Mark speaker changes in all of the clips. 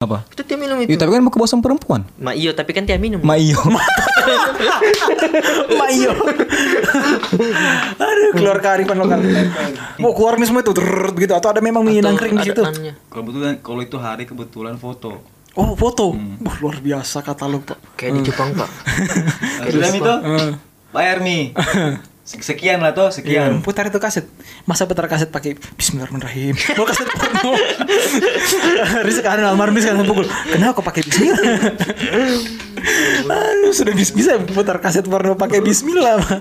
Speaker 1: Apa?
Speaker 2: Itu dia minum
Speaker 1: Iya,
Speaker 2: itu.
Speaker 1: tapi kan mau kebosan perempuan.
Speaker 2: Ma iyo, tapi kan dia minum.
Speaker 1: Ma iya. iyo.
Speaker 3: Mayo. Aduh, keluar kearifan lokal. Mau keluar nih semua itu trrrt gitu atau ada memang mie
Speaker 2: Atau
Speaker 3: nangkring
Speaker 2: ada kan-
Speaker 3: di situ?
Speaker 2: annya.
Speaker 4: Kebetulan kalau itu hari kebetulan foto.
Speaker 3: Oh, foto. Wah, luar biasa katalog, Pak.
Speaker 2: Kayak di Jepang, Pak.
Speaker 4: Eh, Sudah itu bayar nih. Sek- Sekian lah toh,
Speaker 1: Iya.
Speaker 4: sekian.
Speaker 3: Iya. Putar itu kaset. Masa putar kaset pakai bismillahirrahmanirrahim. Mau kaset porno. Rizk Anil almarhum Rizk Anil pukul. Kenapa kau pakai bismillah? Aduh, sudah bis- bisa putar kaset porno pakai bismillah, Pak.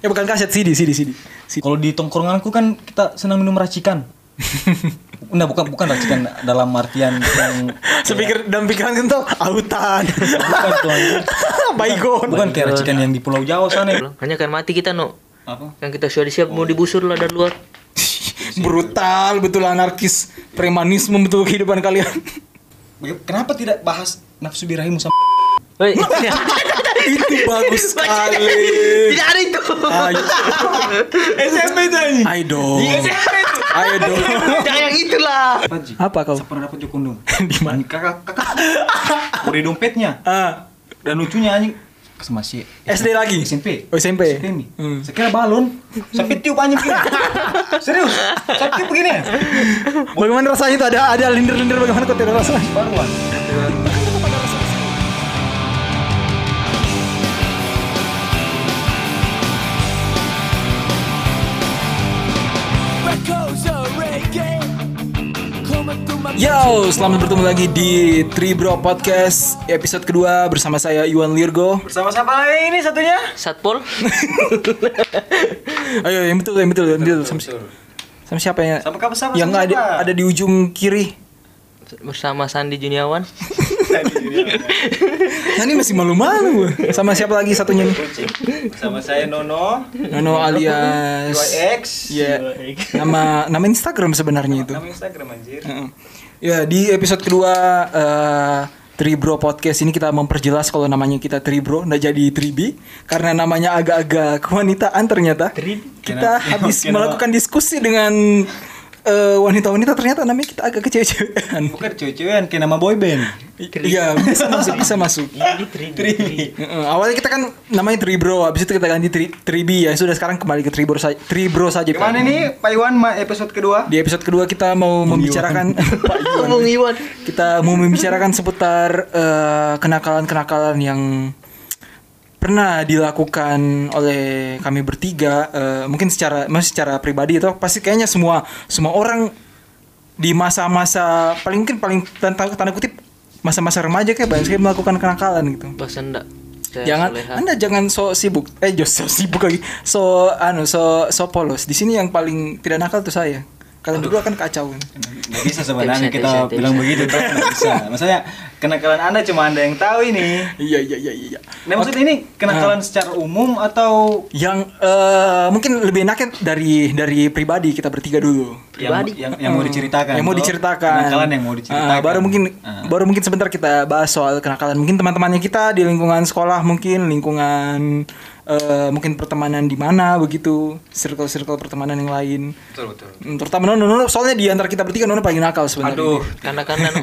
Speaker 3: Ya bukan kaset CD, CD, CD. CD.
Speaker 1: Kalau di tongkronganku kan kita senang minum racikan. Nah, bukan bukan racikan dalam artian yang
Speaker 3: Sepikir dalam pikiran itu autan.
Speaker 1: bukan tuh anjing.
Speaker 3: Baygon.
Speaker 1: Bukan kayak racikan yang di Pulau Jawa sana. ya.
Speaker 2: Hanya kan mati kita, no.
Speaker 4: Apa?
Speaker 2: Yang kita sudah siap mau dibusur lah dari luar.
Speaker 3: brutal betul anarkis premanisme betul kehidupan kalian
Speaker 4: Ya,
Speaker 1: Baga- Kenapa tidak bahas nafsu birahimu sama
Speaker 2: Hei.
Speaker 3: itu bagus sekali
Speaker 2: Tidak ada itu.
Speaker 3: ayo
Speaker 4: SMP itu anjing.
Speaker 3: ayo dong ayo dong
Speaker 2: Jangan yang itulah.
Speaker 4: Apa, Ji?
Speaker 3: apa kau
Speaker 4: Saya pernah dapat jokondong.
Speaker 3: Di mana?
Speaker 4: Kakak kakak. Udah dompetnya.
Speaker 3: ah
Speaker 4: Dan lucunya anjing masih
Speaker 3: SD lagi
Speaker 4: SMP.
Speaker 3: oh SMP
Speaker 4: SMP nih.
Speaker 3: Hmm.
Speaker 4: Saya kira balon. Sampai tiup anjing gini. Serius. Saya tiup begini.
Speaker 3: bagaimana rasanya itu ada ada lindir-lindir bagaimana kau tidak rasa
Speaker 4: Baruan.
Speaker 3: Yo, selamat bertemu lagi di Tribro Podcast episode kedua bersama saya Iwan Lirgo.
Speaker 4: Bersama siapa ini satunya?
Speaker 2: Satpol.
Speaker 3: Ayo, yang betul, yang betul, yang betul. Sama, si- sama siapa ya?
Speaker 4: Sama kamu sama
Speaker 3: Yang
Speaker 4: sama
Speaker 3: ada
Speaker 4: siapa?
Speaker 3: ada di ujung kiri.
Speaker 2: Bersama Sandi Juniawan.
Speaker 3: Nah, ini masih malu-malu. Sama siapa lagi satunya? nih?
Speaker 4: Sama saya Nono.
Speaker 3: Nono alias
Speaker 4: YX.
Speaker 3: Ya. Nama nama Instagram sebenarnya itu.
Speaker 4: Nama Instagram anjir.
Speaker 3: Heeh. Ya, di episode kedua eh, Tribro Podcast ini kita memperjelas kalau namanya kita Tribro nggak jadi Tribi karena namanya agak-agak kewanitaan ternyata. Kita
Speaker 4: Kenapa-
Speaker 3: habis
Speaker 4: kenapa?
Speaker 3: melakukan diskusi dengan eh, wanita-wanita ternyata namanya kita agak kecewa-cewaan.
Speaker 4: Bukan cewek-cewekan kayak nama boyband.
Speaker 3: Iya, bisa masuk, bisa masuk. Heeh, awalnya kita kan namanya Tribro, habis itu kita ganti tri, Tribi ya. Sudah sekarang kembali ke Tribro saja. Tribro saja. Pak.
Speaker 4: Gimana nih Pak Iwan ma- episode kedua?
Speaker 3: Di episode kedua kita mau membicarakan Pak Iwan.
Speaker 2: Ngomong Iwan.
Speaker 3: kita mau membicarakan seputar eh, kenakalan-kenakalan yang pernah dilakukan oleh kami bertiga eh, mungkin secara maksud secara pribadi itu pasti kayaknya semua semua orang di masa-masa paling mungkin paling tanda, tanda kutip masa-masa remaja kayak banyak sekali melakukan kenakalan gitu
Speaker 2: Bahasa ndak. Saya
Speaker 3: jangan
Speaker 2: soleha.
Speaker 3: anda jangan sok sibuk eh jos sok sibuk lagi so anu so so polos di sini yang paling tidak nakal tuh saya kalian berdua kan kacau
Speaker 4: Nggak bisa sebenarnya kita
Speaker 2: Tidak bisa, tidak bisa, tidak
Speaker 4: bilang
Speaker 2: bisa.
Speaker 4: begitu tapi nggak bisa. Maksudnya kenakalan Anda cuma Anda yang tahu ini.
Speaker 3: iya iya iya iya
Speaker 4: Nah, maksudnya ini
Speaker 3: Ah.
Speaker 4: kenakalan secara umum atau
Speaker 3: yang eh, mungkin lebih enaknya dari dari pribadi kita bertiga dulu Hmm.
Speaker 2: Pribadi.
Speaker 4: yang, yang, yang mau diceritakan?
Speaker 3: yang mau
Speaker 4: atau
Speaker 3: diceritakan
Speaker 4: Kenakalan yang mau diceritakan.
Speaker 3: Ah, baru mungkin
Speaker 4: Ah.
Speaker 3: baru mungkin sebentar kita bahas soal kenakalan mungkin teman-temannya kita di lingkungan sekolah mungkin lingkungan eh, mungkin pertemanan di mana begitu circle-circle pertemanan yang lain
Speaker 4: Betul, betul.
Speaker 3: Hmm, terutama Nono, Nono soalnya di antara kita bertiga Nono paling nakal sebenarnya
Speaker 4: Aduh,
Speaker 2: Karena karena no.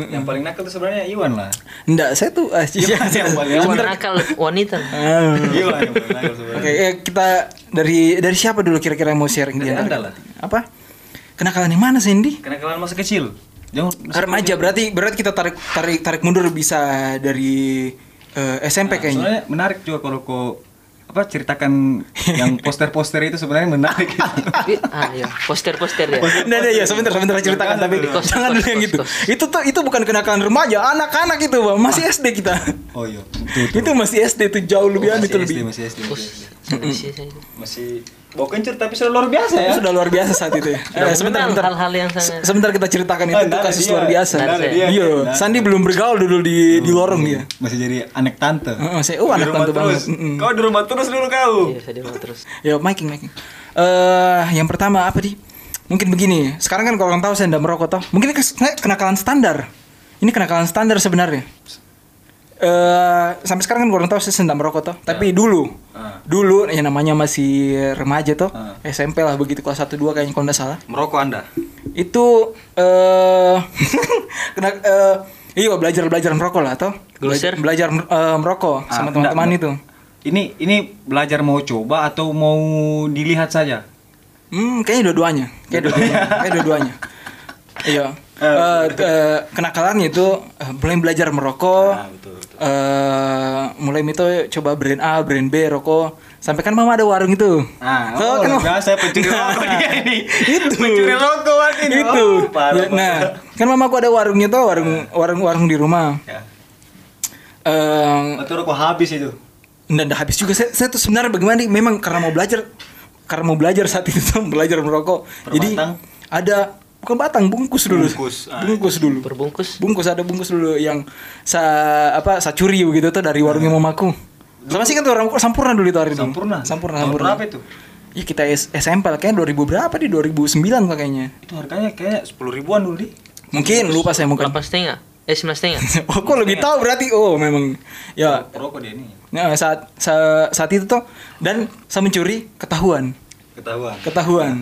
Speaker 4: yang paling nakal itu sebenarnya Iwan lah.
Speaker 3: enggak saya tuh eh, iya, saya-
Speaker 4: yang paling- Iya.
Speaker 2: Yang
Speaker 3: sebentar.
Speaker 2: nakal wanita.
Speaker 3: Ah.
Speaker 4: Iwan yang paling nakal
Speaker 3: Oke,
Speaker 4: sebenarnya.
Speaker 3: eh, kita dari dari siapa dulu kira-kira yang mau sharing
Speaker 4: Dari
Speaker 3: di antara
Speaker 4: Anda
Speaker 3: kita? Apa? Kenakalan yang mana Sandy?
Speaker 4: Kenakalan masa kecil. Jangan
Speaker 3: Remaja berarti berarti kita tarik tarik tarik mundur bisa dari eh, SMP kayaknya.
Speaker 4: Ah, Soalnya menarik juga kalau kau apa ceritakan yang poster-poster itu sebenarnya menarik. gitu.
Speaker 2: Ih, ah iya, poster-poster ya.
Speaker 3: Nah, nah, ya sebentar sebentar ceritakan tapi
Speaker 2: Kos,
Speaker 3: jangan
Speaker 2: kos,
Speaker 3: dulu yang
Speaker 2: kos,
Speaker 3: gitu.
Speaker 2: kos.
Speaker 3: Itu tuh itu bukan kenakalan remaja, anak-anak itu, Bang. Masih SD kita.
Speaker 4: oh iya.
Speaker 3: Itu masih SD itu jauh lebih
Speaker 4: Oh,
Speaker 3: aneh
Speaker 4: Masih
Speaker 3: itu
Speaker 4: SD,
Speaker 3: lebih.
Speaker 4: masih SD, masih SD.
Speaker 2: Pos- sendiri sih saya.
Speaker 4: Masih bau kencur tapi sudah luar biasa ya.
Speaker 3: Itu sudah luar biasa saat itu ya.
Speaker 2: Sudah
Speaker 3: Eh,
Speaker 2: mengenal
Speaker 3: sebentar, sebentar.
Speaker 2: hal-hal yang
Speaker 3: Se-
Speaker 2: sangat-
Speaker 3: Sebentar kita ceritakan itu,
Speaker 4: Ah,
Speaker 3: itu
Speaker 4: nah,
Speaker 3: kasus
Speaker 4: dia.
Speaker 3: luar biasa.
Speaker 2: Nah, dia.
Speaker 3: Iya,
Speaker 4: Nah.
Speaker 3: Sandi belum bergaul dulu
Speaker 4: Iya.
Speaker 3: di di lorong dia.
Speaker 4: Masih jadi anak tante.
Speaker 3: Heeh, saya- oh,
Speaker 4: Di
Speaker 3: anak
Speaker 4: rumah
Speaker 3: tante
Speaker 4: terus.
Speaker 3: banget. Mm-mm.
Speaker 4: Kau di rumah terus dulu kau.
Speaker 2: Iya, saya dengar terus.
Speaker 3: Ya, making making. Eh, yang pertama apa di? Mungkin begini. Sekarang kan kalau orang tahu saya tidak merokok toh. Mungkin ini kes- kenakalan standar. Ini kenakalan standar sebenarnya. Eh, sampai sekarang kan orang tahu saya tidak merokok toh. Tapi dulu,
Speaker 4: Ah.
Speaker 3: dulu yang namanya masih remaja toh,
Speaker 4: Ah.
Speaker 3: SMP lah begitu kelas 1 2 kayaknya kalau nggak salah.
Speaker 4: Merokok Anda.
Speaker 3: Itu eh kena eh, Iya belajar belajar merokok lah atau
Speaker 2: Geluser?
Speaker 3: belajar eh,
Speaker 4: Ah,
Speaker 3: merokok sama teman-teman
Speaker 4: enggak,
Speaker 3: itu.
Speaker 4: Ini ini belajar mau coba atau mau dilihat saja?
Speaker 3: Hmm, kayaknya dua-duanya. Kayak dua-duanya. kayak dua-duanya. Iya. Eh, eh, kenakalannya itu eh, mulai belajar merokok.
Speaker 4: Ah,
Speaker 3: eh, mulai itu coba brand A, brand B rokok. Sampai kan mama ada warung itu.
Speaker 4: Ah,
Speaker 3: So,
Speaker 4: oh,
Speaker 3: kan
Speaker 4: luar
Speaker 3: mama-
Speaker 4: biasa pencuri rokok dia ini.
Speaker 3: Itu.
Speaker 4: Pencuri rokok Wan, ini.
Speaker 3: itu.
Speaker 4: Oh, parah,
Speaker 3: Ya, nah, kan mamaku ada warungnya tuh, warung warung warung di rumah.
Speaker 4: parah.
Speaker 3: Eh,
Speaker 4: Ya. Itu Ya. rokok habis itu.
Speaker 3: dan udah habis juga saya, saya tuh sebenarnya bagaimana nih memang karena mau belajar karena mau belajar saat itu tuh belajar merokok jadi
Speaker 4: Perbatang?
Speaker 3: ada bukan batang bungkus dulu
Speaker 4: Bungkus, ah.
Speaker 3: bungkus dulu
Speaker 2: Berbungkus.
Speaker 3: bungkus ada bungkus dulu yang sa apa sa curi begitu tuh dari warungnya mamaku sama sih kan tuh rokok sampurna dulu itu hari itu
Speaker 4: Ah. Sampurna.
Speaker 3: sampurna
Speaker 4: Tahun
Speaker 3: sampurna
Speaker 4: Berapa itu?
Speaker 3: ya kita S- SMP lah kayaknya 2000 berapa di 2009 lah kayaknya
Speaker 4: Itu harganya kayak 10 ribuan dulu nih.
Speaker 3: mungkin lupa saya mungkin
Speaker 2: Delapan setengah. Eh sembilan setengah.
Speaker 3: oh kok lebih tahu berarti oh memang ya
Speaker 4: Rokok dia ini.
Speaker 3: Nah, saat sa- saat itu tuh dan saya mencuri ketahuan
Speaker 4: Ketahuan.
Speaker 3: ketahuan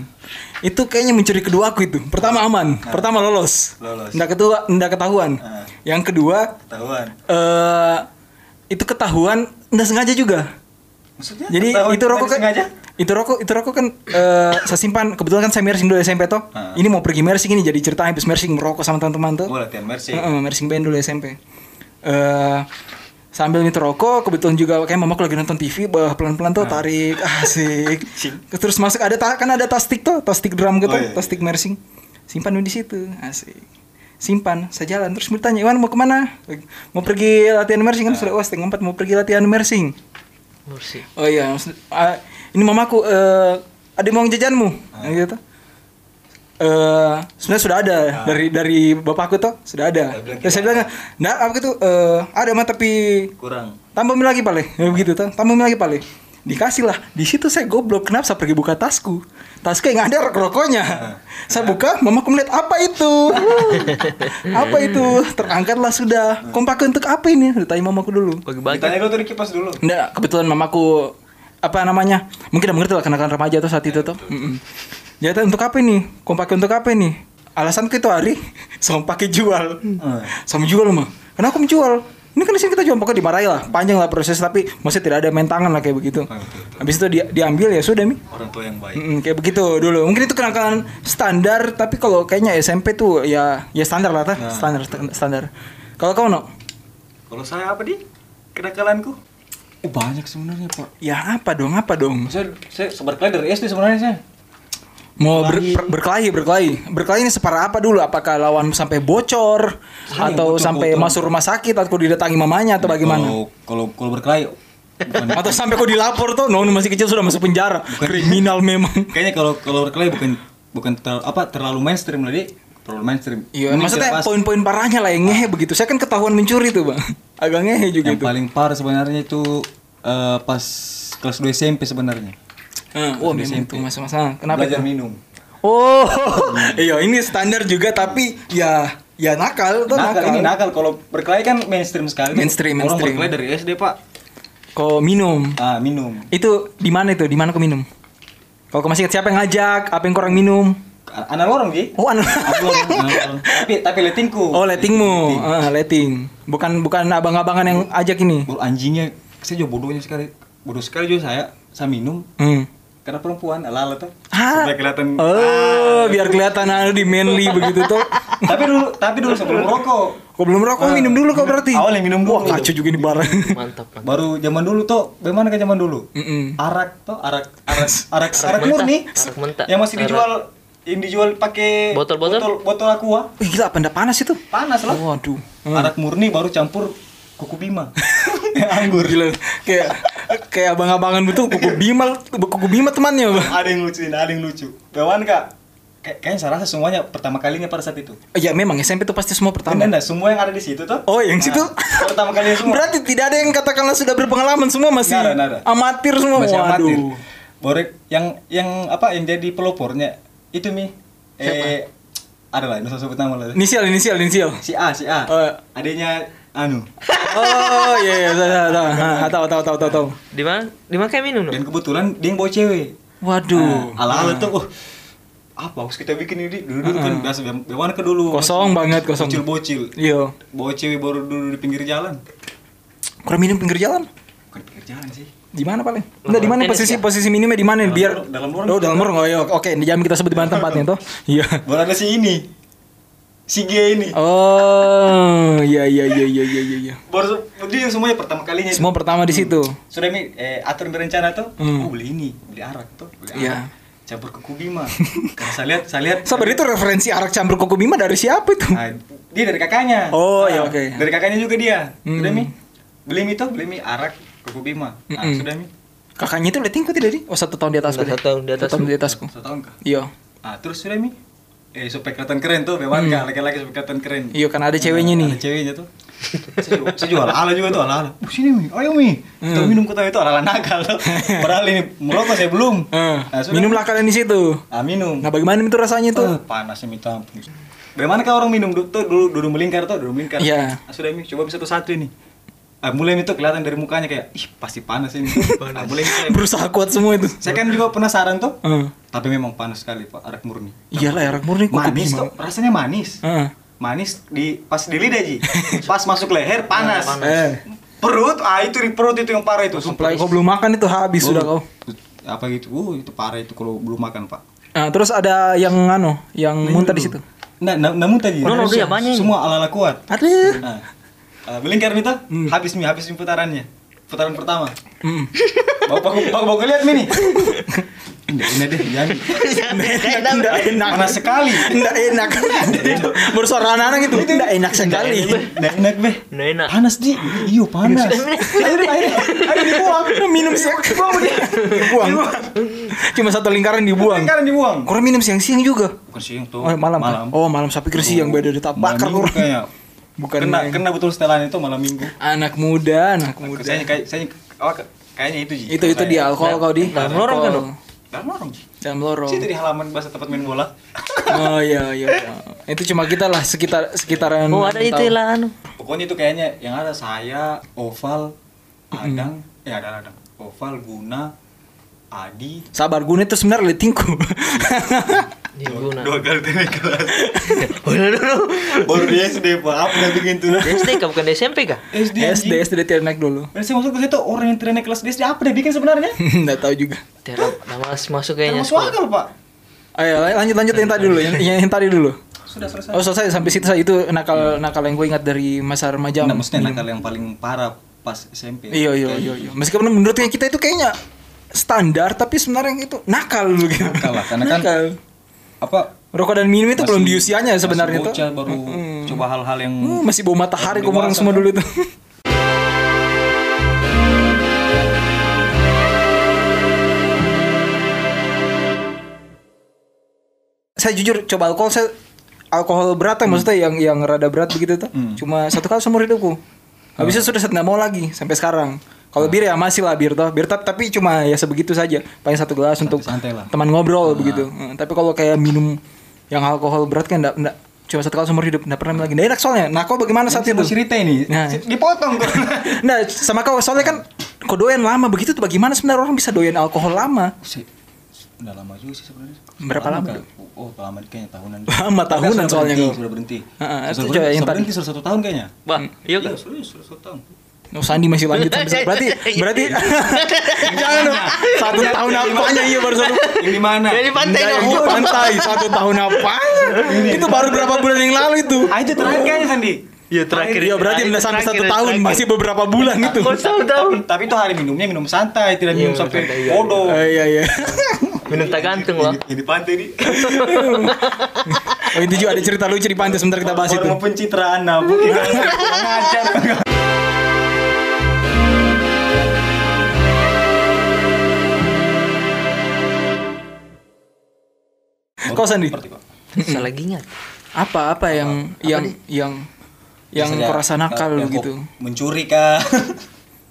Speaker 3: itu kayaknya mencuri kedua aku itu pertama aman pertama lolos
Speaker 4: Lolos.
Speaker 3: ndak ketua ndak ketahuan
Speaker 4: Ah.
Speaker 3: yang kedua
Speaker 4: Ketahuan.
Speaker 3: eh itu ketahuan ndak sengaja juga
Speaker 4: Maksudnya?
Speaker 3: jadi
Speaker 4: Ya, ketahuan
Speaker 3: itu rokok kan
Speaker 4: sengaja?
Speaker 3: itu rokok itu rokok kan eh saya simpan kebetulan kan saya mersing dulu SMP toh
Speaker 4: Ah.
Speaker 3: ini mau pergi mersing ini jadi cerita habis mersing merokok sama teman-teman tuh
Speaker 4: Gue latihan Mercy.
Speaker 3: Heeh, Mersing Band dulu SMP. Eh sambil nyetir rokok, kebetulan juga kayak mamaku lagi nonton TV, bah pelan-pelan tuh
Speaker 4: Ah.
Speaker 3: tarik, asik. Terus masuk ada ta- kan ada tas stick tuh, tas stick drum
Speaker 4: Oh,
Speaker 3: gitu,
Speaker 4: iya,
Speaker 3: tas stick Mersing. Simpan dulu di situ, asik. Simpan, saya jalan terus bertanya, Iwan mau kemana? Mau pergi latihan Mersing kan sudah, wah setengah empat mau pergi latihan Mersing.
Speaker 2: Mursi.
Speaker 3: Oh iya, maksud- ah, ini mamaku eh ada yang mau jajanmu,
Speaker 4: Ah.
Speaker 3: Nah, gitu. Eh sebenarnya sudah ada dari dari bapakku tuh sudah
Speaker 4: Ah.
Speaker 3: ada.
Speaker 4: Saya bilang gitu.
Speaker 3: Terus saya bilang, nah aku tuh eh, ada mah tapi
Speaker 4: Kurang.
Speaker 3: tambahin lagi pale, Ya, begitu tuh, tambahin lagi pale. Dikasih lah, di situ saya goblok kenapa saya pergi buka tasku, tasku yang ada
Speaker 4: Ah.
Speaker 3: rokoknya. Saya buka, mamaku melihat apa itu, apa itu, terangkatlah sudah.
Speaker 4: Ah.
Speaker 3: Kompak untuk apa ini? Ditanya mamaku dulu.
Speaker 2: Bagi-bagi.
Speaker 4: Ditanya dulu tuh di kipas dulu.
Speaker 3: Nggak, kebetulan mamaku apa namanya? Mungkin udah mengerti lah kenakalan remaja tuh saat itu tuh. Mm-mm. Dia tuh untuk apa ini? Kau pakai untuk apa ini? Alasan itu hari sama pakai jual.
Speaker 4: Hmm.
Speaker 3: Sama jual mah. Karena aku menjual. Ini kan di sini kita jual pokoknya dimarahi lah. Panjang lah proses tapi masih tidak ada main tangan lah kayak begitu. Habis itu dia diambil ya sudah mi.
Speaker 4: Orang tua yang baik.
Speaker 3: Mm-mm, kayak begitu dulu. Mungkin itu kenakalan standar tapi kalau kayaknya SMP tuh ya ya standar lah tah. Standar standar. Kalau kau no?
Speaker 4: Kalau saya apa di? Kenakalanku?
Speaker 5: Oh, banyak sebenarnya pak.
Speaker 3: Ya apa dong? Apa dong?
Speaker 4: Saya, saya seberkali dari SD sebenarnya saya.
Speaker 3: Mau ber- ber- berkelahi, berkelahi. Berkelahi ini separah apa dulu? Apakah lawan sampai bocor atau sampai masuk rumah sakit atau didatangi mamanya atau bagaimana?
Speaker 4: Kalau- Kalau kalau berkelahi bukan-
Speaker 3: Atau sampai kau dilapor tuh, non masih kecil sudah masuk penjara. Kriminal memang.
Speaker 4: kayaknya kalau kalau berkelahi bukan bukan terlalu, apa terlalu mainstream lah Di. terlalu mainstream.
Speaker 3: Iya,
Speaker 4: Mending
Speaker 3: maksudnya
Speaker 4: dilepas.
Speaker 3: poin-poin parahnya lah yang ngehe begitu. Saya kan ketahuan mencuri tuh, Bang. Agak ngehe juga
Speaker 4: yang
Speaker 3: itu.
Speaker 4: paling parah sebenarnya itu eh, pas kelas 2 SMP sebenarnya.
Speaker 3: Heeh, Ah, wah, memang itu masa-masa. Kenapa?
Speaker 4: Belajar Hmm.
Speaker 3: itu?
Speaker 4: minum.
Speaker 3: Oh, iya ini standar juga tapi ya ya nakal tuh
Speaker 4: Nakal,
Speaker 3: nakal.
Speaker 4: ini nakal kalau berkelahi kan mainstream sekali.
Speaker 3: Mainstream,
Speaker 4: Orang
Speaker 3: mainstream.
Speaker 4: berkelahi dari SD, Pak.
Speaker 3: Kau minum.
Speaker 4: Ah, minum.
Speaker 3: Itu di mana itu? Di mana kau minum? Kalau kau masih ingat siapa yang ngajak, apa yang kau orang minum?
Speaker 4: Anak lorong, Gi.
Speaker 3: Oh, anu.
Speaker 4: Anak lorong, anak lorong. tapi tapi letingku.
Speaker 3: oh, lettingmu. Ah, letting. Bukan bukan abang-abangan yang ajak ini.
Speaker 4: Baru anjingnya saya juga bodohnya sekali. Bodoh sekali juga saya. Saya minum
Speaker 3: Hmm.
Speaker 4: karena perempuan ala tuh.
Speaker 3: Ah.
Speaker 4: Supaya kelihatan.
Speaker 3: Oh, biar kelihatan anu di manly begitu tuh.
Speaker 4: tapi dulu tapi dulu sebelum rokok.
Speaker 3: Kau belum merokok, minum dulu kau berarti.
Speaker 4: Awalnya minum
Speaker 3: Wah,
Speaker 4: dulu.
Speaker 3: kacau juga ini barang.
Speaker 2: Mantap. mantap.
Speaker 4: Baru zaman dulu tuh, bagaimana kan zaman dulu?
Speaker 3: Mm-mm.
Speaker 4: Arak tuh, arak arak arak arak
Speaker 2: mentah,
Speaker 4: murni.
Speaker 2: arak mentah.
Speaker 4: Yang masih
Speaker 2: Arak.
Speaker 4: dijual yang dijual pakai
Speaker 2: Botol-botol?
Speaker 4: botol botol aqua.
Speaker 3: Wih, gila, apa ndak panas Hmm. itu?
Speaker 4: Panas lah.
Speaker 3: Waduh.
Speaker 4: Arak murni baru campur kuku bima. Yang anggur.
Speaker 3: Gila, kayak kayak abang-abangan betul kuku bimal, kuku bima temannya, Bang.
Speaker 4: Ada yang lucu, ada yang lucu. Bewan Kak. Kay- kayaknya saya rasa semuanya pertama kalinya pada saat itu.
Speaker 3: Oh, Ya memang SMP itu pasti semua pertama.
Speaker 4: Enggak, enggak, semua yang ada di situ tuh. Nah,
Speaker 3: Oh, yang situ?
Speaker 4: pertama kalinya semua.
Speaker 3: Berarti tidak ada yang katakanlah sudah berpengalaman semua masih
Speaker 4: Nggak ada, nggak ada.
Speaker 3: amatir semua.
Speaker 4: masih
Speaker 3: Waduh.
Speaker 4: amatir. Borek yang yang apa yang jadi pelopornya itu mi eh adalah nggak usah sebut nama lah.
Speaker 3: Inisial, inisial, inisial.
Speaker 4: Si A, si A.
Speaker 3: Oh.
Speaker 4: Adanya anu.
Speaker 3: Oh iya iya tahu tahu tahu tahu tahu tahu tahu.
Speaker 2: Di mana? Di mana kayak minum? no?
Speaker 4: Dan kebetulan dia yang bawa cewek.
Speaker 3: Waduh.
Speaker 4: Nah, ala ala tuh. Uh, apa harus kita bikin ini dulu dulu kan biasa bewan ke dulu
Speaker 3: Ah. Kosong banget, kosong.
Speaker 4: bocil bocil
Speaker 3: Iya.
Speaker 4: bawa cewek baru dulu di pinggir jalan
Speaker 3: Kurang minum pinggir jalan.
Speaker 4: bukan di pinggir jalan sih
Speaker 3: Di mana paling? Enggak di mana
Speaker 2: tenis
Speaker 3: posisi
Speaker 2: ya?
Speaker 3: posisi minimnya di mana biar
Speaker 4: Nah, dalam lorong.
Speaker 3: Oh, dalam lorong. Oh, iya. Oke, dijamin kita sebut di mana tempatnya toh. Iya.
Speaker 4: baru ada si ini si G ini
Speaker 3: Oh, iya iya iya iya iya iya, iya.
Speaker 4: baru dia semuanya pertama kalinya
Speaker 3: Semua pertama di situ.
Speaker 4: sudah mi eh, atur berencana tuh oh,
Speaker 3: Hmm.
Speaker 4: beli ini beli arak tuh beli
Speaker 3: Iya.
Speaker 4: arak campur ke kubima karena saya lihat saya lihat
Speaker 3: Sabar itu referensi arak campur koko bima dari siapa itu?
Speaker 4: Nah, dia dari kakaknya Nah,
Speaker 3: Oh, iya, oke.
Speaker 4: dari kakaknya juga dia
Speaker 3: Hmm.
Speaker 4: sudah mi beli mi tuh beli mi arak ke kubima nah,
Speaker 3: Mm-mm.
Speaker 4: sudah mi
Speaker 3: Kakaknya itu dating tidak dari? Oh, satu tahun di atas.
Speaker 2: Satu
Speaker 3: berarti.
Speaker 2: tahun di atas.
Speaker 3: Satu tahun di atasku.
Speaker 4: satu tahun kah
Speaker 3: Iya.
Speaker 4: nah, terus sudah mi eh supaya kelihatan keren tuh memang
Speaker 3: Hmm.
Speaker 4: kah laki-laki supaya kelihatan keren
Speaker 3: Iya, kan ada ceweknya
Speaker 4: Nah,
Speaker 3: nih.
Speaker 4: ada ceweknya tuh saya ju- saya jual ala juga tuh ala ala oh, sini mi ayo mi
Speaker 3: Hmm.
Speaker 4: kita minum kita itu ala ala nakal tuh. padahal ini merokok saya belum
Speaker 3: Eh,
Speaker 4: Nah, sudah.
Speaker 3: minumlah kalian di situ.
Speaker 4: ah minum
Speaker 3: Nah, bagaimana itu rasanya itu?
Speaker 4: Eh, panasnya minta ampun. Bagaimana kalau orang minum du- tuh dulu dulu melingkar tuh dulu melingkar.
Speaker 3: Iya.
Speaker 4: Ah, sudah mi coba satu satu ini. Ah, mulai itu kelihatan dari mukanya kayak ih pasti panas ini. Ah, mulai Mi, saya,
Speaker 3: Berusaha kuat semua itu. Eh.
Speaker 4: saya kan juga penasaran tuh.
Speaker 3: Heeh.
Speaker 4: Tapi memang panas sekali Pak arak murni.
Speaker 3: Iyalah arak Iya murni koko
Speaker 4: Manis
Speaker 3: bima.
Speaker 4: tuh, rasanya manis.
Speaker 3: Heeh.
Speaker 4: Manis di pas di lidah Ji. Pas masuk leher panas.
Speaker 3: Eh,
Speaker 4: Perut, ah itu di perut itu yang parah itu.
Speaker 3: Oh,
Speaker 4: Oh,
Speaker 3: supply kau belum makan itu habis sudah oh. kau.
Speaker 4: Apa gitu? Uh, itu parah itu kalau belum makan, Pak.
Speaker 3: Nah, terus ada yang anu, yang muntah di situ.
Speaker 4: Nah, na- namun tadi
Speaker 2: Nah, nah, dia banyak.
Speaker 4: semua ala-ala kuat.
Speaker 3: Aduh.
Speaker 4: Nah, uh, melingkar nih tuh,
Speaker 3: Hmm.
Speaker 4: habis nih, habis nih putarannya. Putaran pertama.
Speaker 3: Mm.
Speaker 4: Bapak bapak bapak bapak lihat nih. Ini ini deh, jangan.
Speaker 3: Nggak enak.
Speaker 4: Panas sekali.
Speaker 3: Nggak enak. Bersuara anak gitu. Nggak enak sekali.
Speaker 4: Nggak enak beh.
Speaker 2: Nggak enak.
Speaker 4: Panas di. Iyo panas. Akhirnya akhirnya akhirnya dibuang.
Speaker 3: Minum siang dibuang dia. Dibuang. Cuma satu lingkaran dibuang.
Speaker 4: Melingkaran dibuang.
Speaker 3: Kurang minum siang-siang juga.
Speaker 4: Bukan siang tuh.
Speaker 3: Oh, malam. kan? Oh, malam sapi kersi yang beda di tak bakar
Speaker 4: Gitu. Malam minggu
Speaker 3: kurang.
Speaker 4: kayaknya.
Speaker 3: Bukan
Speaker 4: kena
Speaker 3: main.
Speaker 4: kena betul setelan itu malam minggu.
Speaker 3: Anak muda, anak muda.
Speaker 4: Saya kayak saya oh, kayaknya itu Ji.
Speaker 3: Itu itu
Speaker 4: Saya-
Speaker 3: di alkohol kau di.
Speaker 2: Dalam lorong kan, dong?
Speaker 4: Dalam lorong. Ji.
Speaker 3: Dalam lorong.
Speaker 4: Situ di halaman bahasa tempat main bola.
Speaker 3: Oh iya iya. iya. Itu cuma kita lah sekitar sekitaran.
Speaker 2: Oh ada itu
Speaker 3: tahu.
Speaker 2: lah anu.
Speaker 4: Pokoknya itu kayaknya yang ada saya, Oval, Adang, eh ada Adang, Oval, Guna, Adi,
Speaker 3: Sabar Guna itu sebenarnya letingku.
Speaker 2: Di guna.
Speaker 4: dua kali naik kelas.
Speaker 2: Oh, no, no, no.
Speaker 4: Baru di SD pak, apa yang bikin tuh?
Speaker 2: SD kah bukan di SMP kah?
Speaker 4: SD,
Speaker 3: SD
Speaker 4: SD.
Speaker 3: SD dia naik dulu.
Speaker 4: Dan saya maksud ke situ orang yang tidak naik kelas di SD apa dia bikin sebenarnya?
Speaker 3: Nggak tahu juga.
Speaker 2: Tidak tidak malas
Speaker 4: Tidak
Speaker 2: masuk kayaknya.
Speaker 4: masuk
Speaker 2: sekolah.
Speaker 4: akal pak.
Speaker 3: Ayo lan- lanjut lanjut yang tadi dulu, yang, yang, yang tadi dulu.
Speaker 4: Sudah selesai.
Speaker 3: Oh selesai sampai situ saya itu nakal nakal yang gue ingat dari masa remaja.
Speaker 4: Nah, maksudnya nakal yang paling parah pas SMP.
Speaker 3: Iya iya iya iya. Meskipun menurutnya kita itu kayaknya standar tapi sebenarnya itu nakal dulu gitu.
Speaker 4: Nakal lah, karena kan
Speaker 3: Nakal.
Speaker 4: Apa?
Speaker 3: Rokok dan minum itu belum di
Speaker 4: masih-
Speaker 3: usianya
Speaker 4: masih
Speaker 3: sebenarnya tuh.
Speaker 4: bocah, baru coba hal-hal yang
Speaker 3: Hmm, masih bau matahari
Speaker 4: Belum
Speaker 3: kok orang
Speaker 4: dewasa,
Speaker 3: semua
Speaker 4: kan?
Speaker 3: dulu itu. saya jujur coba alkohol saya alkohol berat
Speaker 4: Hmm.
Speaker 3: ya, maksudnya yang yang rada berat begitu tuh. Cuma satu kali seumur hidupku.
Speaker 4: Hmm.
Speaker 3: Habis itu sudah saya nggak mau lagi sampai sekarang. Kalau bir ya masih lah bir toh. Bir tap- tapi cuma ya sebegitu saja. Paling satu gelas untuk
Speaker 4: santai lah.
Speaker 3: teman ngobrol begitu. Eh, Tapi kalau kayak minum yang alkohol berat kan enggak enggak cuma satu kali seumur hidup enggak pernah lagi. Enggak enak soalnya. Nah, kau bagaimana saat
Speaker 4: Saya mau
Speaker 3: itu?
Speaker 4: cerita ini,
Speaker 3: Nah.
Speaker 4: dipotong kok.
Speaker 3: Nah, sama kau soalnya kan kau doyan lama begitu tuh bagaimana sebenarnya orang bisa doyan alkohol lama?
Speaker 4: sih udah lama juga sih sebenarnya
Speaker 3: Berapa lama,
Speaker 4: kah? oh lama kayaknya tahunan
Speaker 3: Lama
Speaker 4: Tapi
Speaker 3: tahunan
Speaker 4: sudah
Speaker 3: soalnya
Speaker 4: berhenti,
Speaker 3: kau.
Speaker 4: sudah berhenti sudah
Speaker 3: Heeh, itu
Speaker 4: berhenti,
Speaker 3: coba yang
Speaker 4: sudah
Speaker 3: tadi.
Speaker 4: berhenti sudah satu tahun kayaknya
Speaker 2: Wah, iya
Speaker 4: iya
Speaker 2: kah?
Speaker 4: sudah sudah satu tahun
Speaker 3: Oh, Sandi masih lanjut sampai sekarang. berarti berarti jangan dong. satu tahun apanya iya baru satu
Speaker 4: yang di mana
Speaker 2: Dari pantai
Speaker 3: Enggak,
Speaker 2: dong.
Speaker 3: yang di pantai satu tahun apanya itu baru berapa bulan yang lalu itu
Speaker 4: ah itu terakhir kayaknya Sandi
Speaker 2: Iya terakhir.
Speaker 3: Iya berarti
Speaker 2: Terakhir,
Speaker 3: udah sampai
Speaker 2: terakhir,
Speaker 3: satu tahun
Speaker 2: terakhir.
Speaker 3: masih beberapa bulan itu
Speaker 2: Kok satu tahun?
Speaker 4: tapi itu hari minumnya minum santai tidak minum sampai
Speaker 2: santai, iya.
Speaker 4: bodoh
Speaker 3: Eh, iya iya
Speaker 2: Minum tak gantung loh.
Speaker 4: Yang di pantai nih
Speaker 3: oh itu juga ada cerita lucu di pantai sebentar kita bahas
Speaker 4: baru
Speaker 3: itu
Speaker 4: mau pencitraan nah bukan ngajar
Speaker 3: kau Sandi
Speaker 2: Saya lagi ingat.
Speaker 3: apa apa yang yang yang yang
Speaker 4: Biasanya,
Speaker 3: kau rasa nakal
Speaker 4: yang kau
Speaker 3: gitu
Speaker 4: mencuri kah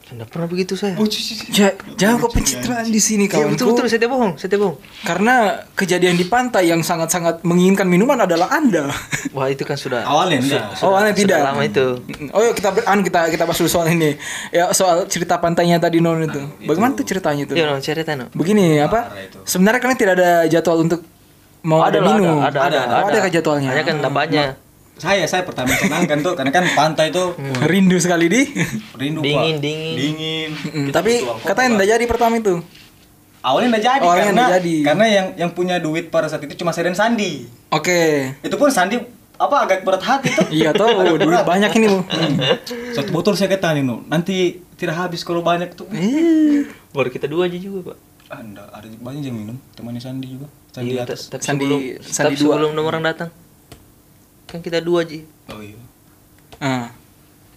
Speaker 2: Tidak pernah begitu saya.
Speaker 4: Oh, cuci, cuci.
Speaker 3: Ja- jangan kau pencitraan di sini
Speaker 2: Iya betul
Speaker 3: kawanku
Speaker 2: betul saya tidak bohong, saya tidak bohong.
Speaker 3: karena kejadian di pantai yang sangat-sangat menginginkan minuman adalah anda
Speaker 2: Wah itu kan sudah.
Speaker 4: awalnya enggak
Speaker 3: Oh, aneh tidak.
Speaker 2: Sudah lama itu.
Speaker 3: Oh, yuk kita an kita kita bahas dulu soal ini. Ya soal cerita pantainya tadi non itu. Bagaimana tuh ceritanya itu?
Speaker 2: Iya, no, cerita no.
Speaker 3: Begini apa?
Speaker 4: Parah itu.
Speaker 3: Sebenarnya kalian tidak ada jadwal untuk mau ada,
Speaker 2: lah,
Speaker 3: minum.
Speaker 2: Ada, ada,
Speaker 3: Oh, ada, kah jadwalnya? Hmm.
Speaker 2: Hanya kan tambahnya
Speaker 4: Saya saya pertama tenangkan tuh karena kan pantai tuh
Speaker 3: Rindu sekali di.
Speaker 4: rindu Pak.
Speaker 2: Hmm. Dingin, dingin. Hmm,
Speaker 4: Dingin.
Speaker 3: Mm, tapi katanya nggak jadi pertama itu.
Speaker 4: Awalnya nggak jadi
Speaker 3: Awalnya
Speaker 4: karena
Speaker 3: nggak jadi.
Speaker 4: karena yang yang punya duit pada saat itu cuma saya dan Sandi.
Speaker 3: Oke.
Speaker 4: Itu pun Sandi apa agak berat hati tuh.
Speaker 3: Iya tuh, duit banyak ini. Bu. Iya.
Speaker 4: Satu botol saya kata Nino, nanti tidak habis kalau banyak tuh.
Speaker 2: Baru kita dua aja juga, Pak.
Speaker 4: Anda ada banyak yang minum, temannya Sandi juga. Sandi di
Speaker 2: Iya,
Speaker 4: atas.
Speaker 2: tapi
Speaker 3: Sandi-
Speaker 2: sebelum,
Speaker 3: Sandi
Speaker 2: tapi
Speaker 3: dua.
Speaker 2: sebelum nomor orang datang. Kan kita dua aja.
Speaker 4: Oh iya.
Speaker 3: Ah.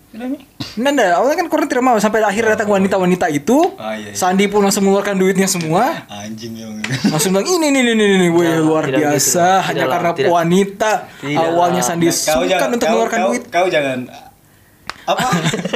Speaker 4: Sudah nih.
Speaker 3: Nanda, awalnya kan kurang tidak mau sampai akhir datang wanita-wanita itu.
Speaker 4: Ah, Oh, iya, iya.
Speaker 3: Sandi pun langsung mengeluarkan duitnya semua.
Speaker 4: Anjing ya.
Speaker 3: Langsung bilang ini nih nih nih nih, wih,
Speaker 2: Tidak,
Speaker 4: gitu,
Speaker 3: luar
Speaker 2: tidak
Speaker 3: biasa
Speaker 2: begitu.
Speaker 3: hanya
Speaker 2: Tidak,
Speaker 3: karena
Speaker 2: tidak.
Speaker 3: wanita.
Speaker 2: Tidak.
Speaker 3: Awalnya Sandi sungkan untuk mengeluarkan
Speaker 4: Nah, kau,
Speaker 3: duit.
Speaker 4: Kau jangan ah, apa?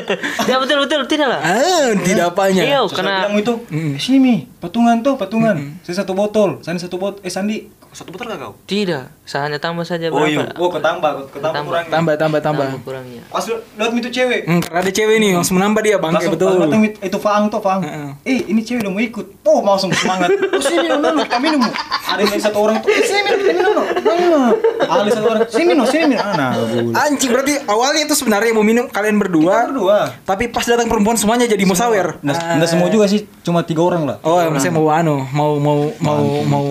Speaker 2: ya betul betul tidak lah.
Speaker 3: Ah, tidak apanya.
Speaker 2: Iya,
Speaker 4: Susah
Speaker 2: karena
Speaker 4: bilang itu
Speaker 3: Mm.
Speaker 4: "Eh, sini Mi, patungan tuh patungan. Saya satu botol, Sandi satu botol. Eh Sandi, satu botol gak kau?
Speaker 2: tidak. Sahanya tambah saja
Speaker 4: Oh iya,
Speaker 2: berapa?
Speaker 4: oh ketambah, ketambah
Speaker 2: Ketambah.
Speaker 4: kurang.
Speaker 3: Tambah tambah tambah.
Speaker 2: kurangnya.
Speaker 4: Pas lu- lewat itu cewek.
Speaker 3: Hmm, karena ada cewek nih langsung menambah dia bangke
Speaker 4: langsung
Speaker 3: betul.
Speaker 4: pas datang itu- itu Faang tuh Faang.
Speaker 3: Heeh.
Speaker 4: Eh ini cewek udah mau ikut. Oh langsung semangat. Oh sini minum minum kita minum. Nuh. Ada yang dari satu orang tuh. Eh, sini minum kita minum. Nuh. Minum. Ah, Ada satu orang. Sini minum sini minum. Ah, Nah boleh.
Speaker 3: Anjing berarti awalnya itu sebenarnya yang mau minum kalian
Speaker 4: Kita
Speaker 3: berdua,
Speaker 4: berdua.
Speaker 3: tapi pas datang perempuan semuanya jadi Ah. musawer.
Speaker 4: Nggak, nggak Iya. semua juga sih, cuma tiga orang lah.
Speaker 3: Oh, emang saya mau anu, mau mau mau mau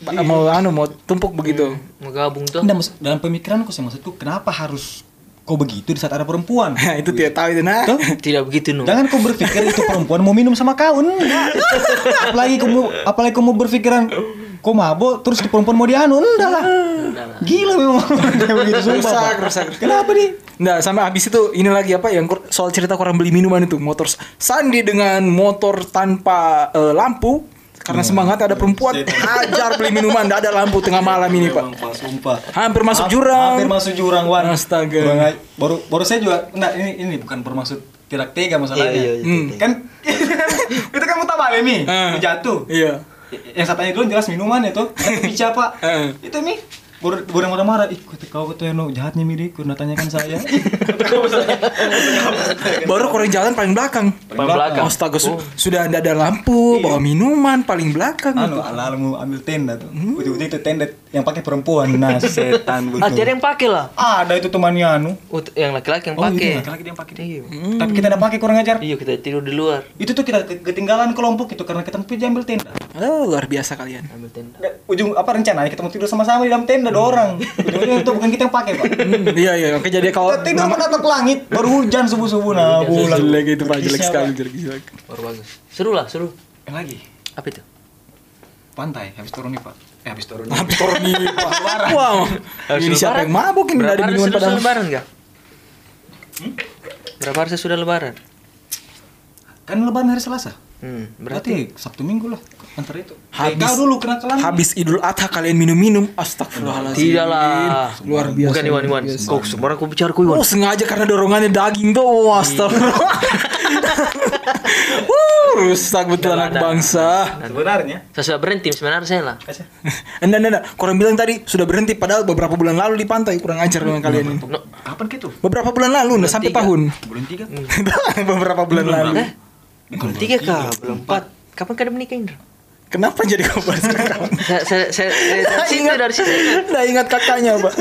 Speaker 3: ba- mau anu mau tumpuk begitu.
Speaker 2: Mau gabung tuh.
Speaker 4: Nggak, maksud- dalam pemikiranku sih maksudku kenapa harus kau begitu di saat ada perempuan?
Speaker 3: Nah, itu tidak tahu itu nah.
Speaker 2: Tidak begitu, Ah, no.
Speaker 4: Jangan kau berpikir itu perempuan mau minum sama kau. enggak. apalagi kau mau, apalagi kau mau berpikiran kau mabok terus di perempuan mau dianu, enggak lah. Gila memang kayak begitu sumpah.
Speaker 3: Rusak,
Speaker 4: Pak.
Speaker 3: rusak.
Speaker 4: Kenapa nih?
Speaker 3: Nah, sampai habis itu ini lagi apa yang kur- soal cerita kurang beli minuman itu, motor s- Sandi dengan motor tanpa eh, lampu karena semangat ada perempuan hajar beli minuman, tidak ada lampu tengah malam ini, Pak.
Speaker 4: Sumpah, sumpah.
Speaker 3: Hampir masuk
Speaker 4: Ha-
Speaker 3: jurang.
Speaker 4: Hampir masuk jurang, Wan.
Speaker 3: Astaga.
Speaker 4: Kurang aj- Baru baru saya juga enggak ini ini bukan bermaksud tidak tega masalahnya.
Speaker 2: Iya, iya, iya,
Speaker 3: Hmm.
Speaker 4: Kan itu kan mutabalik nih,
Speaker 3: Ah.
Speaker 4: jatuh.
Speaker 3: Iya.
Speaker 4: yang katanya dulu jelas minuman itu bicara pak
Speaker 3: Heeh.
Speaker 4: itu nih baru baru marah-marah ih kau kau tuh yang jahatnya mirip kurang tanyakan saya Kau misalnya-
Speaker 3: Baru kurang jalan paling belakang.
Speaker 2: Paling belakang.
Speaker 3: Astaga, su- sudah ada ada lampu, bawa minuman paling belakang.
Speaker 4: anu ala mau ambil tenda tuh ujung-ujung itu tenda yang pakai perempuan nah setan
Speaker 2: Ah,
Speaker 4: betul
Speaker 2: tiada yang pakai lah.
Speaker 4: ada itu temannya anu
Speaker 2: Oh, t- yang laki-laki yang
Speaker 4: Oh,
Speaker 2: pakai.
Speaker 4: iya, laki-laki dia yang pakai.
Speaker 2: Iya.
Speaker 4: tapi kita tidak pakai kurang ajar
Speaker 2: Iya, kita tidur di luar.
Speaker 4: itu tuh kita ke- ketinggalan kelompok itu karena kita mau pergi ambil tenda
Speaker 3: Oh, luar biasa kalian.
Speaker 2: Ambil tenda.
Speaker 4: Dan ujung apa rencananya kita mau tidur sama-sama di dalam tenda dua orang ujung-ujung itu bukan kita yang pakai pak
Speaker 3: Hmm, iya iya oke jadi kalau
Speaker 4: kita tidur menatap langit baru hujan subuh-subuh nah bulan
Speaker 3: jelek itu pak jelek
Speaker 4: Berkisnya,
Speaker 3: sekali
Speaker 4: Pak.
Speaker 3: jelek jelek.
Speaker 2: Baru bagus. Seru lah, seru.
Speaker 4: yang lagi
Speaker 2: Apa itu?
Speaker 4: pantai habis turun nih pak eh habis turun
Speaker 3: Habis turun nih pak. Wah, Oh, ini siapa yang mabuk ini
Speaker 2: Berapa
Speaker 3: Nggak ada
Speaker 2: hari
Speaker 3: minuman
Speaker 2: sudah
Speaker 3: padahal. Hmm?
Speaker 2: lebaran enggak? Berapa hari sudah lebaran?
Speaker 4: kan lebaran hari selasa
Speaker 2: Hmm, berarti
Speaker 4: berarti, sabtu minggu lah antar itu
Speaker 3: Habis-
Speaker 4: habis dulu kena kelam
Speaker 3: Habis Idul Adha kalian minum-minum, astagfirullahaladzim.
Speaker 2: tidak lah.
Speaker 3: Luar biasa.
Speaker 2: Bukan Iwan Iwan. Kok sembarang aku bicara kau Iwan.
Speaker 3: Oh sengaja karena dorongannya daging tuh, wah, astagfirullah. Wuh, rusak betul anak bangsa.
Speaker 4: sebenarnya
Speaker 2: Saya sudah berhenti sebenarnya saya lah.
Speaker 4: Aja.
Speaker 3: Anda, anda, anda, kurang bilang tadi sudah berhenti padahal beberapa bulan lalu di pantai kurang ajar dengan kalian ini.
Speaker 2: No,
Speaker 4: kapan gitu
Speaker 3: Beberapa bulan lalu, udah sampai
Speaker 2: tiga.
Speaker 3: tahun.
Speaker 4: bulan tiga
Speaker 3: beberapa Hmm, bulan lalu.
Speaker 2: eh, belum tiga kah? Belum empat. Kapan kalian menikah Indra?
Speaker 3: Kenapa jadi kau bahas kakak?
Speaker 2: Saya saya saya saya- dari situ dari situ.
Speaker 3: Nah, ingat kakaknya, Pak.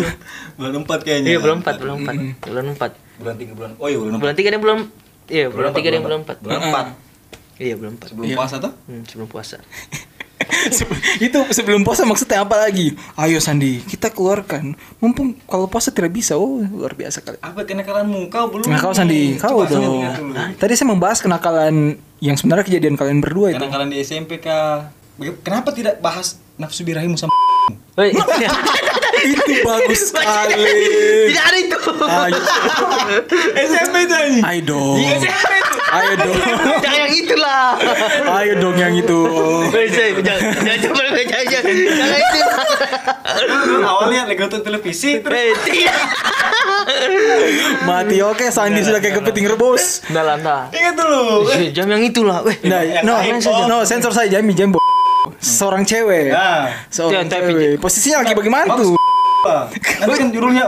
Speaker 4: bulan empat kayaknya
Speaker 2: Iya belum empat belum empat belum empat.
Speaker 4: bulan tiga bulan oh iya bulan empat
Speaker 2: Bulan tiga dan belum. Iya bulan tiga dan belum empat.
Speaker 4: bulan empat
Speaker 2: Iya belum empat.
Speaker 4: sebelum puasa tuh
Speaker 2: Hmm, sebelum puasa.
Speaker 3: Se- itu sebelum puasa maksudnya apa lagi? Ayo Sandi, kita keluarkan. Mumpung kalau puasa tidak bisa. Oh, luar biasa kali.
Speaker 4: apa kenakalan muka belum
Speaker 3: Nah, kau Sandi, kau
Speaker 4: Coba
Speaker 3: dong.
Speaker 4: ingat dulu.
Speaker 3: Tadi saya membahas kenakalan yang sebenarnya kejadian kalian berdua itu.
Speaker 4: kenakalan di SMP kah Baga- kenapa tidak bahas nafsu birahimu sama
Speaker 2: Woi.
Speaker 3: itu bagus sekali.
Speaker 2: Tidak ada itu. iya.
Speaker 3: Ayo,
Speaker 4: SMP tadi
Speaker 3: ayo dong.
Speaker 4: Iya.
Speaker 3: Ayo dong.
Speaker 2: Jangan yang itulah.
Speaker 3: Ayo dong yang itu.
Speaker 2: Woi, saya jangan jangan coba jangan jangan jangan itu.
Speaker 4: awalnya lagi nonton televisi terus
Speaker 2: Woi, tidak.
Speaker 3: Mati oke Sandi sudah kayak kepiting rebus.
Speaker 2: Nah, lah, nah.
Speaker 4: ingat dulu
Speaker 2: Eh, Jam yang itulah. Weh.
Speaker 3: Nah,
Speaker 4: Yang
Speaker 3: no,
Speaker 4: lain, oh.
Speaker 3: no, no, sensor saya Jami Jambo. Seorang cewek.
Speaker 4: Nah.
Speaker 3: Seorang
Speaker 2: Jangan, tapi-
Speaker 3: cewek. Posisinya lagi bagaimana
Speaker 4: Bagus.
Speaker 3: tuh?
Speaker 4: Pak. Nanti kan judulnya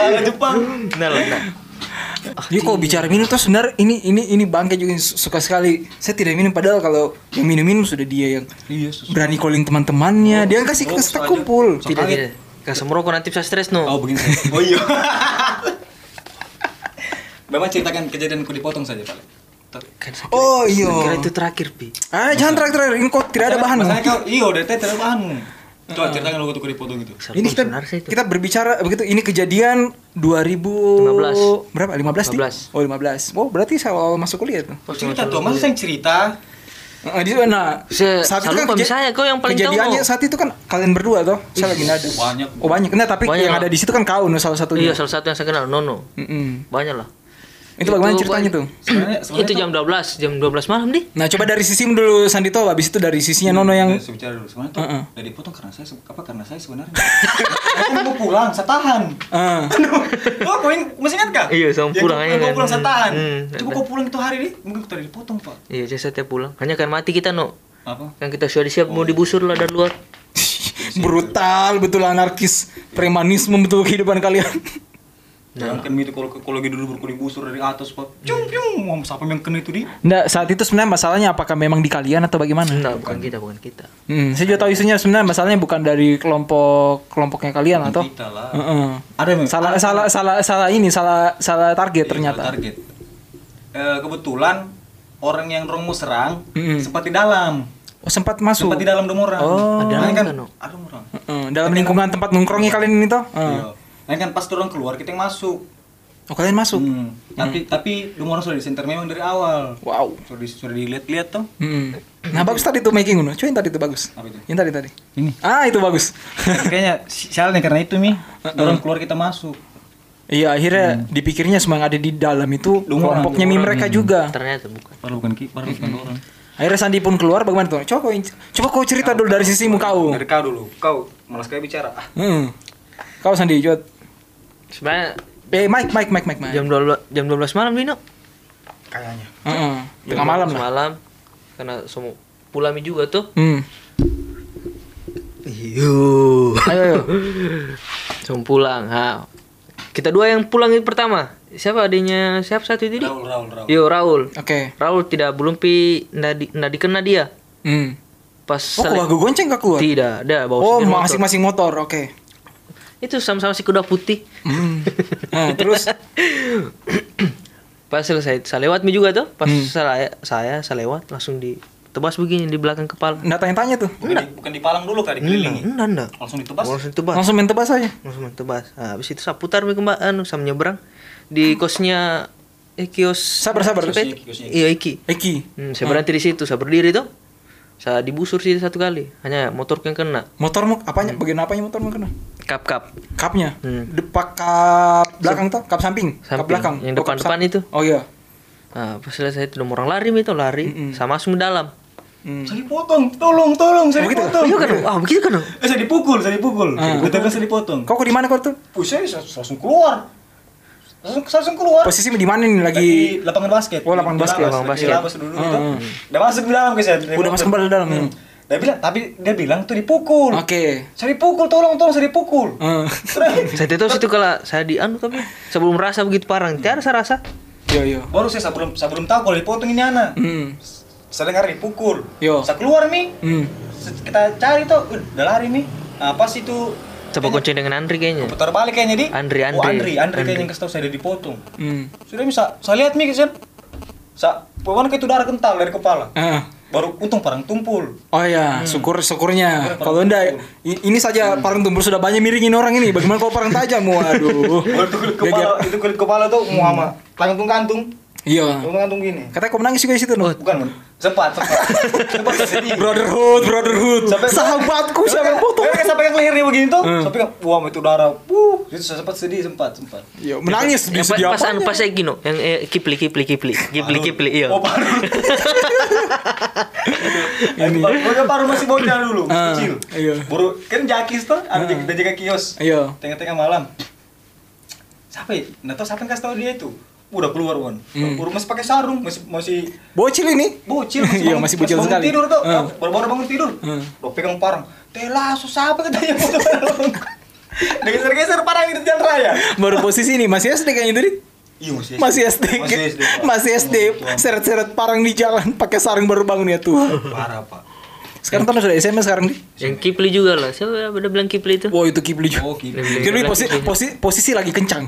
Speaker 4: Ala Jepang.
Speaker 2: Nah, lah, nah.
Speaker 3: Jadi kalau bicara minum tuh sebenarnya ini ini ini bangke juga yang su- suka sekali. Saya tidak minum padahal kalau yang minum-minum sudah dia yang
Speaker 4: Iya, sus.
Speaker 3: berani calling
Speaker 2: Oh,
Speaker 3: teman-temannya. Dia yang kasih ke kita kumpul.
Speaker 2: Tidak, tidak. Gak semerokok nanti bisa stres no.
Speaker 4: Oh begini. oh iya. Bapak ceritakan kejadianku dipotong saja Pak. Ter-
Speaker 2: Kan saya kira-
Speaker 3: Oh
Speaker 2: saya Kira
Speaker 3: iya.
Speaker 2: itu terakhir pi.
Speaker 3: Ah jangan terakhir-terakhir ini kok tidak ada Ah.
Speaker 4: Masalahnya-
Speaker 3: bahan.
Speaker 4: Masalahnya kau, iya udah teh, tidak ada bahan. Coba ceritakan waktu aku dipotong gitu. itu.
Speaker 3: Ini kita
Speaker 2: Benar sih itu.
Speaker 3: kita berbicara begitu ini kejadian 2015
Speaker 2: 15.
Speaker 3: berapa 15 Di?
Speaker 2: 15.
Speaker 3: Oh 15. Oh berarti saya awal masuk kuliah tuh.
Speaker 4: Kau cerita tuh, masa yang cerita?
Speaker 2: Eh,
Speaker 3: Nah, di sana.
Speaker 2: Se- salut sama kan saya, kau yang paling tahu.
Speaker 3: kejadiannya saat itu kan kalian berdua toh. Saya lagi nada.
Speaker 4: Banyak.
Speaker 3: Oh banyak. Nah, tapi
Speaker 2: Banyak.
Speaker 3: yang ada di situ kan kau no, salah satunya.
Speaker 2: Iya salah satu yang saya kenal Nono.
Speaker 3: Mm-mm.
Speaker 2: Banyak lah.
Speaker 3: Itu bagaimana ceritanya
Speaker 2: banyak.
Speaker 3: tuh?
Speaker 4: Sebenarnya, sebenarnya
Speaker 3: kan-
Speaker 2: itu jam 12, jam 12 malam deh.
Speaker 3: Nah, coba dari sisimu dulu Sandito habis itu dari sisinya Nono yang
Speaker 4: Saya bicara dulu. Sebenarnya tuh
Speaker 3: Heeh.
Speaker 4: dari potong karena saya se- apa karena saya sebenarnya. Aku mau pulang, saya tahan.
Speaker 3: Ah.
Speaker 4: Aduh, kau kau ing- masih ingat kak?
Speaker 2: Iya, sama pulang aja
Speaker 4: Kau
Speaker 2: kan.
Speaker 4: pulang saya tahan.
Speaker 2: Hmm,
Speaker 4: Coba
Speaker 2: ada.
Speaker 4: kau pulang itu hari ini, mungkin kita dipotong pak.
Speaker 2: Iya saya setiap pulang. Hanya kan mati kita no.
Speaker 4: Apa?
Speaker 2: Kan kita sudah siap mau dibusur lah dari luar.
Speaker 3: brutal betul anarkis premanisme betul kehidupan kalian.
Speaker 4: Jangan kan itu kalau kalau lagi dulu berkulit busur dari atas pak. Cung cung, mau siapa yang kena itu di?
Speaker 3: Nah, saat itu sebenarnya masalahnya apakah memang di kalian atau bagaimana?
Speaker 2: Enggak, bukan kita, bukan kita.
Speaker 3: Hmm, saya juga tahu isunya sebenarnya masalahnya bukan dari kelompok kelompoknya kalian atau
Speaker 4: Kita lah.
Speaker 3: Heeh.
Speaker 4: Ada memang.
Speaker 3: salah salah salah salah ini salah salah target ternyata.
Speaker 4: target. Eh, kebetulan orang yang rong mau serang
Speaker 3: Mm-mm.
Speaker 4: sempat di dalam.
Speaker 3: Oh, sempat masuk.
Speaker 4: Sempat di dalam demo orang. Makanya
Speaker 3: Oh.
Speaker 2: Ada
Speaker 4: kan,
Speaker 2: kan, no?
Speaker 4: ada orang.
Speaker 3: Heeh, dalam lingkungan tempat nongkrongnya kalian ini toh. Heeh.
Speaker 4: Iya. Makanya kan pas orang keluar kita yang masuk.
Speaker 3: Oh, kalian masuk.
Speaker 4: Hmm. Tapi tapi demo orang sudah disenter memang dari awal.
Speaker 3: Wow.
Speaker 4: Sudah di- sudah dilihat-lihat tuh.
Speaker 3: Hmm. Nah, bagus tadi tuh making Uno. Cuy, yang tadi tuh bagus.
Speaker 4: Apa itu?
Speaker 3: Yang tadi tadi.
Speaker 4: Ini.
Speaker 3: Ah, itu bagus.
Speaker 4: Tapi Kayaknya si- salah nih karena itu mi. Orang keluar kita masuk.
Speaker 3: Iya, akhirnya dipikirnya semua yang ada di dalam itu
Speaker 4: Dulu orang,
Speaker 3: kelompoknya mi mereka juga.
Speaker 2: Ternyata bukan.
Speaker 4: Padahal bukan ki, padahal bukan orang.
Speaker 3: Akhirnya Sandi pun keluar bagaimana tuh? Coba kau, coba kau cerita dulu dari sisimu kau.
Speaker 4: Dari kau dulu. Kau malas kayak bicara. Ah,
Speaker 3: Heeh. Kau Sandi Jod.
Speaker 2: Sebenarnya
Speaker 3: Eh, Mike, Mike, Mike, Mike, Mike.
Speaker 2: jam 12 jam 12 malam Dino.
Speaker 4: Kayaknya.
Speaker 3: Heeh. Ah, Tengah malam lah.
Speaker 2: Malam. Karena semua pulami juga tuh.
Speaker 3: Hmm.
Speaker 2: Iyo.
Speaker 3: Ayo, ayo.
Speaker 2: Semua pulang. Ha. Kita dua yang pulang yang pertama. Siapa adanya siapa satu itu? Di? Iya.
Speaker 4: Raul, Raul, Raul.
Speaker 2: Yo Raul.
Speaker 3: Oke.
Speaker 2: Raul tidak belum pi nggak di, nggak dikena dia.
Speaker 3: Hmm.
Speaker 2: Pas
Speaker 3: Oh, kau
Speaker 2: saling-
Speaker 3: aku gonceng kau keluar.
Speaker 2: tidak ada bawa
Speaker 3: Oh,
Speaker 2: sendiri motor.
Speaker 3: masing-masing motor. Oke.
Speaker 2: Itu sama-sama si kuda putih.
Speaker 3: Hmm. Nah, terus
Speaker 2: pas selesai saya lewat mi juga tuh. Pas
Speaker 3: Hmm.
Speaker 2: saya saya saya lewat langsung ditebas begini di belakang kepala.
Speaker 3: enggak tanya-tanya tuh.
Speaker 4: Bukan di, bukan dipalang dulu kak,
Speaker 2: Iya.
Speaker 3: ya?
Speaker 4: dikelilingi.
Speaker 2: Enggak, enggak.
Speaker 3: Oh,
Speaker 4: Langsung ditebas.
Speaker 2: Langsung ditebas.
Speaker 3: Langsung main tebas aja.
Speaker 2: langsung tebas nah, habis itu saya putar mi kembali anu saya menyeberang di kosnya eh kios
Speaker 3: Sabar, sabar.
Speaker 2: Sepet.
Speaker 4: Kiosnya, kiosnya.
Speaker 2: iya iki
Speaker 3: Eki,
Speaker 2: hmm, saya berhenti di situ saya berdiri tuh saya dibusur sih satu kali hanya motorku yang kena
Speaker 3: motormu apanya? Bagian apanya motormu kena?
Speaker 2: kap kap
Speaker 3: Kapnya.
Speaker 2: Hmm.
Speaker 3: Depak kap belakang tuh, kap samping, kap
Speaker 2: Samping.
Speaker 3: belakang.
Speaker 2: Yang
Speaker 3: Oh, kap
Speaker 2: depan-depan
Speaker 3: sam-
Speaker 2: itu.
Speaker 3: Oh iya.
Speaker 2: nah pas selesai itu nomor orang lari mi tuh lari saya masuk ke dalam
Speaker 3: Hmm.
Speaker 4: Saya dipotong, tolong, tolong, saya
Speaker 3: Oh, gitu?
Speaker 4: dipotong.
Speaker 2: iya kan ah begitu kan oh?
Speaker 4: Eh, saya dipukul, saya dipukul.
Speaker 3: Ah.
Speaker 4: Betul betul saya dipotong.
Speaker 3: Kau kok di mana kau tuh?
Speaker 4: Wih, saya saya langsung keluar. Langsung, saya langsung keluar.
Speaker 3: Posisi di mana nih lagi?
Speaker 4: Lagi lapangan basket.
Speaker 3: Oh, lapangan
Speaker 4: Di
Speaker 3: basket,
Speaker 4: lapangan
Speaker 2: lapangan
Speaker 4: basket. Di
Speaker 2: basket.
Speaker 4: lapangan dulu itu.
Speaker 3: Hmm.
Speaker 4: Udah masuk ke dalam guys ya.
Speaker 3: Udah masuk kembali ke dalam,
Speaker 4: Hmm.
Speaker 3: ya.
Speaker 4: Dia bilang, tapi dia bilang tuh dipukul.
Speaker 3: Oke.
Speaker 4: Saya dipukul, tolong, tolong saya dipukul.
Speaker 3: Eh,
Speaker 4: Terus,
Speaker 2: saya tahu situ kala saya di anu tapi saya belum rasa begitu parah tiada saya rasa
Speaker 3: Yo yo.
Speaker 4: Baru saya sebelum saya belum tahu kalau dipotong ini anak.
Speaker 3: Hmm.
Speaker 4: Saya dengar dipukul.
Speaker 3: Yo.
Speaker 4: Saya keluar mi.
Speaker 3: Hmm.
Speaker 4: Se- Kita cari tuh, Eh, udah lari mi. Nah, pas itu
Speaker 2: coba konceng dengan Andri kayaknya
Speaker 4: putar balik kayaknya di.
Speaker 2: Andri, Andri.
Speaker 4: Oh, Andri, Andri,
Speaker 2: Andri.
Speaker 4: kayaknya yang kasih tahu saya dia dipotong.
Speaker 3: Hmm.
Speaker 4: Sudah bisa, saya lihat mi kesan. Sa, pokoknya kayak itu darah kental dari kepala.
Speaker 3: Eh.
Speaker 4: Baru untung parang tumpul.
Speaker 3: Oh
Speaker 2: Hmm.
Speaker 3: ya, syukur
Speaker 4: Syukur
Speaker 2: Iya,
Speaker 3: syukurnya.
Speaker 4: parang
Speaker 3: Kalau ndak i- ini saja parang tumbur sudah banyak miringin orang ini. Bagaimana kalau parang tajam? Waduh.
Speaker 4: Baru itu kulit
Speaker 3: Gagap.
Speaker 4: kepala, itu kulit kepala tuh
Speaker 3: Hmm.
Speaker 4: mau sama kantung kantung,
Speaker 3: Iya.
Speaker 4: kantung kantung gini.
Speaker 3: Katanya kau menangis juga di situ,
Speaker 2: Oh,
Speaker 3: Nuh.
Speaker 4: Bukan, Bun. sempat, sempat, sempat sedih.
Speaker 3: Brotherhood, brotherhood. Sahabatku siapa yang foto? Hmm.
Speaker 4: Kayak sampai yang lehernya begini tuh, sampai yang wah itu darah. Wuh, itu saya sempat sedih, sempat, sempat.
Speaker 3: Yo, menangis di
Speaker 2: yang pas,
Speaker 3: sedih
Speaker 2: pas
Speaker 3: apa?
Speaker 2: anu pas kayak gino yang eh, kipli kipli kipli kipli kipli iya
Speaker 4: Oh, paru. Ini. Bocah paru masih bocah dulu,
Speaker 3: Ah,
Speaker 4: kecil.
Speaker 3: iya. Ah.
Speaker 4: Baru kan jakis tuh, ada jaga ada jaga kios.
Speaker 3: Iya.
Speaker 4: Tengah-tengah malam. Siapa ya? Nah, tau siapa yang kasih tau dia itu? Udah keluar, Wan.
Speaker 3: Hmm.
Speaker 4: Baru masih pakai sarung, masih masih
Speaker 3: Bocil ini.
Speaker 4: bocil
Speaker 3: Iya,
Speaker 4: bangun-
Speaker 3: masih bocil
Speaker 4: bangun
Speaker 3: sekali.
Speaker 4: tidur tuh
Speaker 3: Ah.
Speaker 4: baru baru bangun tidur
Speaker 3: Ah.
Speaker 4: udah pegang parang telah susah apa katanya geser geser parang di jalan raya
Speaker 3: Baru posisi ini masih SD kayaknya tadi.
Speaker 4: Iya masih.
Speaker 3: Masih SD.
Speaker 4: Masih SD. Pak.
Speaker 3: Masih SD. Seret-seret parang di jalan pakai sarung baru bangun ya tuh.
Speaker 4: Parah pak.
Speaker 3: Sekarang kan udah SMA sekarang nih.
Speaker 2: Yang Kipli juga lah. Siapa udah bilang Kipli itu?
Speaker 3: Wow itu Kipli juga.
Speaker 4: Oh gitu.
Speaker 2: Kipli.
Speaker 3: Kipli posi-
Speaker 2: Kipli.
Speaker 3: posi- posisi lagi kencang.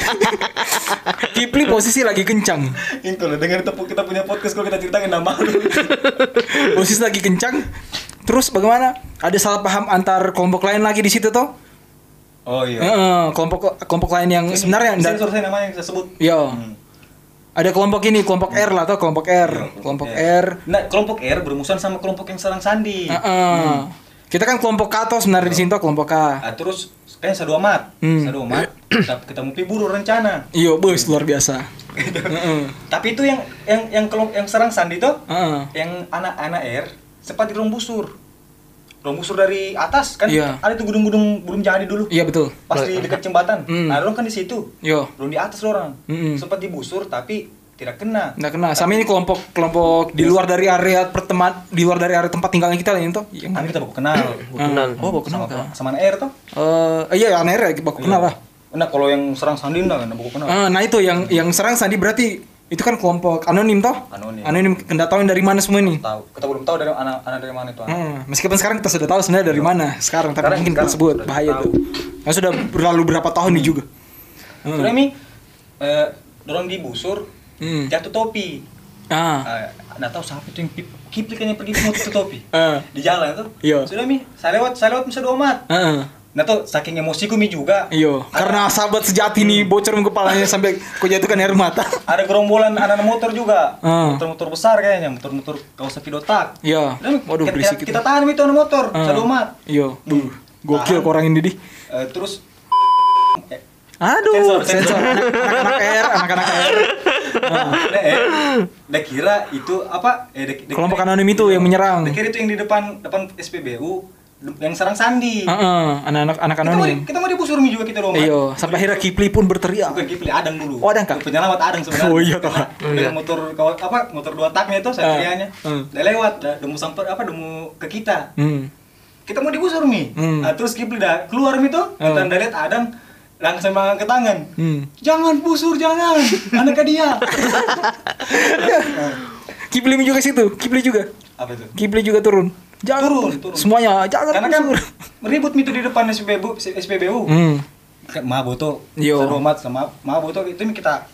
Speaker 3: Kipli posisi lagi kencang.
Speaker 4: Itu loh dengar itu kita punya podcast kalau kita ceritain nama lu.
Speaker 3: Posisi lagi kencang. Terus bagaimana? Ada salah paham antar kelompok lain lagi di situ toh?
Speaker 4: Oh iya.
Speaker 3: Heeh, kelompok kelompok lain yang Hmm, sebenarnya Iya. nda-
Speaker 4: sensor saya namanya yang saya sebut.
Speaker 3: Yo.
Speaker 4: Hmm.
Speaker 3: Ada kelompok ini, kelompok R lah atau kelompok R, Iya, kelompok R.
Speaker 4: Iya.
Speaker 3: Ah,
Speaker 4: Nah, kelompok R bermusuhan sama kelompok yang serang Sandi.
Speaker 3: Heeh. Kita kan kelompok K toh sebenarnya di sini toh kelompok K.
Speaker 4: Ah, terus kayak sadu amat.
Speaker 3: Hmm.
Speaker 4: Sadu amat. kita ketemu Pi buru rencana.
Speaker 3: Iya, bos luar biasa. Heeh.
Speaker 4: Tapi itu yang yang yang kelompok yang serang Sandi tuh
Speaker 3: Heeh.
Speaker 4: yang anak-anak R sempat dirembusur. Rembusur dari atas kan
Speaker 3: Iya.
Speaker 4: ada tuh gedung-gedung belum jadi dulu.
Speaker 3: Iya betul.
Speaker 4: Pas di dekat jembatan.
Speaker 3: Hmm.
Speaker 4: Nah, orang kan di situ.
Speaker 3: Yo.
Speaker 4: Belum di atas loh orang.
Speaker 3: Mm-mm.
Speaker 4: Sempat dibusur tapi tidak kena.
Speaker 3: Nggak kena. Sama ini kelompok kelompok di luar dari area perteman di luar dari area tempat tinggalnya kita lah ini toh. Iya, Yang
Speaker 4: Kan kita baru kenal.
Speaker 2: Gua kenal.
Speaker 3: Oh, baru kenal
Speaker 4: sama,
Speaker 3: kan?
Speaker 4: sama anak R tuh.
Speaker 3: Eh, iya aneh ya, baru kenal lah.
Speaker 4: Nah, kalau yang serang Sandi nah, nah, baru kenal.
Speaker 3: Eh, nah itu yang yang serang Sandi berarti itu kan kelompok anonim toh?
Speaker 4: Anonim.
Speaker 3: Anonim. Nggak tahuin dari mana semua ini.
Speaker 4: tahu kita belum tahu dari anak anak dari mana itu anak.
Speaker 3: Hmm, meskipun sekarang kita sudah tahu sebenarnya dari mana sekarang, tapi
Speaker 4: Iya. Sekarang-
Speaker 3: mungkin kita
Speaker 4: sekarang
Speaker 3: sebut
Speaker 4: sudah
Speaker 3: bahaya
Speaker 4: tahu.
Speaker 3: tuh. Nah, sudah berlalu berapa tahun ini juga. Hmm.
Speaker 4: sudah mi eh, dorong dibusur
Speaker 3: Hmm.
Speaker 4: jatuh topi
Speaker 3: Ah,
Speaker 4: Eh, nggak tahu siapa itu yang pip- kipli kan yang pergi mau tutup topi
Speaker 3: Eh.
Speaker 4: di jalan tuh
Speaker 3: Iya.
Speaker 4: sudah mi saya lewat saya lewat bisa dua mat
Speaker 3: heeh.
Speaker 4: nah tuh saking emosiku mi juga
Speaker 3: eh, Iyo, Iya, karena sahabat sejati nih
Speaker 4: Hmm.
Speaker 3: bocor ke kepalanya sampai kau jatuhkan air mata.
Speaker 4: ada gerombolan anak motor juga
Speaker 3: Ah.
Speaker 4: motor-motor besar kayaknya motor-motor kaos sepidotak
Speaker 3: Iya.
Speaker 4: Sudah, Mi,
Speaker 3: Waduh,
Speaker 4: kita,
Speaker 3: berisik
Speaker 4: kita,
Speaker 3: itu.
Speaker 4: tahan mi tuh anak motor
Speaker 3: Ah.
Speaker 4: bisa dua mat
Speaker 3: Iyo, buh, gokil
Speaker 4: Tahan.
Speaker 3: kok orang ini dih.
Speaker 4: Eh, terus eh,
Speaker 3: Aduh,
Speaker 4: Sensor,
Speaker 3: sensor.
Speaker 4: sensor.
Speaker 3: Anak-anak air, anak-anak air.
Speaker 4: Nah, eh, dia kira itu apa? Eh, dia- dia
Speaker 3: Kelompok
Speaker 4: kira-
Speaker 3: anonim itu yang menyerang.
Speaker 4: Dia kira itu yang di depan depan SPBU yang serang Sandi.
Speaker 3: Heeh, anak-anak anak
Speaker 4: Kita mau, di-
Speaker 3: anonim.
Speaker 4: kita mau dibusur Mi juga kita dong.
Speaker 3: Iyo, sampai akhirnya Kipli pun berteriak.
Speaker 4: Bukan Kipli Adang dulu.
Speaker 3: Oh, Adang, Kak?
Speaker 4: Penyelamat Adang sebenarnya.
Speaker 3: Oh, iya, Kak.
Speaker 4: Dengan- dengan motor kawan apa motor dua taknya itu satrianya.
Speaker 3: Ah.
Speaker 4: Dia lewat, dah demu samper apa demu ke kita.
Speaker 3: Hmm.
Speaker 4: Kita mau dibusur Mi.
Speaker 3: Hmm.
Speaker 4: Nah, terus Kipli dah keluar Mi tuh.
Speaker 3: Ah.
Speaker 4: Kita dah lihat Adang langsung mengangkat tangan.
Speaker 3: Hmm.
Speaker 4: Jangan busur jangan. Anaknya dia.
Speaker 3: Kipli juga situ, Kipli juga.
Speaker 4: apa itu?
Speaker 3: Kipli juga turun. Jangan
Speaker 4: Turun,
Speaker 3: turun,
Speaker 4: turun.
Speaker 3: semuanya jangan
Speaker 4: Karena kan
Speaker 3: turun.
Speaker 4: ribut itu di depan SPBU, SPBU.
Speaker 3: Hmm.
Speaker 4: Kayak Mabo tuh,
Speaker 3: Yo.
Speaker 4: seru amat sama Mabo tuh itu yang kita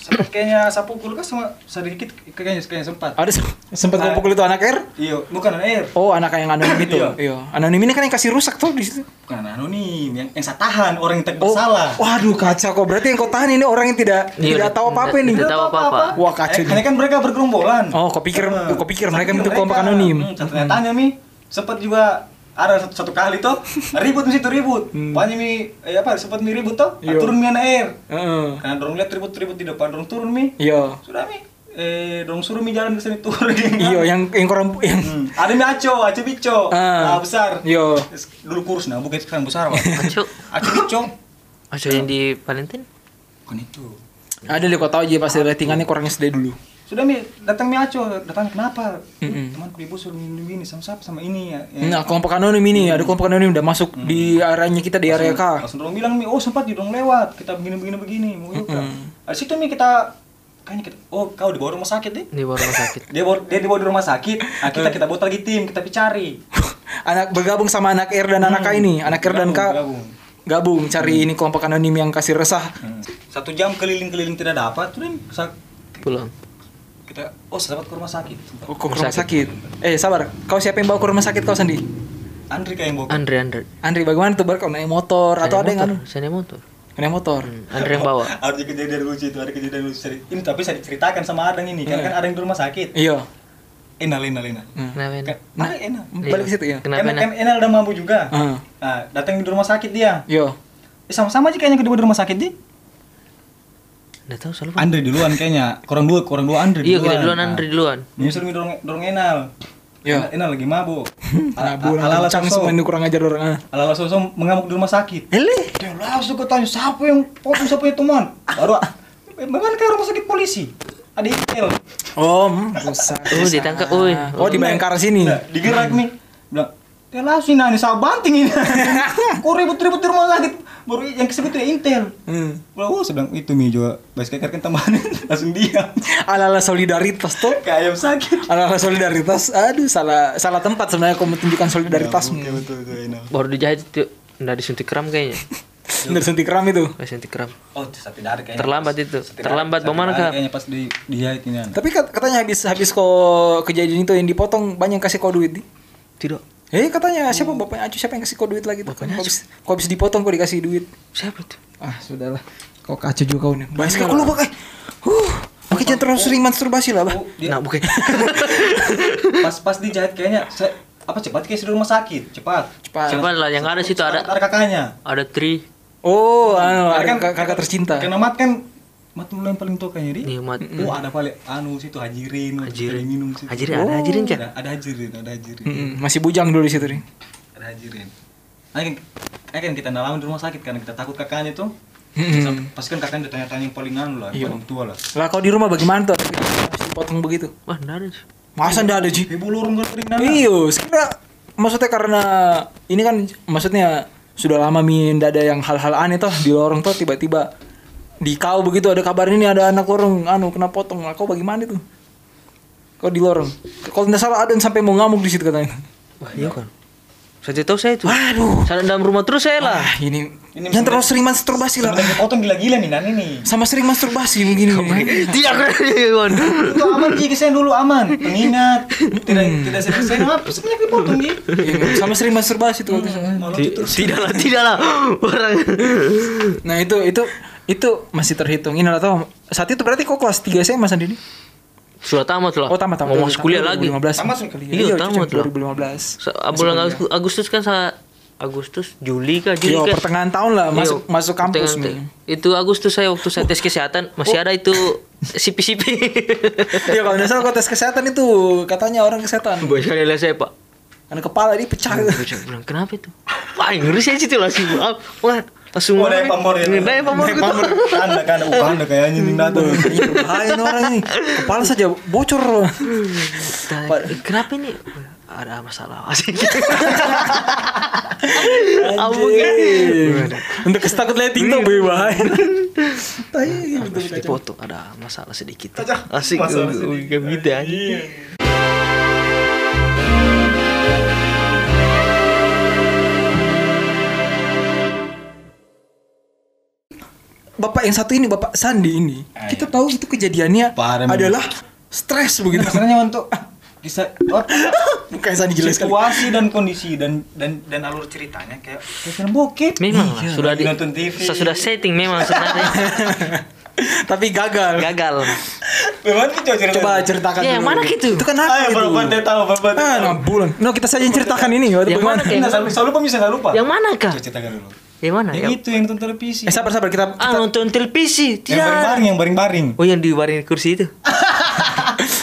Speaker 4: sempat kayaknya sapu kulkas sama sedikit kayaknya kayaknya sempat.
Speaker 3: Ada se- sempat
Speaker 4: Ah.
Speaker 3: gua pukul itu anak R.
Speaker 4: Iya, bukan air.
Speaker 3: Oh, anak yang anonim itu.
Speaker 4: Iya.
Speaker 3: Iya. Anonim ini kan yang kasih rusak tuh di situ.
Speaker 4: Bukan anonim, yang yang saya tahan orang yang tak
Speaker 3: Oh.
Speaker 4: bersalah.
Speaker 3: Waduh, kacau kok. Berarti yang kau tahan ini orang yang tidak
Speaker 2: Iya,
Speaker 3: tidak tahu apa-apa
Speaker 2: tidak-
Speaker 3: nih.
Speaker 2: tidak tahu apa-apa.
Speaker 3: Wah, kacau.
Speaker 4: Karena
Speaker 3: nih.
Speaker 4: kan mereka bergerombolan.
Speaker 3: Oh, kau pikir-
Speaker 4: Heeh.
Speaker 3: kau pikir
Speaker 4: Saya
Speaker 3: mereka
Speaker 4: pikir
Speaker 3: itu kelompok
Speaker 4: mereka.
Speaker 3: anonim.
Speaker 4: Hmm, saya tanya-tanya mi, sempat juga ada satu, satu kali tuh ribut di situ ribut. Pokoknya mi eh, apa sempat mi ribut tuh,
Speaker 3: Hmm. Yo.
Speaker 4: turun mi anak air.
Speaker 3: Heeh.
Speaker 4: Nah, dorong lihat ribut-ribut di depan, dorong turun mi.
Speaker 3: Iya.
Speaker 4: Sudah mi, eh dorong suruh mi jalan ke sini turun.
Speaker 3: Iya, yang yang koram yang
Speaker 4: Hmm. Ada mi aco, aco bico.
Speaker 3: Ah.
Speaker 4: Nah, besar.
Speaker 3: Yo.
Speaker 4: Dulu kurus nah, bukan sekarang besar, Pak.
Speaker 2: Aco.
Speaker 4: aco bico.
Speaker 2: Aco yang di Valentine?
Speaker 4: Bukan itu.
Speaker 3: ada deh kau tahu aja pasti ratingannya kurangnya SD dulu.
Speaker 4: Sudah mi, datang mi aco, datang kenapa?
Speaker 3: Mm-mm.
Speaker 4: Teman ibu suruh minum ini sama siapa sama ini ya. ya.
Speaker 3: Nah, kelompok anonim ini ada kelompok anonim udah masuk
Speaker 4: Hmm.
Speaker 3: di areanya kita di area K.
Speaker 4: Langsung dorong bilang mi, oh sempat di dorong lewat, kita begini-begini begini, mau yuk. Kak." Dari situ mi kita kayaknya kita, oh kau dibawa rumah sakit deh.
Speaker 2: Di bawah rumah sakit.
Speaker 4: Dia bawa, dia dibawa di rumah sakit, nah,
Speaker 3: Eh.
Speaker 4: kita kita buat lagi tim, kita cari.
Speaker 3: anak bergabung sama anak R dan anak K ini, anak R dan K
Speaker 4: Hmm. Bergabung,
Speaker 3: gabung cari ini kelompok anonim yang kasih resah.
Speaker 4: Hmm. Satu jam keliling-keliling tidak dapat, tuh Din, sa-
Speaker 2: Pulang.
Speaker 4: kita oh saya dapat ke rumah sakit.
Speaker 3: Oh, ke rumah sakit. Eh, sabar. Kau siapa yang bawa ke rumah sakit kau Sandi?
Speaker 4: Andri kayak yang bawa.
Speaker 2: Andre, Andre.
Speaker 3: Andri, bagaimana tuh bar kau naik motor Hmm. atau ada yang anu?
Speaker 2: Saya naik motor.
Speaker 3: Naik motor.
Speaker 2: Andre yang bawa.
Speaker 4: Ada kejadian lucu itu, ada kejadian lucu. Seri- Ini tapi saya diceritakan sama Adang ini,
Speaker 2: Hmm.
Speaker 4: karena kan Adang di rumah sakit.
Speaker 3: Iya.
Speaker 4: Enal, enal, enal.
Speaker 2: Kenapa enak?
Speaker 4: Kan- Ada Enal.
Speaker 3: Balik ke situ ya.
Speaker 2: Kenapa Hmm.
Speaker 4: Kan-
Speaker 2: enak?
Speaker 4: kan Enal udah mampu juga.
Speaker 3: Heeh.
Speaker 4: Nah, datang di rumah sakit dia.
Speaker 3: Hmm. Ah. Yo.
Speaker 4: Eh, sama-sama aja kayaknya kedua di rumah sakit dia.
Speaker 2: Hmm. Nggak tahu selalu.
Speaker 4: Andre duluan kayaknya. Kurang dua, kurang dua Andre Nah,
Speaker 2: Iya, kita duluan Andre duluan.
Speaker 4: Nyusul mi dorong dorong Enal.
Speaker 3: Iya.
Speaker 4: Enal- Enal lagi mabuk.
Speaker 3: Abu
Speaker 4: Ala- ala-
Speaker 3: kencang
Speaker 4: sosok.
Speaker 3: semua ini kurang ajar orang. ah.
Speaker 4: Ala-ala sosok mengamuk di rumah sakit.
Speaker 3: Ele.
Speaker 4: Dia langsung gue tanya, siapa yang potong siapa yang teman? Baru, memang ke rumah sakit polisi? Ada email.
Speaker 3: Oh, hmm, rusak.
Speaker 2: Oh, ditangkap. Oi.
Speaker 3: Oh, di Bayangkara sini. Hmm.
Speaker 4: Nah, digerak nih. Bilang, dia langsung nanya, saya banting ini. Kok ribut-ribut di rumah sakit? baru yang kesebut ya Intel
Speaker 3: Hmm.
Speaker 4: Wah, sedang itu Mi juga basket kan tambahan langsung diam.
Speaker 3: Ala-ala solidaritas tuh.
Speaker 4: Kayak ayam sakit.
Speaker 3: Ala-ala solidaritas. Aduh, salah salah tempat sebenarnya kamu tunjukkan
Speaker 4: Ya,
Speaker 3: solidaritasmu.
Speaker 4: Oke, betul betul enak.
Speaker 2: Baru dijahit tuh nggak disuntik kram kayaknya.
Speaker 3: Bener suntik kram itu.
Speaker 2: Nggak suntik kram.
Speaker 4: Oh, sate dari kayaknya.
Speaker 2: Terlambat itu.
Speaker 4: Sate dari-
Speaker 2: Terlambat
Speaker 4: sate
Speaker 2: bagaimana
Speaker 4: dari
Speaker 2: kak?
Speaker 4: Kayaknya pas di dijahit ini anak.
Speaker 3: Tapi kat- katanya habis habis kok kejadian itu yang dipotong banyak yang kasih kau duit. Di.
Speaker 2: Tidak.
Speaker 3: Eh katanya siapa bapaknya Acu siapa yang kasih kau duit lagi tuh? Kau habis, kau habis dipotong kau dikasih duit.
Speaker 2: Siapa tuh?
Speaker 3: Ah sudahlah. Kau kacau juga kau nih. Bahas kau lupa eh. Huh. Oke jangan terlalu sering masturbasi lah bah.
Speaker 4: Oh,
Speaker 2: Nah bukan.
Speaker 4: Pas pas dijahit kayaknya se- apa cepat kayak di rumah sakit, cepat.
Speaker 3: Cepat.
Speaker 2: Coba lah yang ada situ ada
Speaker 4: Ada kakaknya.
Speaker 2: ada tri
Speaker 3: Oh, anu, ada
Speaker 4: Karena
Speaker 3: kak- kakak tercinta.
Speaker 4: Karena Mat kan Mat dulu yang paling tua kayaknya di.
Speaker 2: nikmat.
Speaker 4: Wah, ada paling anu situ hajirin,
Speaker 2: Iya. Hajirin.
Speaker 4: Hajirin minum situ.
Speaker 2: Hajirin, ada hajirin, Cak?
Speaker 4: Ada,
Speaker 3: Oh.
Speaker 4: ada hajirin, ada hajirin.
Speaker 3: Mm-mm, masih bujang dulu di situ nih.
Speaker 4: ada hajirin. Akhirnya akhirnya kan kita nalamin di rumah sakit karena kita takut kakaknya tuh.
Speaker 3: Mm-mm.
Speaker 4: Pasti kan kakaknya udah tanya-tanya yang paling anu
Speaker 3: Iya.
Speaker 4: lah, yang paling tua lah.
Speaker 3: Lah kau di rumah bagaimana tuh? Habis dipotong begitu.
Speaker 2: Wah nggak ada. sih.
Speaker 3: Masa ndak ada, Ji?
Speaker 4: Ibu lurung gak kering nana.
Speaker 3: Iya, kira maksudnya karena ini kan maksudnya sudah lama min ada yang hal-hal aneh toh di lorong toh tiba-tiba di kau begitu ada kabar ini ada anak lorong anu kena potong lah kau bagaimana itu kau di lorong kalau tidak salah ada yang sampai mau ngamuk di situ katanya
Speaker 2: Wah iya kan. Saya tidak tahu saya itu.
Speaker 3: Aduh.
Speaker 2: Saya dalam rumah terus saya lah.
Speaker 3: ah ini,
Speaker 4: Ini
Speaker 3: jangan terlalu sering masturbasi lah
Speaker 4: Sebenarnya potong gila-gila nih nani nih.
Speaker 3: sama sering masturbasi begini
Speaker 2: Tidak kan.
Speaker 4: Itu aman Ji, kesen dulu aman. Pengingat.
Speaker 2: Hmm.
Speaker 4: Tidak tidak saya saya apa sebenarnya dipotong Ji.
Speaker 3: Iya, sama sering masturbasi tuh
Speaker 4: Malu
Speaker 2: Ti- Tidaklah, tidaklah. Orang
Speaker 3: nah itu itu itu masih terhitung ini lah toh saat itu berarti kau kelas 3 SMA sendiri
Speaker 2: sudah tamat lah.
Speaker 3: Oh tamat tamat.
Speaker 2: Mau masuk kuliah lagi.
Speaker 3: 2015.
Speaker 4: Tamat,
Speaker 3: kuliah.
Speaker 2: Iya, tamat
Speaker 3: cucu,
Speaker 2: lah.
Speaker 3: 2015.
Speaker 2: Sa- Bulan Agus- Agustus kan saya Agustus, Juli kah? Juli
Speaker 3: Yo,
Speaker 2: kah?
Speaker 3: Iya, pertengahan tahun lah
Speaker 2: kan?
Speaker 3: masuk
Speaker 2: Iya,
Speaker 3: masuk kampus Oh. nih.
Speaker 2: pertengahan te- Itu Agustus saya waktu saya tes kesehatan masih ada itu sipi-sipi.
Speaker 3: Iya kalau nggak salah kok tes kesehatan itu katanya orang kesehatan.
Speaker 2: Buat sekali lah saya pak.
Speaker 3: Karena kepala dia pecah. gitu.
Speaker 2: Saya bilang kenapa itu? Wah ngeri saya situ langsung maaf. Wah langsung.
Speaker 4: Oh, ada yang pamor ya.
Speaker 2: Ada yang pamor gitu.
Speaker 4: Kanda kanda uh kanda kayaknya nih nana.
Speaker 3: Iya, Bahaya nih orang ini. Kepala saja bocor.
Speaker 2: Tanya, "Eh, Kenapa ini? Ada masalah asik. Ampun. kan?
Speaker 3: Untuk kesetakut lihat TikTok gue bahaya. Tai,
Speaker 2: Harus
Speaker 3: gitu.
Speaker 2: dipoto ada masalah sedikit.
Speaker 4: Aja,
Speaker 2: Asik.
Speaker 4: masalah
Speaker 2: uh, uh,
Speaker 4: sedikit. Iya.
Speaker 2: kayak gitu aja.
Speaker 3: Bapak yang satu ini Bapak Sandi ini.
Speaker 4: Ah,
Speaker 3: Kita tahu itu kejadiannya
Speaker 4: Parah memang.
Speaker 3: adalah stres begitu.
Speaker 4: Sebenarnya untuk bisa oh.
Speaker 3: Bukan Sandi jelas sekali.
Speaker 4: situasi dan kondisi dan dan dan alur ceritanya kayak kayak film bokep.
Speaker 2: Memang lah,
Speaker 4: Iya,
Speaker 2: sudah
Speaker 4: lagi
Speaker 2: di,
Speaker 4: nonton TV.
Speaker 2: sa- sudah setting memang sebenarnya
Speaker 3: Tapi gagal.
Speaker 2: gagal.
Speaker 4: Bagaimana sih cerita?
Speaker 3: Coba ceritakan
Speaker 2: Ya, yang
Speaker 3: dulu.
Speaker 2: mana gitu?
Speaker 3: Itu kan apa
Speaker 4: Ayo
Speaker 3: itu?
Speaker 4: berbuat Ah, dia tahu berbuat.
Speaker 3: Ah, enam bulan. No, kita saja yang ceritakan ini. Waktu
Speaker 2: Yang
Speaker 3: bagaimana?
Speaker 2: mana kayak?
Speaker 4: Saya lupa bisa nggak lupa.
Speaker 2: Yang mana Nah, kah?
Speaker 4: Coba ceritakan dulu.
Speaker 2: Yang mana?
Speaker 4: Yang
Speaker 2: Yang,
Speaker 4: itu yang nonton televisi.
Speaker 3: Eh, sabar sabar
Speaker 2: ah
Speaker 3: kita, kita-
Speaker 2: nonton televisi.
Speaker 4: Yang
Speaker 2: Tidak.
Speaker 4: baring-baring, yang baring-baring.
Speaker 2: Oh yang di warin kursi itu.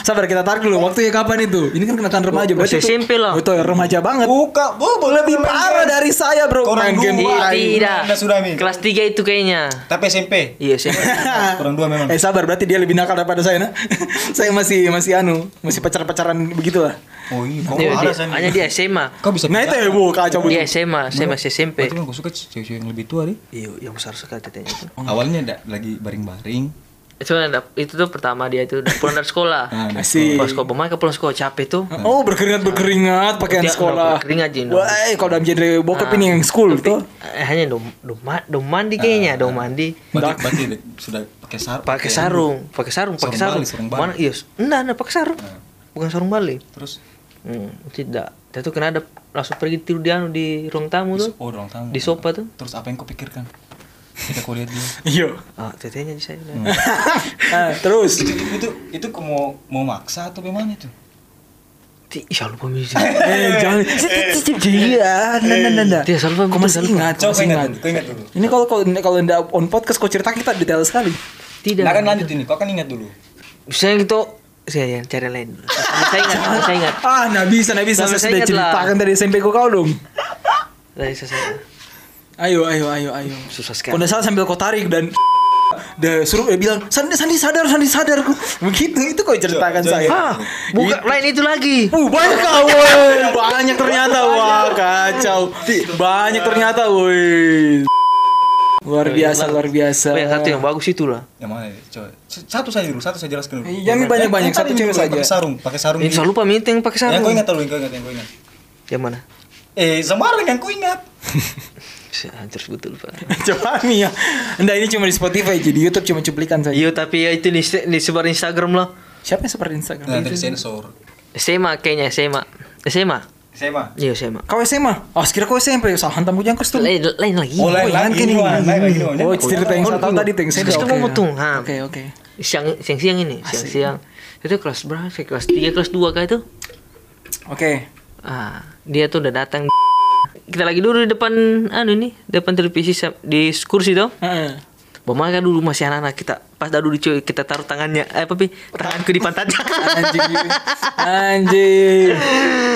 Speaker 3: sabar kita tarik dulu. Waktunya kapan itu? Ini kan kenakalan remaja
Speaker 2: Oh,
Speaker 3: berarti. itu-
Speaker 2: SMP lah.
Speaker 3: Oh, Itu remaja banget.
Speaker 4: Buka, bu, boleh
Speaker 3: Lebih
Speaker 4: main kan?
Speaker 3: parah
Speaker 4: game.
Speaker 3: dari saya, Bro.
Speaker 4: Orang
Speaker 3: Main game
Speaker 2: Iya.
Speaker 4: dua.
Speaker 3: lain.
Speaker 2: Tidak.
Speaker 4: Anda sudah, Mi.
Speaker 2: Kelas 3 itu kayaknya.
Speaker 4: Tapi SMP.
Speaker 2: Iya sih.
Speaker 4: Kurang dua memang.
Speaker 3: Eh sabar berarti dia lebih nakal daripada saya nah. saya masih masih anu, masih pacar-pacaran begitulah.
Speaker 4: Oh iya, kok
Speaker 2: Dia-
Speaker 4: ada
Speaker 2: dia-
Speaker 4: San?
Speaker 2: Hanya di SMA.
Speaker 4: Kau bisa
Speaker 3: Nah itu ya bu kacau bu.
Speaker 2: Di SMA, saya masih SMP.
Speaker 4: Berarti kan gue suka cewek-cewek yang lebih tua Oh, deh.
Speaker 2: Iya, yang besar sekali tetenya itu.
Speaker 4: Awalnya ada lagi baring-baring.
Speaker 2: Cuman ada- itu tuh pertama dia itu udah pulang dari sekolah.
Speaker 4: Nah, ada-
Speaker 3: Masih.
Speaker 2: Pulang sekolah, pemain ke pulang sekolah capek tuh.
Speaker 4: Ah,
Speaker 3: Oh berkeringat berkeringat pakaian
Speaker 2: Dia-
Speaker 3: sekolah.
Speaker 2: berkeringat, Jin.
Speaker 3: Wah, eh, kalau dalam genre bokep ini yang school tuh.
Speaker 2: Eh, hanya dom, dom, dom
Speaker 4: Ah,
Speaker 2: mandi kayaknya, dom mandi.
Speaker 4: Berarti, berarti ada- sudah pakai sarung.
Speaker 2: Pakai sarung, pakai sarung, pakai sarung.
Speaker 4: Sarung Bali, sarung Bali. Ah.
Speaker 2: Mana? Iya, enggak, enggak pakai sarung. Bukan sarung Bali.
Speaker 4: gitu. Terus
Speaker 2: Hmm, tidak. Dia tuh kena ada langsung pergi tidur di anu di ruang tamu tuh.
Speaker 4: oh dong tamu.
Speaker 2: Di sofa tuh.
Speaker 4: Terus apa yang kau pikirkan? Kita kau lihat dia.
Speaker 3: Iya.
Speaker 2: Ah, tetenya di saya.
Speaker 4: Hmm.
Speaker 3: Ah, terus.
Speaker 4: itu itu itu kau mau mau maksa atau bagaimana itu?
Speaker 2: Ti, ya lupa misi.
Speaker 3: eh jangan cicip iya nah nah nah nah
Speaker 2: Dia salah paham,
Speaker 3: kau masih
Speaker 2: salah
Speaker 3: ingat
Speaker 4: Nah,
Speaker 3: kau
Speaker 4: Coba
Speaker 3: masih
Speaker 4: ingat,
Speaker 3: ingat
Speaker 4: dulu, kau ingat dulu.
Speaker 3: ini kalau kalau kalau ndak on podcast kau cerita kita detail sekali
Speaker 2: Tidak.
Speaker 4: Nah kan lanjut ini, kau kan ingat dulu.
Speaker 2: Saya itu saya yang cari lain. Saya ingat, saya ingat.
Speaker 3: ah nah bisa nah bisa
Speaker 2: Nah, bisa
Speaker 3: saya sudah
Speaker 2: ingat lah.
Speaker 3: ceritakan tadi SMP kau kau dong
Speaker 2: Dari saya.
Speaker 3: ayo ayo ayo ayo
Speaker 2: Susah
Speaker 3: kau
Speaker 2: sekali.
Speaker 3: ndak salah sambil kau tarik dan dan suruh dia bilang Sandi Sandi sadar Sandi sadar begitu itu kau ceritakan
Speaker 4: Jo,
Speaker 3: saya
Speaker 2: Ah, buka lain itu lagi.
Speaker 3: Uh, banyak kau, woy. banyak ternyata, wah kacau, banyak ternyata, woi. Luar biasa, luar biasa.
Speaker 2: Yang satu yang bagus itu lah.
Speaker 4: Yang mana ya, coba. S- Satu saja dulu, satu saya jelaskan dulu.
Speaker 3: Iya, ini banyak-banyak,
Speaker 4: Yang tadi
Speaker 3: satu
Speaker 4: ini dulu,
Speaker 3: cewek
Speaker 4: yang
Speaker 3: saja.
Speaker 4: Pakai sarung, pakai sarung.
Speaker 2: Ini saya lupa minta yang pakai
Speaker 4: Yang
Speaker 2: sarung.
Speaker 4: kau Ya, ingat dulu, yang kau ingat, yang kau ingat.
Speaker 2: Yang mana?
Speaker 4: Eh, sembarang yang kau ingat.
Speaker 2: Si, Hancur betul pak.
Speaker 3: Coba nih ya. Enggak ini cuma di Spotify, jadi YouTube cuma cuplikan saja.
Speaker 2: Iya tapi ya itu di, disebar Instagram lah.
Speaker 3: Siapa yang seperti Instagram?
Speaker 4: Nah, dari sensor.
Speaker 2: Sema kayaknya Sema. Sema.
Speaker 4: Sema.
Speaker 2: Iya Sema.
Speaker 3: Kau SMA? Oh, sekira kau SMP. Salah hantam kujang kus tuh.
Speaker 2: Lain lain lagi.
Speaker 4: Oh, lain lagi
Speaker 3: ini.
Speaker 4: nih, lain lagi nih.
Speaker 3: Oh, cerita
Speaker 4: ya.
Speaker 3: yang saya tahu tadi tuh yang saya
Speaker 2: Terus
Speaker 3: udah
Speaker 2: kamu
Speaker 3: oke.
Speaker 2: mutung, ha.
Speaker 3: Oke, oke.
Speaker 2: Siang siang siang ini siang siang. Itu kelas berapa? sih? Kelas 3, kelas 2 kah itu?
Speaker 3: Oke.
Speaker 2: Ah, dia tuh udah datang. Kita lagi dulu di depan anu nih, depan televisi sam- di kursi tuh.
Speaker 3: Heeh.
Speaker 2: Mama kan dulu masih anak-anak kita pas dadu dicuy kita taruh tangannya eh papi tanganku di pantatnya
Speaker 3: Anjing. Anjing.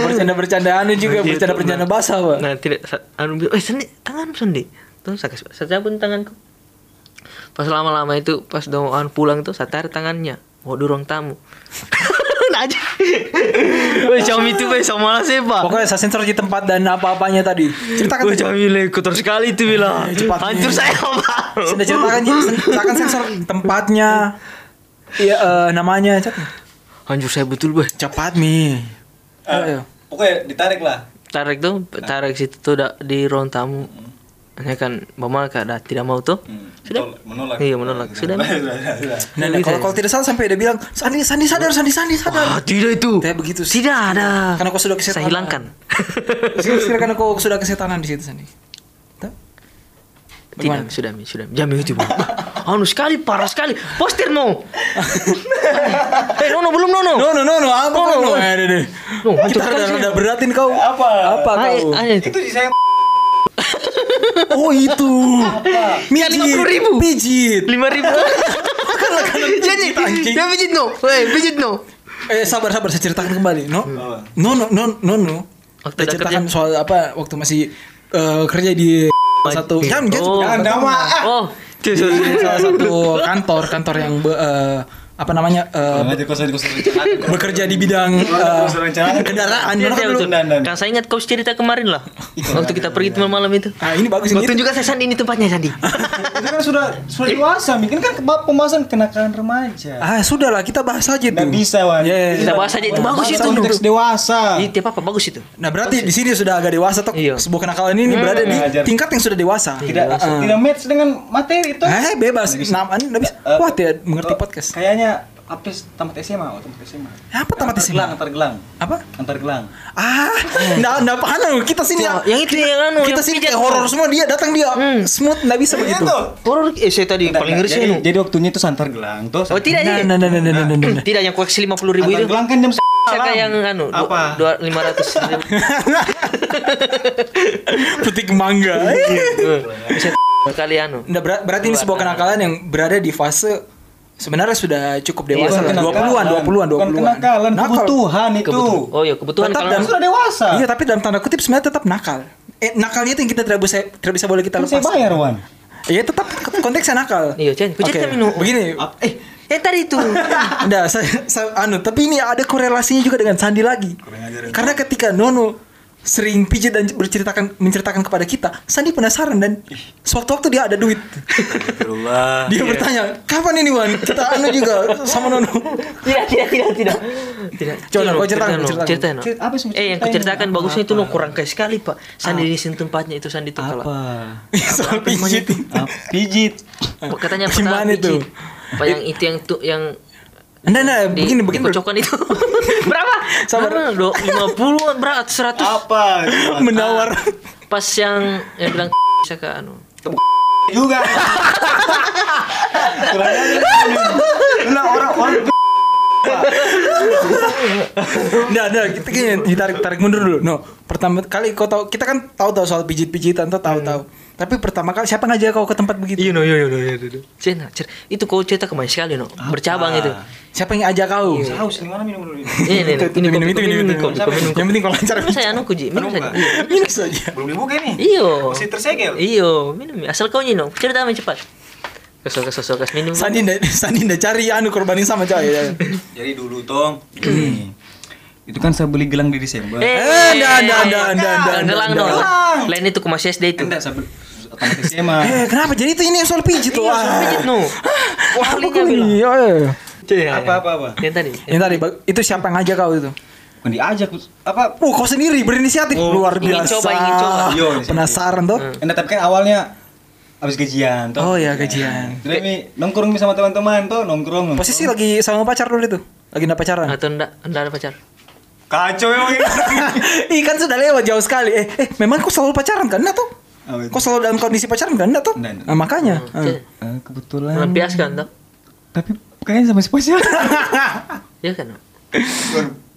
Speaker 3: Bercanda-bercandaan
Speaker 4: Gitu,
Speaker 3: juga,
Speaker 2: Anjing,
Speaker 3: bercanda-bercanda
Speaker 2: itu,
Speaker 3: basah, Pak.
Speaker 2: Gitu, nah tidak sa- anu bilang eh sendi tangan sendi terus saya saya cabut tanganku pas lama-lama itu pas doan pulang tuh saya tarik tangannya mau di ruang tamu nah aja weh Xiaomi itu weh sama lah sih pak
Speaker 3: Pokoknya saya sensor di tempat dan apa-apanya tadi. Ceritakan.
Speaker 2: weh Xiaomi le kotor sekali itu bilang
Speaker 3: cepat.
Speaker 2: hancur saya pak
Speaker 3: Sudah ceritakan, sen- ceritakan sensor tempatnya. Iya, eh, namanya. Cepat.
Speaker 2: hancur saya betul weh
Speaker 3: Cepat mi.
Speaker 2: Iya,
Speaker 3: Ayo.
Speaker 4: Eh, Pokoknya ditarik lah.
Speaker 2: tarik tuh tarik situ tuh da- di ruang tamu hanya kan mama kada tidak mau tuh sudah
Speaker 4: Hmm, Menolak. Hmm.
Speaker 2: iya menolak sudah
Speaker 3: Nah, nah, kalau kalau tidak salah sampai dia bilang, Sandi, Sandi sadar, Sandi, Sandi sadar.
Speaker 2: ah, tidak itu
Speaker 3: Tidak begitu sih.
Speaker 2: tidak ada
Speaker 3: Karena kau sudah kesetanan.
Speaker 2: saya hilangkan
Speaker 3: Sekiranya kau sudah kesetanan di situ Sandi. Tuh.
Speaker 2: tidak sudah mi sudah Mi. jamin itu Bu. anu sekali parah sekali poster mau eh nono belum nono
Speaker 3: No no no no apa
Speaker 2: Oh,
Speaker 3: kau
Speaker 2: no.
Speaker 3: no? Eh, deh, deh.
Speaker 2: No, hancur
Speaker 3: Kita
Speaker 2: kali
Speaker 3: rada
Speaker 2: sih.
Speaker 3: rada beratin kau. Apa? Apa
Speaker 2: Ah, eh,
Speaker 3: kau?
Speaker 2: ah, eh,
Speaker 4: Itu di saya
Speaker 3: Oh itu. Mijit.
Speaker 2: 50.000.
Speaker 3: Mijit.
Speaker 2: lima ribu jadi
Speaker 3: kan anjing.
Speaker 2: dia pijit no eh pijit no
Speaker 3: Eh sabar sabar saya ceritakan kembali. No.
Speaker 4: Hmm.
Speaker 3: No no no no no.
Speaker 2: Waktu
Speaker 3: Saya
Speaker 2: udah
Speaker 3: ceritakan soal apa waktu masih eh, kerja di satu jangan jangan sebut
Speaker 2: Oh.
Speaker 3: nama.
Speaker 2: oh cuy sorry.
Speaker 3: Di salah satu kantor kantor yang be- eh, apa namanya eh,
Speaker 4: Aja kau sudah kau sudah.
Speaker 3: bekerja di bidang
Speaker 4: Nah,
Speaker 3: eh, kendaraan.
Speaker 2: Tidak,
Speaker 3: Mana kan
Speaker 2: tidak,
Speaker 3: dulu?
Speaker 2: betul. Kan saya ingat kau cerita kemarin lah. Waktu kita pergi malam itu.
Speaker 3: Iya. Ah ini bagus
Speaker 2: Kau
Speaker 3: ini. Ah.
Speaker 2: tunjukkan saya Sandi ini tempatnya Sandi.
Speaker 4: Itu kan sudah sudah
Speaker 2: Eh.
Speaker 4: dewasa, mungkin kan kebab pemasan kenakalan remaja.
Speaker 3: Ah sudahlah kita bahas aja itu.
Speaker 4: Nggak bisa, Wan.
Speaker 3: Iya, iya, iya.
Speaker 2: Kita bahas aja itu bagus
Speaker 4: Bahasa
Speaker 2: itu.
Speaker 4: Konteks dewasa.
Speaker 2: Itu apa apa bagus itu.
Speaker 3: Nah berarti di sini sudah agak dewasa toh
Speaker 2: Iya.
Speaker 3: sebuah kenakalan ini berada di
Speaker 4: Ngajar.
Speaker 3: tingkat yang sudah dewasa.
Speaker 4: Tidak
Speaker 2: Ah,
Speaker 4: tidak match dengan materi itu.
Speaker 3: Eh bebas namaan nggak bisa.
Speaker 4: Eh,
Speaker 3: Wah
Speaker 2: ya,
Speaker 3: tidak mengerti
Speaker 4: Oh,
Speaker 3: podcast.
Speaker 4: Kayaknya habis tamat SMA, oh, tamat SMA.
Speaker 3: Apa tamat
Speaker 4: Antar
Speaker 3: SMA?
Speaker 4: gelang, Antar gelang,
Speaker 3: Apa?
Speaker 4: antar gelang.
Speaker 3: Ah,
Speaker 4: Eh.
Speaker 3: nggak nggak paham loh. kita
Speaker 2: Tuh,
Speaker 3: sini
Speaker 4: iya.
Speaker 3: ya-
Speaker 2: yang itu yang anu,
Speaker 3: kita
Speaker 2: yang
Speaker 3: sini
Speaker 2: pijat.
Speaker 3: kayak horor semua dia datang dia
Speaker 4: Hmm.
Speaker 3: smooth nggak bisa begitu.
Speaker 2: Horor eh saya tadi paling ngeri sih
Speaker 4: Jadi,
Speaker 2: anu.
Speaker 4: jadi waktunya itu santar gelang, tuh.
Speaker 2: Oh tidak
Speaker 3: Nah,
Speaker 2: jadi.
Speaker 3: nah, nah, nah, nah, nah, nah, nah.
Speaker 2: Tidak yang koleksi 50 ribu
Speaker 4: Antar
Speaker 2: itu.
Speaker 4: gelang kan jam
Speaker 2: Saya kayak yang anu
Speaker 4: Apa?
Speaker 2: dua lima ratus ribu.
Speaker 3: Petik mangga.
Speaker 4: Iya.
Speaker 3: Eh.
Speaker 2: Eh, Bisa kali anu.
Speaker 3: Nah, ber- berarti ini sebuah kenakalan yang berada di fase sebenarnya sudah cukup dewasa.
Speaker 4: Iya, Bukan
Speaker 3: lah. 20-an, 20-an, 20-an.
Speaker 4: Bukan kenakalan,
Speaker 3: Nakal.
Speaker 4: kebutuhan itu.
Speaker 2: Kebetulan. Oh iya kebetulan
Speaker 3: Tetap
Speaker 2: kalau
Speaker 3: dan-
Speaker 4: Kan sudah dewasa.
Speaker 3: Iya, tapi dalam tanda kutip sebenarnya tetap nakal. Eh, nakalnya itu yang kita tidak bisa tidak bisa boleh kita
Speaker 4: Kan
Speaker 3: lepas.
Speaker 4: saya bayar, Wan.
Speaker 3: Iya, tetap konteksnya nakal.
Speaker 2: Iya, Chen. Kau
Speaker 3: Oke,
Speaker 2: cerita, Minu.
Speaker 3: Begini.
Speaker 2: eh yang tadi itu.
Speaker 3: Enggak, saya, saya- anu, tapi ini ada korelasinya juga dengan Sandi lagi. Karena ketika Nono sering pijit dan berceritakan menceritakan kepada kita, Sandi penasaran dan sewaktu-waktu dia ada duit. dia bertanya, "Kapan ini, Wan? Kita anu juga sama Nono."
Speaker 2: tidak tidak Iya, tidak tidak tidak
Speaker 3: Coba,
Speaker 2: Cino,
Speaker 3: kau
Speaker 2: ceritain,
Speaker 3: ceritakan, kau
Speaker 2: Noh.
Speaker 3: ceritakan.
Speaker 2: Ceritain, Noh.
Speaker 4: Cerit- apa sih mau
Speaker 2: eh yang kau ceritakan bagusnya itu no kurang kayak sekali pak sandi di sini tempatnya itu sandi itu kalah
Speaker 3: Soal pijit.
Speaker 4: Apa? Pijit.
Speaker 2: Pak, katanya
Speaker 3: Gimana
Speaker 2: pernah
Speaker 3: itu?
Speaker 2: pijit. pak yang itu yang tuh yang
Speaker 3: Enggak, enggak,
Speaker 2: di,
Speaker 3: Nah, begini,
Speaker 2: di
Speaker 3: begini. Bro.
Speaker 2: kocokan itu berapa
Speaker 3: Sabar.
Speaker 2: berapa do lima puluh berapa seratus
Speaker 4: Apa?
Speaker 3: Menawar.
Speaker 2: pas yang yang bilang bisa ke anu
Speaker 4: Juga. Kurang ajar. Nah, orang orang
Speaker 3: Nggak, nggak, Nah, kita gini, ditarik tarik mundur dulu. No, pertama kali kau tahu, kita kan tahu tahu soal pijit-pijitan tuh tahu-tahu. Tapi pertama kali siapa ngajak kau ke tempat begitu?
Speaker 2: no yo yo yo Cina, cer- nah, itu kau cerita kemarin sekali no bercabang itu
Speaker 3: Siapa yang ajak kau?
Speaker 4: haus nih mana minum dulu.
Speaker 2: ini ini
Speaker 3: Itu, itu,
Speaker 2: ini
Speaker 3: minum, itu,
Speaker 2: kopi,
Speaker 3: minum,
Speaker 2: kopi, kopi,
Speaker 3: itu, minum.
Speaker 2: kopi,
Speaker 3: Yang
Speaker 2: kopi.
Speaker 3: penting kalau lancar.
Speaker 2: minum saya anu kuji minum saya Iya.
Speaker 3: Minus aja.
Speaker 4: Belum dibuka nih.
Speaker 2: Iyo. Iya.
Speaker 4: Masih tersegel.
Speaker 2: Iyo, minum asal kau nyino. Cerita main cepat. Kesel kesel kesel kesel minum.
Speaker 3: Sandi nda, Sandi nda cari anu korbanin sama coy.
Speaker 4: Jadi dulu, Tong. Gini. Itu kan saya beli gelang di Desember.
Speaker 2: Eh,
Speaker 3: Eh, nda, nda, nda, nda, nda,
Speaker 2: Gelang
Speaker 3: nda.
Speaker 2: dong. Lain itu ke Mas SD itu.
Speaker 4: Enggak, Kan saya beli anak SMA.
Speaker 3: Eh, kenapa? Jadi itu ini soal pijit tuh.
Speaker 2: Iya,
Speaker 3: ah.
Speaker 2: pijit no.
Speaker 3: Wah,
Speaker 2: Kali
Speaker 3: apa
Speaker 2: nggak
Speaker 3: kali
Speaker 2: bilang. ya,
Speaker 3: ini? Iya.
Speaker 4: Apa, apa, apa?
Speaker 2: Yang tadi.
Speaker 3: Yang tadi Bang, itu siapa yang ngajak kau itu?
Speaker 4: Bukan diajak apa
Speaker 3: Uh, kau sendiri berinisiatif
Speaker 4: Oh,
Speaker 3: luar
Speaker 2: ingin
Speaker 3: biasa. Hmm.
Speaker 2: coba, ingin coba.
Speaker 4: Iya, inisiatif.
Speaker 3: Penasaran tuh?
Speaker 4: Nah, tapi kan awalnya habis gajian toh.
Speaker 3: Oh ya gajian.
Speaker 4: Jadi mi nongkrong mi sama teman-teman toh, nongkrong. nongkrong.
Speaker 3: Posisi lagi sama pacar dulu itu. Lagi ndak pacaran.
Speaker 2: Atau enggak, enggak ada pacar.
Speaker 4: kacau emang ini.
Speaker 3: Ih kan sudah lewat jauh sekali. Eh, eh memang kok selalu pacaran kan? Enggak tuh.
Speaker 4: Apa itu?
Speaker 3: Kok selalu dalam kondisi pacaran kan? Enggak tuh.
Speaker 4: Nggak, nggak.
Speaker 3: Nah, makanya.
Speaker 2: Hmm.
Speaker 3: eh.
Speaker 4: Eh, kebetulan.
Speaker 2: Melampiaskan tuh.
Speaker 4: Tapi kayaknya sama si Posya.
Speaker 2: Ya kan.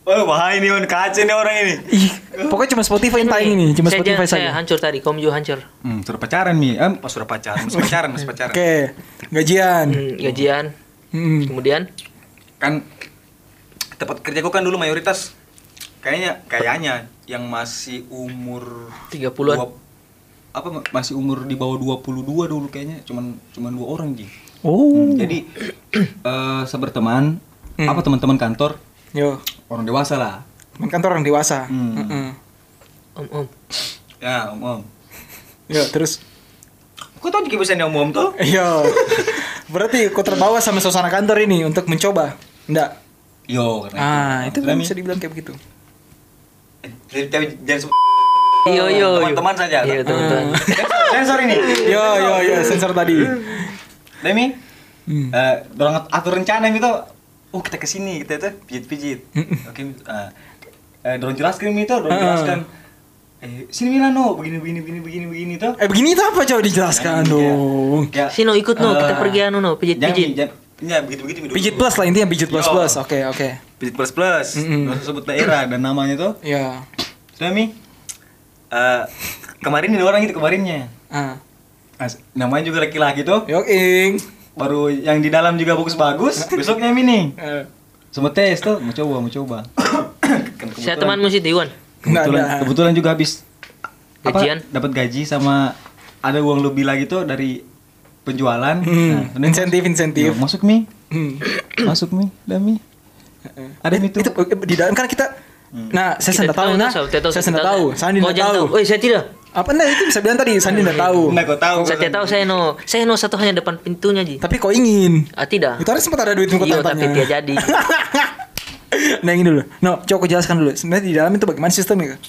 Speaker 4: Oh, bahaya nih, on kacau nih orang ini.
Speaker 3: Ih, pokoknya cuma Spotify yang tayang ini, cuma
Speaker 2: Saya
Speaker 3: Spotify
Speaker 2: jangan- saya
Speaker 3: saja.
Speaker 2: hancur tadi, kamu juga hancur.
Speaker 4: Hmm, sudah pacaran mi. Eh, pas sudah pacaran, masih pacaran, masih pacaran.
Speaker 3: Oke, gajian.
Speaker 2: Hmm, gajian.
Speaker 3: Hmm.
Speaker 2: Kemudian
Speaker 4: Kan tempat kerjaku kan dulu mayoritas kayaknya kayaknya yang masih umur
Speaker 2: 30-an.
Speaker 4: dua- apa masih umur di bawah 22 dulu kayaknya cuman cuman dua orang Ji.
Speaker 3: Oh.
Speaker 4: Jadi eh saya berteman
Speaker 3: Hmm.
Speaker 4: apa teman-teman kantor
Speaker 3: Yo,
Speaker 4: orang dewasa lah.
Speaker 3: teman kantor orang dewasa.
Speaker 4: Hmm.
Speaker 3: Mm-mm.
Speaker 2: om-om.
Speaker 4: Ya, om. om.
Speaker 3: Yo, terus
Speaker 4: Kok tau juga bisa nih om om tuh?
Speaker 3: Yo. Berarti kau terbawa sama suasana kantor ini untuk mencoba. Enggak.
Speaker 4: Yo, karena
Speaker 3: Ah, itu kan
Speaker 4: Tapi-
Speaker 3: bisa dibilang kayak begitu.
Speaker 4: Tapi tapi jangan sebut
Speaker 2: Yo yo. yo.
Speaker 4: teman-teman saja. Hmm.
Speaker 2: Iya, teman-teman.
Speaker 4: Sensor- Sensor ini.
Speaker 3: Yo, yo, yo, sensor tadi.
Speaker 4: Demi,
Speaker 3: Hmm.
Speaker 4: eh dorong atur rencana gitu. Oh, kita ke sini, kita itu pijit-pijit. Oke, eh eh, dorong jelaskan itu, dorong
Speaker 3: Hmm, Ah.
Speaker 4: jelaskan. Eh, sini Milano, begini begini begini begini begini tuh.
Speaker 3: Eh begini itu apa coba dijelaskan dong.
Speaker 4: Ya,
Speaker 2: Sino ikut no,
Speaker 4: eh,
Speaker 2: kita pergi anu
Speaker 4: jangan,
Speaker 2: no,
Speaker 4: Mi,
Speaker 2: pijit-pijit.
Speaker 4: jangan. Ya, begitu-begitu Mi, dulu.
Speaker 3: Pijit plus Hmm, lah intinya pijit plus
Speaker 4: Yo.
Speaker 3: plus. Oke, oke.
Speaker 4: Pijit plus plus.
Speaker 3: Mm-mm.
Speaker 4: Nggak usah sebut daerah dan namanya tuh.
Speaker 3: Ya.
Speaker 4: Sudah Mi. Eh, kemarin ada orang itu kemarinnya.
Speaker 3: Ah.
Speaker 4: As- namanya juga laki-laki tuh.
Speaker 3: Yo ing.
Speaker 4: Baru yang di dalam juga bagus-bagus. Besoknya Mi nih. Semua tes tuh, mau coba, mau coba. Kan kebetulan-
Speaker 2: Saya temanmu si Dewan.
Speaker 3: Enggak
Speaker 4: kebetulan,
Speaker 3: ada.
Speaker 4: kebetulan juga habis apa,
Speaker 2: Gajian.
Speaker 4: dapat gaji sama ada uang lebih lagi tuh dari penjualan.
Speaker 3: Hmm,
Speaker 4: Nah,
Speaker 3: insentif
Speaker 4: Yo,
Speaker 3: insentif.
Speaker 4: masuk Mi.
Speaker 3: Hmm.
Speaker 4: Masuk Mi, Dami. Ada Mi
Speaker 3: Eh. itu,
Speaker 4: tuh.
Speaker 3: di dalam kan kita Nah, saya
Speaker 2: Kita
Speaker 3: sudah tahu nah.
Speaker 2: Sob,
Speaker 3: Saya sudah tahu, Sandi
Speaker 2: Kau
Speaker 3: sudah
Speaker 2: jangan
Speaker 3: tahu.
Speaker 2: Eh, saya tidak.
Speaker 3: Apa nah itu bisa bilang tadi Sandi sudah tahu.
Speaker 4: Enggak kau tahu.
Speaker 2: Saya tidak tahu saya no. Saya no satu hanya depan pintunya, Ji.
Speaker 3: Tapi kau ingin.
Speaker 2: Ah, tidak.
Speaker 3: Itu harus sempat ada duit
Speaker 2: Iya,
Speaker 3: muka
Speaker 2: tapi dia jadi.
Speaker 3: nah ini dulu. No, coba aku jelaskan dulu. Sebenarnya di dalam itu bagaimana sistemnya? Kak?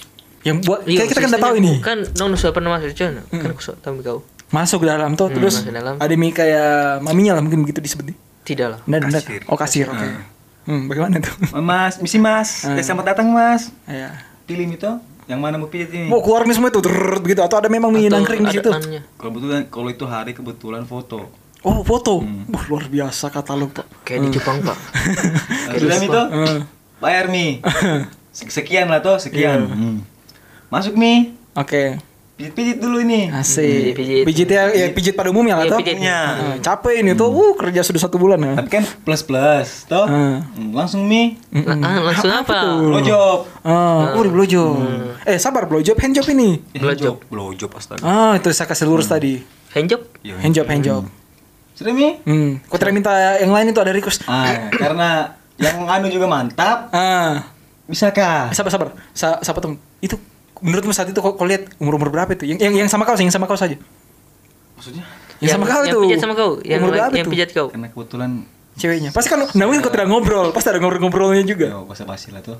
Speaker 3: Yang buat
Speaker 2: Iya,
Speaker 3: kayak kita kan udah
Speaker 2: sistemnya-
Speaker 3: tahu ini.
Speaker 2: Kan dong no, sudah pernah masuk cuy. Kan aku sudah tahu kau.
Speaker 3: Masuk ke dalam tuh
Speaker 2: Hmm,
Speaker 3: terus
Speaker 2: masuk ke dalam.
Speaker 3: ada mi kayak maminya lah mungkin begitu disebut.
Speaker 2: Tidak lah.
Speaker 3: Nggak, nggak.
Speaker 4: Kasir.
Speaker 3: Oh kasir, oke. Hmm, bagaimana tuh?
Speaker 4: Oh, Mas, misi Mas. Eh,
Speaker 3: Ah.
Speaker 4: Selamat datang Mas.
Speaker 3: Iya.
Speaker 4: Pilih Mi tuh. Yang mana mau pijit ini?
Speaker 3: Mau keluar nih semua itu drrrr, begitu atau ada memang mi
Speaker 2: Atau
Speaker 3: nangkring di
Speaker 2: ada kan
Speaker 3: situ?
Speaker 2: anunya.
Speaker 4: Kalau kebetulan kalau itu hari kebetulan foto.
Speaker 3: Oh, foto. Wah, luar biasa katalog, Pak.
Speaker 2: Kayak di Jepang, Pak.
Speaker 4: Nah, Sudah Mi tuh.
Speaker 3: Eh,
Speaker 4: Bayar Mi. Sek- Sekian lah tuh,
Speaker 3: Iya.
Speaker 4: sekian. Hmm. Masuk Mi.
Speaker 3: Oke.
Speaker 4: Pijit-pijit dulu ini.
Speaker 3: Ah, Asik.
Speaker 2: Hmm. Pijit, pijit.
Speaker 3: Pijit, ya, ya pijit pada umumnya lah
Speaker 2: Iya, Ah,
Speaker 3: tuh.
Speaker 2: pijit.
Speaker 3: Nah, capek ini tuh. Uh, kerja sudah satu bulan ya.
Speaker 4: Tapi kan plus plus toh.
Speaker 3: Ah.
Speaker 4: Hmm, Langsung Mi.
Speaker 2: Lah, ah, langsung Hmm. apa?
Speaker 4: Blow job.
Speaker 3: Hmm. Ah, uh, blowjob. Eh, sabar blowjob, handjob ini.
Speaker 4: Blow Eh, job. Blow job astaga.
Speaker 3: Ah, itu saya kasih
Speaker 2: Hmm.
Speaker 3: lurus tadi.
Speaker 2: Handjob?
Speaker 4: Yo.
Speaker 3: Ah, Handjob, handjob.
Speaker 4: Sudah Mi?
Speaker 3: Hmm. Kau tidak minta yang lain itu ada request.
Speaker 4: Ah, karena yang anu juga mantap.
Speaker 3: Ah,
Speaker 4: Bisakah?
Speaker 3: sabar, sabar. Sa sabar tem. Itu menurutmu saat itu kau, kau lihat umur umur berapa itu? Yang yang, yang sama kau sih, yang sama kau saja.
Speaker 4: Maksudnya?
Speaker 3: Yang, Ya, sama kau
Speaker 2: yang
Speaker 3: itu.
Speaker 2: pijat sama kau, yang
Speaker 3: umur berapa
Speaker 2: yang
Speaker 3: itu?
Speaker 2: pijat kau.
Speaker 4: Karena kebetulan
Speaker 3: Ceweknya. Pasti kan, nah mungkin kau tidak ngobrol. Pasti ada ngobrol-ngobrolnya juga.
Speaker 4: yo bahasa basi ya, lah tuh.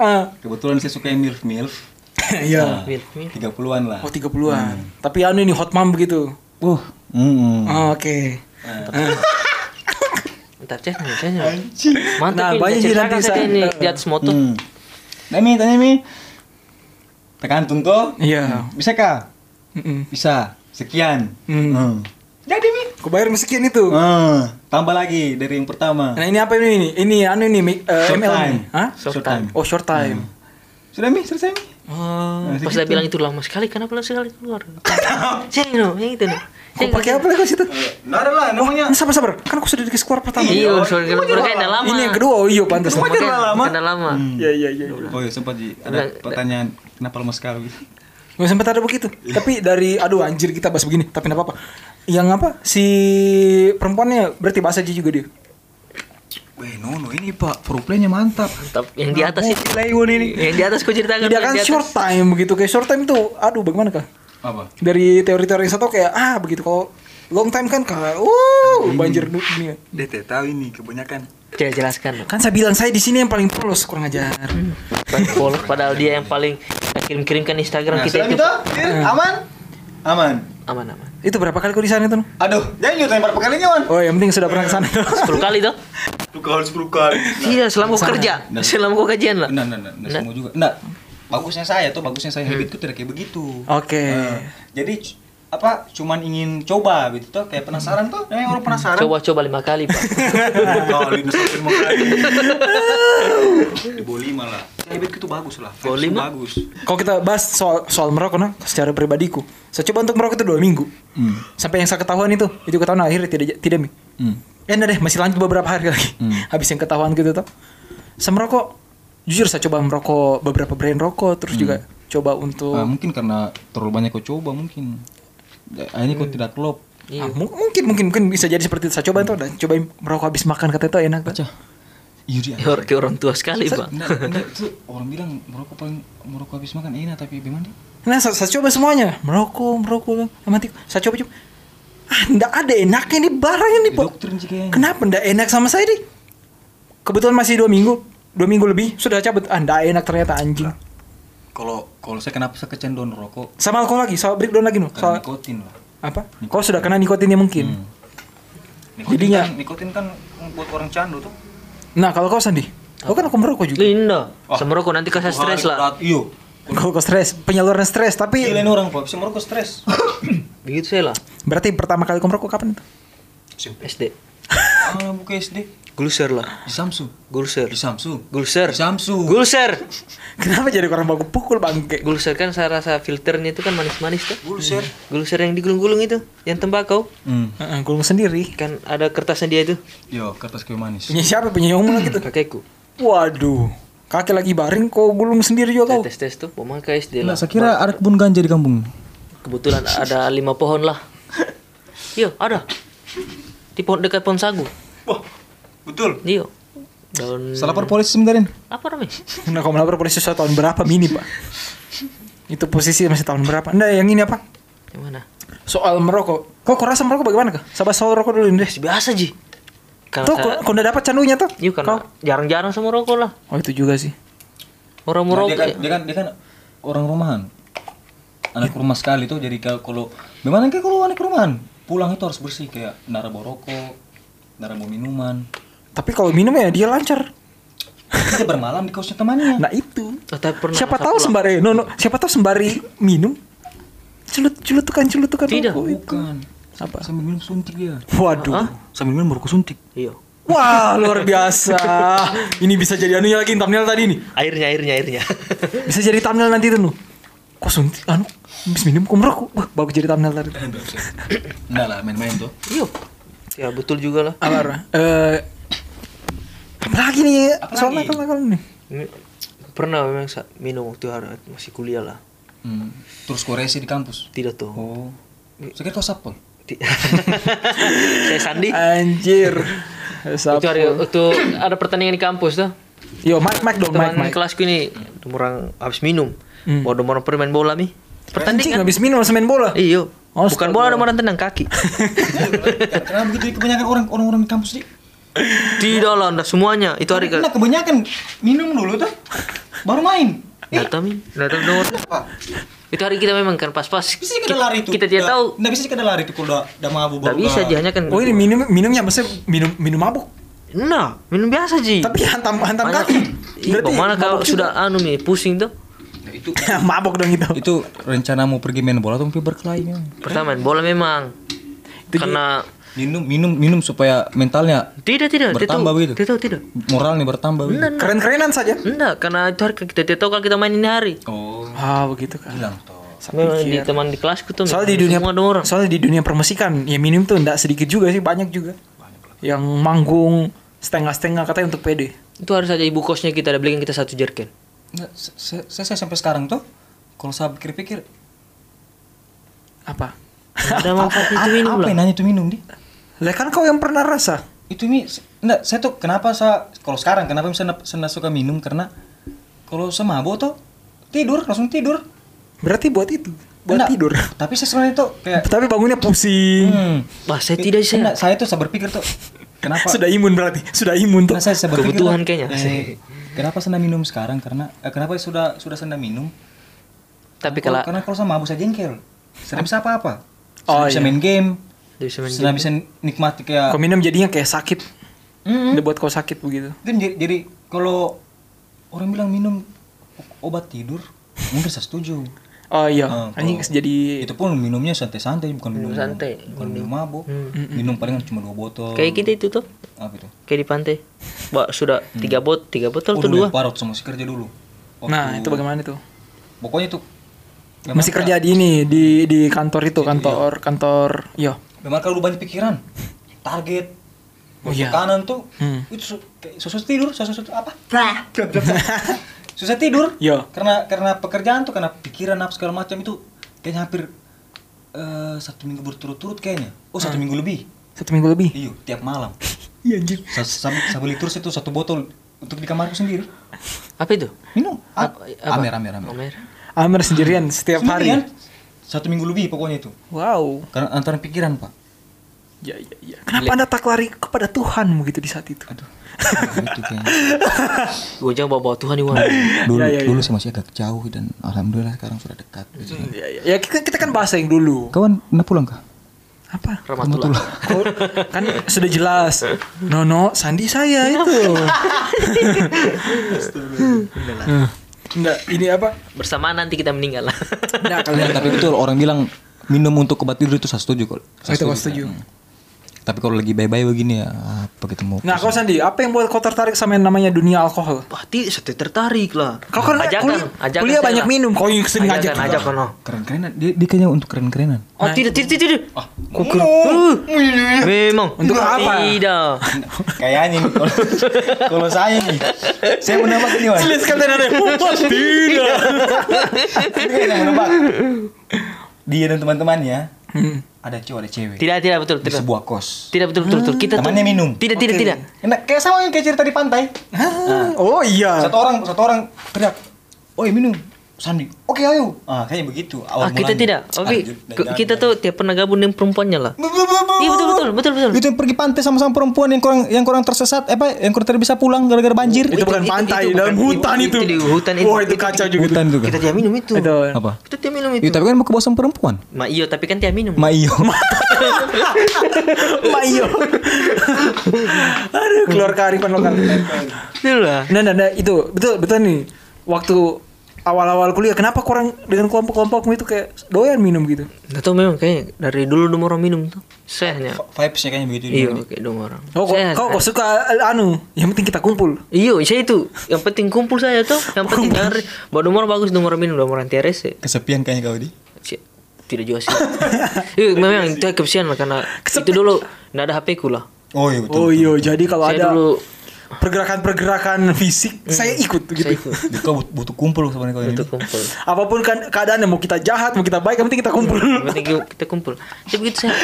Speaker 3: Ah,
Speaker 4: Kebetulan saya suka yang milf milf.
Speaker 3: iya.
Speaker 2: Milf, milf.
Speaker 4: 30-an lah.
Speaker 3: Oh 30-an. Tapi anu ini hot mom begitu.
Speaker 4: Uh. Mm.
Speaker 3: Oh, Oke.
Speaker 2: Mantap, Ceh. Mantap, Ceh. Mantap.
Speaker 3: Nah,
Speaker 2: ini,
Speaker 3: banyak
Speaker 2: ceritakan
Speaker 3: nanti
Speaker 2: saya
Speaker 3: saya-
Speaker 2: ini di atas motor.
Speaker 4: Hmm. Nah, Mi, tanya Mi. Tergantung tuh.
Speaker 3: Iya.
Speaker 4: Bisa kah?
Speaker 3: Mm-mm.
Speaker 4: Bisa. Sekian.
Speaker 3: Hmm.
Speaker 4: Hmm. Jadi Mi.
Speaker 3: Kau bayar sekian itu.
Speaker 4: Hmm. Tambah lagi dari yang pertama.
Speaker 3: Nah ini apa ini ini? Ini anu ini mi- eh,
Speaker 4: Short
Speaker 3: ML
Speaker 4: time.
Speaker 3: ini. Hah?
Speaker 4: Short
Speaker 2: Short
Speaker 4: time.
Speaker 3: Oh short time.
Speaker 4: Sudah Mi, selesai Mi.
Speaker 3: Oh.
Speaker 4: Nah,
Speaker 2: Pas
Speaker 4: segitu.
Speaker 2: dia bilang itu lama sekali, kenapa lama sekali keluar? Ceng, no, yang itu no.
Speaker 3: Kau
Speaker 2: Ceng,
Speaker 3: pakai
Speaker 2: no.
Speaker 3: apa lah kau situ?
Speaker 4: Oh, Nggak ada lah namanya.
Speaker 3: Nah, sabar sabar. Kan aku sudah dikasih keluar pertama.
Speaker 2: Iya, suara keluar kan udah lama.
Speaker 3: Ini yang kedua. Oh iya pantas.
Speaker 4: Itu
Speaker 3: lama.
Speaker 4: aja udah lama.
Speaker 2: Udah lama.
Speaker 3: Iya iya iya.
Speaker 4: Oh iya sempat Ji,
Speaker 2: Udah,
Speaker 4: ada
Speaker 2: udah.
Speaker 4: pertanyaan kenapa lama sekali.
Speaker 3: Gak sempat ada begitu. Tapi dari aduh anjir kita bahas begini. Tapi nggak apa-apa. Yang apa? Si perempuannya berarti bahasa aja juga dia.
Speaker 4: Weh Nono ini Pak, pro-play-nya mantap.
Speaker 2: Mantap, yang di atas itu.
Speaker 4: Playone ini.
Speaker 2: Yang di atas kau ceritakan.
Speaker 3: Tidak
Speaker 2: yang
Speaker 3: kan
Speaker 2: di atas.
Speaker 3: short time begitu kayak short time tuh. Aduh bagaimana kah?
Speaker 4: Apa?
Speaker 3: dari teori-teori yang satu kayak ah begitu kalau long time kan kayak uh banjir dunia
Speaker 4: Dia tidak tahu ini kebanyakan.
Speaker 2: Coba jelaskan.
Speaker 3: kan saya bilang saya di sini yang paling polos kurang ajar
Speaker 2: Baik, follow. Padahal dia yang paling kirim kirimkan Instagram
Speaker 4: Nah,
Speaker 2: kita
Speaker 4: sudah
Speaker 2: itu.
Speaker 4: gitu, Fir? aman? Aman.
Speaker 2: Aman aman.
Speaker 3: itu berapa kali kau di sana itu
Speaker 4: Aduh, jangan nyutain berapa kalinya, Man.
Speaker 3: oh yang penting sudah pernah ke sana
Speaker 2: Sepuluh kali tuh.
Speaker 4: Lu harus 10 kali.
Speaker 2: Iya, selama kau kerja,
Speaker 4: Nah.
Speaker 2: selama kau kajian lah.
Speaker 4: Nah, nah, nah, nah, semua juga. Nah, bagusnya saya tuh, bagusnya saya habitku tidak kayak begitu.
Speaker 3: Oke.
Speaker 4: Nah, jadi c- apa cuman ingin coba gitu tuh kayak penasaran tuh eh, orang penasaran
Speaker 2: Coba coba lima kali pak.
Speaker 4: kali nusakin makanya di boli malah habitku tuh bagus lah
Speaker 2: Bau
Speaker 4: Vibesku
Speaker 2: lima?
Speaker 4: bagus
Speaker 3: kalau kita bahas soal soal merokok nah secara pribadiku saya coba untuk merokok itu dua minggu
Speaker 4: Hmm.
Speaker 3: sampai yang saya ketahuan itu itu ketahuan akhirnya tidak tidak mi
Speaker 4: Hmm.
Speaker 3: ya enggak deh masih lanjut beberapa hari lagi habis yang ketahuan gitu tuh saya merokok jujur saya coba merokok beberapa brand rokok terus juga coba untuk
Speaker 4: Ah, mungkin karena terlalu banyak kau coba mungkin akhirnya kau tidak klop
Speaker 2: Iya.
Speaker 3: Ah, mu- mungkin mungkin mungkin bisa jadi seperti itu. Saya coba tuh dan cobain merokok habis makan kata itu enak tuh.
Speaker 4: Cah. Iya dia.
Speaker 2: Ya, orang- kayak orang tua sekali pak.
Speaker 4: Enggak, enggak, itu orang bilang merokok paling merokok habis makan enak tapi bagaimana?
Speaker 3: Nah, saya, saya coba semuanya. Merokok, merokok, mati. Saya coba coba. Ah, ndak ada enaknya ini barang ini, Pak.
Speaker 4: Dokter sih kayaknya.
Speaker 3: Kenapa ndak enak sama saya nih? Kebetulan masih dua minggu, dua minggu lebih sudah cabut. Ah, ndak enak ternyata anjing.
Speaker 4: Kalau kalau saya kenapa saya kecanduan rokok?
Speaker 3: Sama alkohol lagi, soal breakdown lagi noh.
Speaker 4: Karena
Speaker 3: Soal
Speaker 4: nikotin lah.
Speaker 3: apa? Kau sudah kena nikotinnya mungkin.
Speaker 4: Hmm. Nikotin
Speaker 3: Jadinya-
Speaker 4: kan, nikotin kan buat orang candu tuh.
Speaker 3: Nah, kalau kau Sandi, kau kan aku merokok juga.
Speaker 2: Linda, semerokok nanti kasih stres lah.
Speaker 4: Iyo.
Speaker 3: Kalau kau stres, penyaluran stres, tapi
Speaker 4: Gila ini Iya. orang pak, bisa merokok stres.
Speaker 2: Begitu saya lah.
Speaker 3: berarti pertama kali kau merokok kapan itu?
Speaker 4: Siapa?
Speaker 2: SD,
Speaker 4: Ah, buka SD.
Speaker 2: gulser lah,
Speaker 4: Di Samsung.
Speaker 2: gulser,
Speaker 4: Di Samsung.
Speaker 2: gulser,
Speaker 4: Di Samsung.
Speaker 2: gulser,
Speaker 3: Kenapa jadi orang baku pukul bangke?
Speaker 2: gulser kan saya rasa filternya itu kan manis-manis tuh.
Speaker 4: Gulser.
Speaker 2: Gulser yang digulung-gulung itu, yang tembakau
Speaker 4: Hmm. Iya,
Speaker 3: Heeh, gulung sendiri.
Speaker 2: kan ada kertasnya dia itu,
Speaker 4: Yo, kertas kayu manis.
Speaker 3: Punya siapa? Punya yang mana gitu?
Speaker 2: kakekku.
Speaker 3: Waduh, kaki lagi baring kok gulung sendiri
Speaker 2: Saya
Speaker 3: juga kau.
Speaker 2: tes-tes tuh, pemakai SD lah.
Speaker 4: Nah, kira ada kebun ganja di kampung.
Speaker 2: Kebetulan ada lima pohon lah. Iya, ada. Di pohon dekat pohon sagu.
Speaker 4: Wah, betul.
Speaker 2: Iya. Daun
Speaker 6: Selapor polisi sebentar
Speaker 2: apa namanya?
Speaker 3: Nah, kau melapor polisi sudah tahun berapa mini pak? Itu posisi masih tahun berapa? Nah, yang ini apa?
Speaker 2: Yang mana?
Speaker 3: Soal merokok. Kok kau rasa merokok bagaimana kah? Sabar soal rokok dulu ini deh.
Speaker 2: Biasa Ji. Karena
Speaker 3: Tuh,
Speaker 2: saya-
Speaker 3: kau, kau udah dapat candunya tuh?
Speaker 2: Iya karena
Speaker 3: Kau?
Speaker 2: jarang-jarang sama rokok lah.
Speaker 3: Oh itu juga sih.
Speaker 2: Orang
Speaker 4: Nah,
Speaker 2: merokok.
Speaker 4: dia, kan,
Speaker 2: ya.
Speaker 4: dia kan dia kan orang rumahan. Anak rumah sekali tuh jadi kalau- kalau memang kayak kalau anak rumahan pulang itu harus bersih kayak nara bawa rokok, nara bawa minuman.
Speaker 3: Tapi kalau minum ya dia lancar.
Speaker 4: Kita bermalam di kosnya temannya.
Speaker 3: Nah itu.
Speaker 2: Oh, tapi pernah
Speaker 3: siapa
Speaker 2: masa
Speaker 3: tahu
Speaker 2: pulang.
Speaker 3: sembari, no, no, siapa tahu sembari minum, celut celutukan celutukan
Speaker 2: Tidak.
Speaker 3: rokok itu.
Speaker 4: Bukan.
Speaker 3: Apa?
Speaker 4: Sambil minum suntik dia.
Speaker 3: Waduh.
Speaker 4: Sambil minum merokok suntik.
Speaker 2: Iya.
Speaker 3: Wah luar biasa. ini bisa jadi anunya lagi thumbnail tadi nih.
Speaker 2: Airnya airnya airnya.
Speaker 3: Bisa jadi thumbnail nanti tuh. Nuh. Kok suntik anu habis minum kok merokok. Wah bagus jadi thumbnail tadi.
Speaker 4: Eh, Enggak lah main-main tuh.
Speaker 2: Iya. Ya betul juga lah.
Speaker 3: Alar. Eh apa lagi nih
Speaker 4: Apa
Speaker 3: soal
Speaker 4: lagi?
Speaker 3: nakal-nakal nih.
Speaker 2: Mi- Pernah memang sa- minum waktu hari masih kuliah lah.
Speaker 4: Hmm. Terus koresi di kampus.
Speaker 2: Tidak tuh.
Speaker 4: Oh. Saya kira kau sapol.
Speaker 2: Ti- Saya Sandi.
Speaker 3: Anjir.
Speaker 2: Itu hari
Speaker 3: Sapu.
Speaker 2: itu ada pertandingan di kampus tuh.
Speaker 3: Yo, mic mic dong, mic
Speaker 2: Teman
Speaker 3: mic.
Speaker 2: kelasku ini orang habis minum.
Speaker 3: Hmm.
Speaker 2: Mau orang permain bola mi.
Speaker 3: Anjing
Speaker 2: Pertandingan.
Speaker 3: habis minum langsung main bola.
Speaker 2: kan- Iya.
Speaker 3: Oh,
Speaker 2: Bukan bola orang tendang kaki.
Speaker 4: Kenapa begitu kebanyakan orang orang orang di kampus sih?
Speaker 2: Tidak lah, anda semuanya. Itu hari ke
Speaker 4: Nah, kebanyakan minum dulu tuh baru main.
Speaker 2: Datang, Mi. datang dong.
Speaker 4: Apa?
Speaker 2: Itu hari kita memang kan pas-pas.
Speaker 4: Bisa sih kada lari tuh.
Speaker 2: Kita tidak tahu.
Speaker 4: Nggak bisa sih kada lari tuh kalau udah udah mabuk
Speaker 2: Tidak bisa Ji, hanya kan.
Speaker 3: Oh ini minum minumnya maksudnya minum minum mabuk.
Speaker 2: Nah, minum biasa ji.
Speaker 3: Tapi hantam hantam
Speaker 2: Banyak-
Speaker 3: kaki.
Speaker 2: Ih, Bagaimana kalau sudah anu nih pusing tuh?
Speaker 4: Nah, itu
Speaker 3: mabuk dong itu.
Speaker 4: itu rencana mau pergi main bola tuh mungkin berkelahi memang.
Speaker 2: Pertama main bola memang. Karena
Speaker 4: Minum minum minum supaya mentalnya
Speaker 2: tidak tidak tidak
Speaker 4: Bertambah
Speaker 2: tahu.
Speaker 4: begitu?
Speaker 2: Tidak tahu, tidak.
Speaker 4: moralnya bertambah. gitu.
Speaker 3: Keren-kerenan saja.
Speaker 2: Enggak, karena itu hari kita tidak tahu kalau kita main ini hari. Iya.
Speaker 4: Oh,
Speaker 3: Ah begitu kan.
Speaker 4: hilang toh.
Speaker 2: Memang di teman di kelasku tuh.
Speaker 3: Soalnya
Speaker 2: memang
Speaker 3: di dunia
Speaker 2: semua ada orang.
Speaker 3: soalnya di dunia permusikan ya minum tuh enggak sedikit juga sih banyak juga. Yang manggung setengah-setengah katanya untuk PD.
Speaker 2: Itu harus aja ibu kosnya kita ada belikan kita satu jerken.
Speaker 4: Nggak, se- se- saya, saya sampai sekarang tuh kalau saya pikir-pikir
Speaker 3: Apa?
Speaker 2: Ada manfaat
Speaker 4: apa,
Speaker 2: itu minum
Speaker 4: "Ah, apa
Speaker 2: lah.
Speaker 4: yang nanya itu minum di?
Speaker 3: Lah kan kau yang pernah rasa.
Speaker 4: Itu mi se- nggak saya tuh kenapa saya kalau sekarang kenapa saya nggak- saya nggak suka minum karena kalau saya mabuk tuh tidur langsung tidur
Speaker 3: Berarti buat itu.
Speaker 4: Enggak.
Speaker 3: buat tidur.
Speaker 4: Tapi saya sebenarnya tuh kayak
Speaker 3: Tapi bangunnya pusing.
Speaker 4: hmm,
Speaker 2: Wah, saya Eh, tidak sih.
Speaker 4: enggak, saya tuh saya berpikir tuh kenapa
Speaker 3: Sudah imun berarti. Sudah imun tuh.
Speaker 4: Karena Nah, saya, saya berpikir
Speaker 2: Kebutuhan
Speaker 4: tuh,
Speaker 2: kayaknya.
Speaker 4: eh, kenapa senda minum sekarang? Karena eh, kenapa sudah sudah senda minum?
Speaker 2: Tapi kalau
Speaker 4: karena kalau sama abu saya jengkel. Saya bisa apa-apa. Saya
Speaker 3: Oh,
Speaker 4: bisa
Speaker 3: iya.
Speaker 4: main game.
Speaker 2: Dia bisa main
Speaker 4: Saya bisa nikmati kayak
Speaker 3: Kau minum jadinya kayak sakit.
Speaker 4: Mm-mm.
Speaker 3: Udah buat kau sakit begitu.
Speaker 4: Kan jadi, jadi kalau orang bilang minum o- obat tidur, mungkin saya setuju.
Speaker 3: Oh iya.
Speaker 4: Nah,
Speaker 3: Anjing
Speaker 4: kalau-
Speaker 3: jadi
Speaker 4: Itu pun minumnya santai-santai, bukan minum,
Speaker 2: Minum santai.
Speaker 4: bukan minum mabuk.
Speaker 2: Hmm.
Speaker 4: Minum palingan cuma dua botol.
Speaker 2: kayak gitu ya? kita itu tuh,
Speaker 4: Apa itu?
Speaker 2: kayak di pantai. Mbak sudah tiga bot, tiga botol
Speaker 4: Oh,
Speaker 2: tuh
Speaker 4: dulu
Speaker 2: dua. Iya.
Speaker 4: yang parot sama si kerja dulu. Waktu-
Speaker 3: Nah, itu bagaimana tuh?
Speaker 4: Pokoknya itu
Speaker 3: Masih kerja di ini di di kantor itu, kantor kantor. iya. Yo.
Speaker 4: Memang kalau lu banyak pikiran, target,
Speaker 3: Oh, iya.
Speaker 4: kanan tuh,
Speaker 3: Hmm.
Speaker 4: itu su- kayak susah tidur, susah susah apa? Blah, blah, blah. susah tidur.
Speaker 3: Yo.
Speaker 4: Karena karena pekerjaan tuh, karena pikiran apa segala macam itu kayaknya hampir eh, satu minggu berturut-turut kayaknya. Oh
Speaker 3: Hmm.
Speaker 4: satu minggu lebih.
Speaker 3: Satu minggu lebih.
Speaker 4: Iyo, tiap malam.
Speaker 3: Iya anjir.
Speaker 4: Sa- sa- Saya beli terus itu satu botol untuk di kamarku sendiri.
Speaker 2: Apa itu?
Speaker 4: Minum. A-
Speaker 2: Apa- apa?
Speaker 4: Amer, amer, amer.
Speaker 2: Amer.
Speaker 3: Amer Ah, sendirian setiap
Speaker 4: Sendirian,
Speaker 3: hari.
Speaker 4: Satu minggu lebih pokoknya itu.
Speaker 3: Wow.
Speaker 4: Karena antara pikiran pak.
Speaker 3: Ya ya ya. Kenapa Anda tak lari kepada Tuhan begitu di saat itu?
Speaker 4: Aduh. itu Gitu, kayaknya.
Speaker 2: Gue jangan bawa bawa Tuhan Iwan.
Speaker 4: dulu
Speaker 3: Ya, ya, ya.
Speaker 4: dulu saya masih agak jauh dan alhamdulillah sekarang sudah dekat
Speaker 3: Ya, ya. ya kita, kita kan bahasa yang dulu.
Speaker 4: kawan pernah pulang kah
Speaker 3: Apa?
Speaker 2: Rahmatullah.
Speaker 3: Kau- kan sudah jelas. Nono, Sandi saya itu. Enggak, ini apa?
Speaker 2: Bersama nanti kita meninggal.
Speaker 4: Iya,
Speaker 3: Enggak, kalian
Speaker 4: tapi betul orang bilang minum untuk obat tidur itu saya setuju kok Saya
Speaker 3: Oh, Itu kau setuju.
Speaker 4: Hmm. tapi kalau lagi bye bye begini ya apa ketemu
Speaker 3: Nah, kau Sandi, apa yang buat kau tertarik sama yang namanya dunia alkohol?
Speaker 2: Pasti saya tertarik lah.
Speaker 3: Kau kan kuliah, kuliah
Speaker 2: saya
Speaker 3: banyak
Speaker 2: lah.
Speaker 3: minum, kau yang sering ngajak.
Speaker 2: Ajakan, ajakan, oh.
Speaker 4: keren kerenan dia, dia kayaknya untuk keren kerenan
Speaker 3: Ah,
Speaker 2: Oh tidak tidak tidak. tidak. Kok ker- Uh, Memang.
Speaker 3: Untuk apa?
Speaker 2: Tidak.
Speaker 4: kayaknya nih kalau, kalau saya nih saya menebak ini mas
Speaker 3: kalian ada tidak.
Speaker 4: saya menebak dia dan teman-temannya ada cowok ada cewek
Speaker 2: Tidak tidak betul
Speaker 4: di
Speaker 2: tidak.
Speaker 4: sebuah kos
Speaker 2: Tidak betul betul betul. Kita tuh-
Speaker 4: Temannya minum.
Speaker 2: Tidak tidak
Speaker 3: Oke.
Speaker 2: tidak.
Speaker 4: enak kayak sama yang kayak cerita di pantai
Speaker 3: Oh iya.
Speaker 4: satu orang satu orang teriak oi minum Sandi oke ayo ah kayaknya begitu
Speaker 3: Oh,
Speaker 2: Ah,
Speaker 4: awal
Speaker 2: kita
Speaker 4: mulanya.
Speaker 2: tidak.
Speaker 4: Ah,
Speaker 2: Oke,
Speaker 4: jangan,
Speaker 2: ke- kita
Speaker 4: jangan.
Speaker 2: tuh tiap pernah gabung dengan perempuannya lah.
Speaker 4: Bu, bu, bu, bu,
Speaker 2: Iya betul
Speaker 4: bu.
Speaker 2: betul betul betul.
Speaker 6: Itu yang pergi pantai sama-sama perempuan yang kurang yang kurang tersesat, eh, apa yang kurang tidak bisa pulang gara-gara banjir.
Speaker 3: Itu bukan
Speaker 2: itu-
Speaker 3: pantai,
Speaker 2: itu
Speaker 3: dalam
Speaker 2: bukan-
Speaker 3: hutan
Speaker 2: itu-
Speaker 3: itu.
Speaker 2: itu di hutan itu.
Speaker 3: Wah, itu
Speaker 2: Itu-
Speaker 3: kacau juga.
Speaker 6: Hutan itu kan.
Speaker 2: Kita tiap minum itu.
Speaker 3: Itu.
Speaker 6: Apa?
Speaker 2: Kita tiap minum itu.
Speaker 6: Iya, tapi kan mau ke bosan perempuan.
Speaker 2: Ma iyo tapi kan tiap minum.
Speaker 6: Ma iyo.
Speaker 3: Mayo. Aduh, keluar kearifan lokal.
Speaker 2: Betul lah.
Speaker 3: Nah, nah, nah, itu betul betul nih. Waktu awal-awal kuliah, kenapa kurang dengan kelompok-kelompokmu itu kayak doyan minum gitu?
Speaker 2: Nggak tahu memang kayaknya dari dulu dulu orang minum tuh. Saya hanya.
Speaker 4: V- vibesnya kayaknya begitu
Speaker 2: Iya kayak dulu orang.
Speaker 3: Oh, kok,
Speaker 2: Saya-
Speaker 3: kau, kau suka eh, anu? Yang penting kita kumpul.
Speaker 2: Iya, saya itu. Yang penting kumpul saya tuh. Yang penting dengar. Bawa nomor bagus, nomor minum, nomor anti RS.
Speaker 4: kesepian kayaknya kau di
Speaker 2: Si- Tidak juga sih. Iya, memang itu kesian lah karena itu dulu nggak ada HP ku lah.
Speaker 4: oh iya betul
Speaker 3: oh iya, jadi kalau
Speaker 2: Saya
Speaker 3: ada
Speaker 2: dulu Hmm.
Speaker 3: pergerakan-pergerakan fisik, saya ikut gitu.
Speaker 2: saya ikut
Speaker 4: Jadi kau but- butuh kumpul sebenarnya kau ini
Speaker 2: untuk kumpul.
Speaker 3: Apapun kan keadaannya mau kita jahat, mau kita baik, yang penting kita kumpul.
Speaker 2: Yang penting ku- kita kumpul. Tapi begitu saya.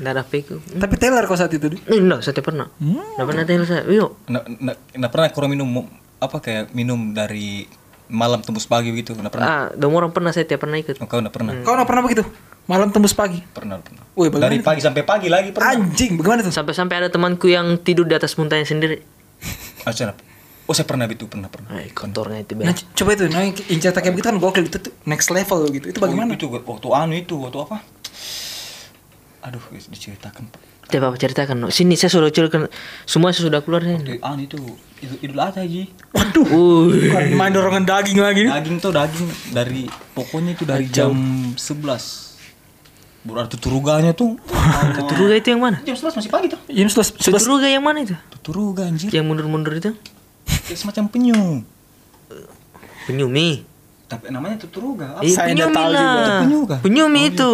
Speaker 2: Nggak ada HP ku.
Speaker 3: Tapi teler kau saat itu. Di?
Speaker 2: Eh, Nggak, saya tidak pernah. Nggak pernah tanya saya. Yuk,
Speaker 4: Nggak- nggak- nggak pernah kurang minum mo- apa kayak minum dari malam tembus pagi begitu nggak pernah
Speaker 2: ah, dong orang pernah saya tidak pernah ikut.
Speaker 4: oh, kau nggak pernah
Speaker 3: Kau nggak pernah begitu? Malam tembus pagi.
Speaker 4: pernah pernah
Speaker 3: Woi, Hmm. bagaimana
Speaker 4: dari
Speaker 3: tuh?
Speaker 4: pagi sampai pagi lagi pernah
Speaker 3: Anjing, bagaimana tuh?
Speaker 2: Sampai-sampai ada temanku yang tidur di atas muntahnya sendiri.
Speaker 4: Ah, saya- oh saya pernah itu pernah pernah
Speaker 2: Eh, kotornya itu benar.
Speaker 3: Nah, c- coba itu, nah, yang yang cerita kayak begitu kan gokil itu tuh next level gitu. Itu
Speaker 4: Oh,
Speaker 3: bagaimana?
Speaker 4: itu waktu anu itu waktu apa aduh diceritakan
Speaker 2: Coba apa ceritakan? No. Sini saya sudah ceritakan. Semua saya sudah keluar
Speaker 4: Waktu
Speaker 2: sini.
Speaker 4: anu itu idul, idul adha ji
Speaker 3: Waduh,
Speaker 2: Uh,
Speaker 3: bukan main dorongan daging lagi. nih.
Speaker 4: daging tuh daging dari pokoknya itu dari jam 11 berarti turuganya tuh
Speaker 2: Turuga itu yang mana?
Speaker 4: jam 11 masih pagi tuh
Speaker 3: Ini sudah sudah
Speaker 2: Turuga yang mana itu?
Speaker 4: turuga
Speaker 3: Iya.
Speaker 4: anjir
Speaker 2: Yang mundur-mundur itu?
Speaker 4: kayak semacam penyu
Speaker 2: Penyumi.
Speaker 4: tapi namanya tuh turuga apa?
Speaker 2: Eh,
Speaker 3: Saya
Speaker 2: penyumi
Speaker 3: nggak tahu
Speaker 2: lah.
Speaker 4: juga. Itu penyu kah? Oh, gitu.
Speaker 2: Penyumi itu.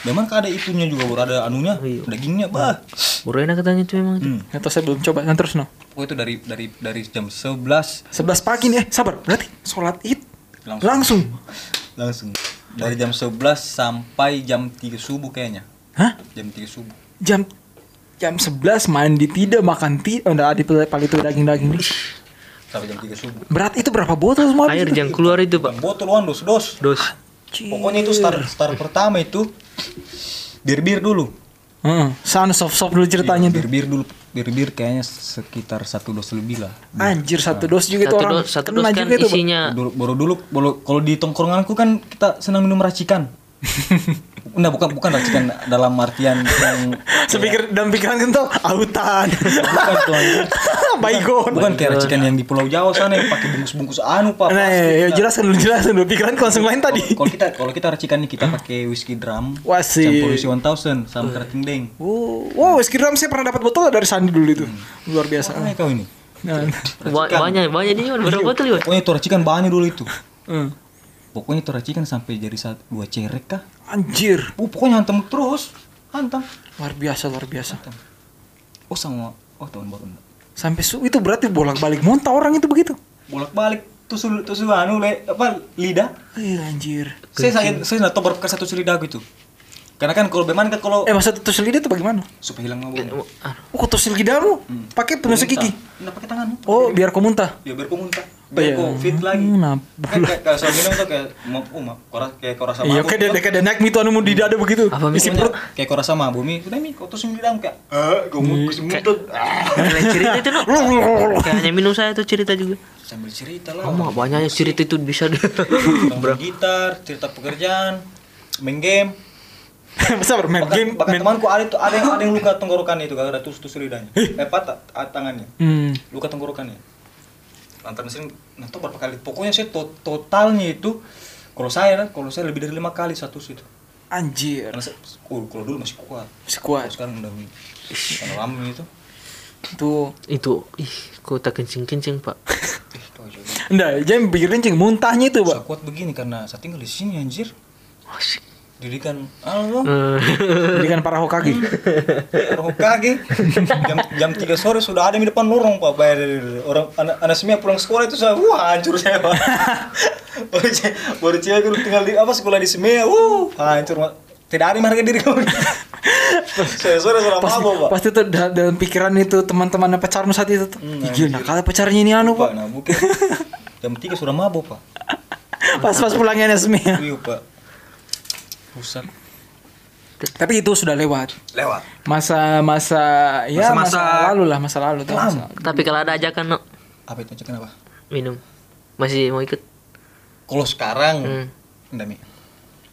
Speaker 4: memang kan ada itunya juga baru ada anunya
Speaker 2: Iya.
Speaker 4: dagingnya bah
Speaker 2: Baru enak katanya itu memang itu.
Speaker 4: hmm.
Speaker 3: Atau saya belum coba. Nah, terus no.
Speaker 4: pokoknya Oh, itu dari dari dari jam 11
Speaker 3: 11 pagi nih, eh, sabar. Berarti sholat Id
Speaker 4: Langsung.
Speaker 3: langsung.
Speaker 4: langsung dari jam 11 sampai jam 3 subuh kayaknya
Speaker 3: Hah?
Speaker 4: jam 3 subuh
Speaker 3: Jam jam 11 mandi tidak makan ti oh enggak ada paling itu daging-daging nih.
Speaker 4: sampai jam 3 subuh
Speaker 3: Berat itu berapa botol semua? gitu?
Speaker 2: Air
Speaker 3: habis itu?
Speaker 2: yang keluar itu, Pak.
Speaker 4: botol wan dos dos
Speaker 3: Ah,
Speaker 2: Dos.
Speaker 4: Pokoknya itu start start pertama itu bir-bir dulu. Iya,
Speaker 3: Heeh. Sana soft soft dulu
Speaker 2: Iya,
Speaker 3: ceritanya tuh.
Speaker 4: Bir-bir dulu. Bir-bir kayaknya sekitar satu dos lebih lah.
Speaker 3: Anjir satu dos juga itu
Speaker 2: satu
Speaker 3: orang.
Speaker 2: dos satu
Speaker 3: kena
Speaker 2: dos kan
Speaker 3: juga itu, Bang.
Speaker 2: isinya
Speaker 4: Dulu- Baru dulu, baru- kalau di tongkronganku kan kita senang minum racikan. Nah, bukan bukan racikan dalam artian yang
Speaker 3: Sepikir dalam pikiran kental autan.
Speaker 4: bukan tuh anjir.
Speaker 3: Baygon.
Speaker 4: Bukan kayak racikan yang di Pulau Jawa sana yang pakai bungkus-bungkus anu pak.
Speaker 3: Nah,
Speaker 4: plastik,
Speaker 3: ya,
Speaker 4: Kak.
Speaker 3: jelaskan dulu, jelaskan dulu. Pikiran langsung lain tadi.
Speaker 4: Kalau kita kalau kita racikan nih kita pakai whiskey drum
Speaker 3: Wah, sih.
Speaker 4: campur whiskey 1000 sama kerating deng.
Speaker 3: Wow, wow, es krim saya pernah dapat botol dari Sandi dulu itu. Luar biasa.
Speaker 4: Mana kau ini?
Speaker 3: Nah,
Speaker 2: Ba- banyak banyak dia Iwan. berapa botol Iwan?
Speaker 4: Pokoknya itu racikan banyak dulu itu.
Speaker 3: eh.
Speaker 4: Pokoknya itu racikan sampai jadi satu dua cerek kah?
Speaker 3: Anjir,
Speaker 4: Oh, pokoknya hantam terus, hantam.
Speaker 3: luar biasa, luar biasa.
Speaker 4: Oh sama oh tahun baru enggak.
Speaker 3: Sampai su itu berarti bolak-balik muntah orang itu begitu.
Speaker 4: bolak-balik tusul tusul anu le, apa lidah
Speaker 3: Eh, anjir.
Speaker 4: saya saya saya nggak tahu berbekas satu lidah gitu karena kan kalau beman kan kalau
Speaker 3: Eh, maksud tusuk lidah itu bagaimana?
Speaker 4: supaya hilang mabuk
Speaker 3: Oh, kok tusuk lidahmu?
Speaker 4: Hmm.
Speaker 3: Pakai penusuk gigi.
Speaker 4: nggak pakai tangan
Speaker 3: Oh, biar kau muntah.
Speaker 4: ya biar kau muntah
Speaker 3: Iya.
Speaker 4: biar kau fit lagi
Speaker 3: Nah,
Speaker 4: kan kayak kalau saya minum tuh kayak mau oh ma- kau ra- kayak kau rasa
Speaker 3: Iya,
Speaker 4: mabuk
Speaker 3: kayak ada kayak ada naik mitu anu mau di dada begitu.
Speaker 2: Apa
Speaker 4: Pokoknya
Speaker 2: mikir
Speaker 4: kayak kau rasa mabuk mi udah mi kau tusul lidah kayak eh kau
Speaker 3: Iya,
Speaker 4: mau kau muntah Ah.
Speaker 2: Kalian cerita itu no. Kayaknya minum saya tuh cerita juga.
Speaker 4: sambil cerita lah
Speaker 2: Kamu banyaknya cerita itu bisa deh.
Speaker 4: Tentang gitar cerita pekerjaan main game
Speaker 3: Sabar, main
Speaker 4: bahkan,
Speaker 3: game,
Speaker 4: bahkan
Speaker 3: main.
Speaker 4: temanku ada itu ada yang ada yang luka tenggorokannya itu gara-gara tusuk tusuk lidahnya eh patah ah, tangannya
Speaker 3: Hmm.
Speaker 4: luka tenggorokannya lantar mesin nanti berapa kali pokoknya saya to- totalnya itu kalau saya kalau saya lebih dari lima kali satu itu
Speaker 3: Anjir.
Speaker 4: karena saya, oh, kalau dulu masih kuat kalau
Speaker 3: Sekuat.
Speaker 4: sekarang udah karena lama itu
Speaker 3: Tuh.
Speaker 2: itu ih kok tak kencing kencing pak.
Speaker 4: eh kau aja.
Speaker 3: Nggak, jangan pikirin cing muntahnya itu,
Speaker 4: saya
Speaker 3: Pak.
Speaker 4: kuat begini karena saya tinggal di sini anjir
Speaker 2: Asik.
Speaker 4: didikan Allah
Speaker 2: Eh,
Speaker 3: Berikan para Hokage.
Speaker 4: orang kaki jam jam tiga sore sudah ada di depan lorong pak bayar orang anak anak semia pulang sekolah itu saya wah hancur saya pak baru cewek baru cewek dulu tinggal di apa sekolah di semia wuh hancur Pak. tidak ada yang harga diri kamu saya sore sudah
Speaker 3: pasti,
Speaker 4: mabok pak
Speaker 3: pasti tuh da- dalam pikiran itu teman-teman pacarmu saat itu tuh.
Speaker 4: Hmm,
Speaker 3: Ih, Gila, kalau pacarnya ini anu,
Speaker 4: pak
Speaker 3: Pak.
Speaker 4: nah mungkin jam tiga sudah mabok pak
Speaker 3: Pas-pas pulangnya NSM ya.
Speaker 4: wih pak rusak
Speaker 3: Tapi itu sudah lewat.
Speaker 4: lewat
Speaker 3: Masa-masa ya masa,
Speaker 4: Masa-masa-
Speaker 3: lalu lah, masa lalu tuh.
Speaker 4: Kelam.
Speaker 3: masa-
Speaker 2: tapi kalau ada ajakan no
Speaker 4: apa itu cek kenapa
Speaker 2: minum masih mau ikut.
Speaker 4: kalau sekarang
Speaker 2: Hmm.
Speaker 4: enggak mi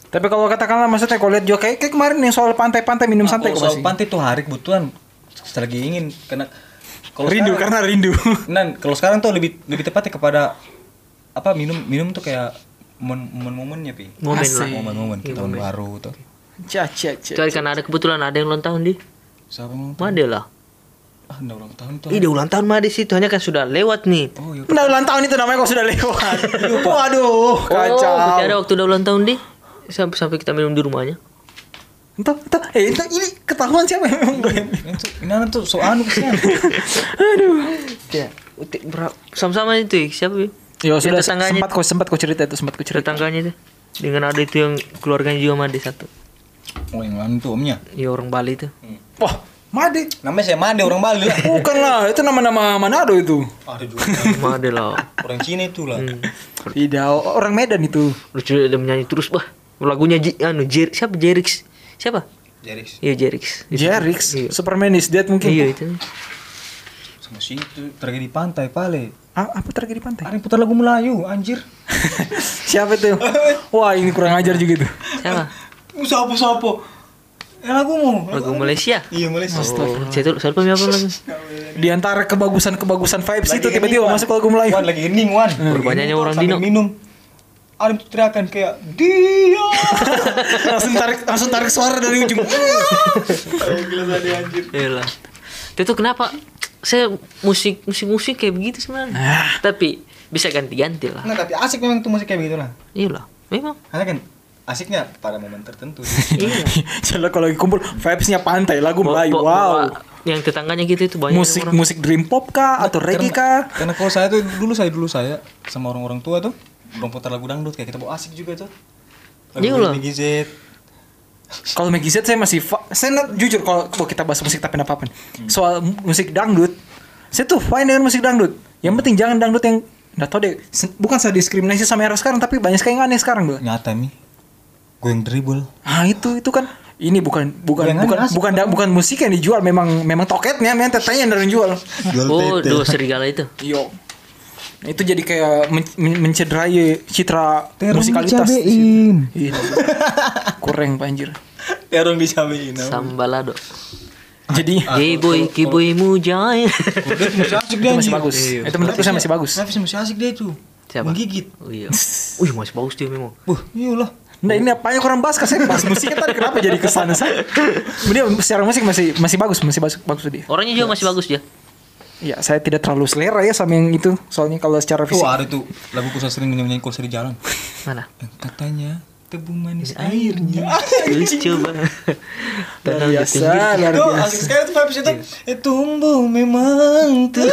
Speaker 3: Tapi kalau katakanlah maksudnya kalau lihat juga kayak, kayak kemarin yang soal pantai-pantai minum santai kok
Speaker 4: kalau Oh, soal
Speaker 3: pasti.
Speaker 4: pantai tuh hari kebutuhan saya lagi ingin karena kalau
Speaker 3: Rindu kan?
Speaker 4: sekarang-
Speaker 3: karena rindu.
Speaker 4: Nan, kalau sekarang tuh lebih lebih tepatnya kepada apa minum minum tuh kayak momen- momen-momennya pi.
Speaker 2: Momen lah.
Speaker 3: Asik.
Speaker 4: Momen-momen
Speaker 2: iya,
Speaker 4: tahun baru tuh.
Speaker 3: Cia cia cia.
Speaker 2: Kecuali karena ada kebetulan ada yang ulang tahun di
Speaker 4: Siapa yang ulang tahun?
Speaker 2: Made lah.
Speaker 4: Ah, udah ulang tahun tuh.
Speaker 2: Ih, udah ulang tahun Made situ hanya kan sudah lewat nih.
Speaker 4: Oh, iya.
Speaker 3: Nah, ulang tahun itu namanya kok sudah lewat. Waduh, kacau.
Speaker 2: Oh, berarti ada waktu udah ulang tahun di sampai sampai kita minum di rumahnya.
Speaker 3: Entah, entah, eh, entah, ini ketahuan siapa yang memang doyan.
Speaker 4: Ini tuh ini anak tuh so anu kesian.
Speaker 2: Ya, utik berapa? Sama-sama itu ya, siapa ya?
Speaker 3: Ya
Speaker 2: Yang
Speaker 3: sudah
Speaker 2: tetangganya,
Speaker 3: sempat kok sempat kok cerita itu sempat kok cerita.
Speaker 2: tetangganya itu. Dengan ada itu yang keluarganya juga Made satu.
Speaker 4: Oh, yang mana tuh omnya?
Speaker 2: Ya orang Bali itu.
Speaker 3: Wah, Made.
Speaker 4: Namanya saya Made orang Bali lah.
Speaker 3: Bukan lah, itu nama-nama Manado itu.
Speaker 4: Ada juga
Speaker 2: Made lah.
Speaker 4: orang Cina itu lah.
Speaker 2: Hmm.
Speaker 3: Tidak, orang Medan itu.
Speaker 2: Lucu dia menyanyi terus bah. Lagunya Ji- anu Jer siapa Jerix? Siapa?
Speaker 4: Jadi
Speaker 2: Iya Jerix.
Speaker 3: Jerix,
Speaker 2: Iya.
Speaker 3: Superman is dead mungkin.
Speaker 2: Iya itu.
Speaker 4: sama si itu tragedi pantai pale.
Speaker 3: A- apa terjadi di pantai?
Speaker 4: Ada yang putar lagu Melayu, anjir.
Speaker 3: Siapa itu? Wah, ini kurang ajar juga tuh.
Speaker 2: Siapa?
Speaker 4: Sapo-sapo. Eh lagumu.
Speaker 2: Lagu Malaysia.
Speaker 4: Iya, Malaysia.
Speaker 2: Oh, saya tuh saya lupa apa lagu.
Speaker 3: Di antara kebagusan-kebagusan vibes itu
Speaker 4: Lagi
Speaker 3: tiba-tiba
Speaker 4: hening, Wan.
Speaker 3: masuk lagu Melayu. Hmm.
Speaker 4: Wan, lagi hening Wan. Lagi
Speaker 2: banyaknya
Speaker 4: hening tuh
Speaker 2: orang
Speaker 4: sambil
Speaker 2: Dino.
Speaker 4: Minum. Ada yang teriakan kayak dia.
Speaker 3: langsung tarik langsung tarik suara dari ujung. Iya.
Speaker 4: Gila tadi anjir.
Speaker 2: Iyalah. Itu tuh kenapa saya musik musik musik kayak begitu sebenarnya.
Speaker 3: Ah.
Speaker 2: Tapi bisa ganti-ganti lah.
Speaker 4: Nah, tapi asik memang tuh musik kayak begitu lah.
Speaker 2: Iyalah. Memang.
Speaker 4: Karena kan asiknya pada momen tertentu.
Speaker 2: Iya.
Speaker 3: Jalan kalau lagi kumpul vibesnya pantai lagu
Speaker 2: Bawa-
Speaker 3: Melayu.
Speaker 2: bawa-
Speaker 3: Wow.
Speaker 2: bawa Yang tetangganya gitu itu banyak
Speaker 3: Musik
Speaker 2: orang.
Speaker 3: musik dream pop kah atau reggae kah?
Speaker 4: Karena kalau saya tuh dulu saya dulu saya sama orang-orang tua tuh belum putar lagu dangdut kayak kita bawa asik juga tuh.
Speaker 2: Iya
Speaker 4: Lagu
Speaker 2: loh.
Speaker 4: Benny Z.
Speaker 3: Kalau Maggie Z saya masih fa- saya not- jujur kalau kalau kita bahas musik tapi apa soal mu- musik dangdut saya tuh fine dengan musik dangdut yang penting jangan dangdut yang nggak tahu deh se- bukan saya diskriminasi sama era sekarang tapi banyak sekali yang aneh sekarang gue
Speaker 4: Nyata mi.
Speaker 6: Gue yang dribble.
Speaker 3: Ah itu itu kan ini bukan bukan
Speaker 6: Jangan
Speaker 3: bukan
Speaker 6: asik.
Speaker 3: bukan da- bukan musik yang dijual memang memang toketnya memang tetenya yang dari jual.
Speaker 6: Jual
Speaker 2: Oh,
Speaker 6: tete.
Speaker 2: dua serigala itu.
Speaker 3: Yo. Nah, Itu jadi kayak men- men- mencederai citra
Speaker 6: Terong
Speaker 3: musikalitas. di situ.
Speaker 6: dicabein.
Speaker 3: Iya. Kurang panjir.
Speaker 4: Terong dicabein.
Speaker 2: Sambalado.
Speaker 3: Jadi
Speaker 2: Jeboy, kiboy
Speaker 4: Udah
Speaker 2: mujay.
Speaker 4: masih asik
Speaker 3: itu masih bagus.
Speaker 2: Iya.
Speaker 3: Itu menurut saya masih bagus.
Speaker 4: Nafis masih asik dia itu.
Speaker 2: Siapa?
Speaker 4: Menggigit.
Speaker 2: Oh, iya. Wih, masih bagus dia memang.
Speaker 4: Wah, iyalah.
Speaker 3: Nah ini apa yang kurang bahas kasih bahas musik tadi kenapa jadi kesana saya? Dia secara musik masih masih bagus masih bagus bagus dia.
Speaker 2: Orangnya juga masih bagus dia.
Speaker 3: Ya saya tidak terlalu selera ya sama yang itu soalnya kalau secara
Speaker 4: Tuh
Speaker 3: fisik.
Speaker 4: ada tuh lagu ku sering nyanyi kalau sering jalan.
Speaker 2: Mana?
Speaker 4: Dan katanya tebu manis airnya.
Speaker 2: Lucu coba.
Speaker 3: Nah, luar biasa luar
Speaker 4: Tuh
Speaker 3: biasa.
Speaker 4: asik sekali tuh Pepsi itu. Eh tumbuh memang tuh.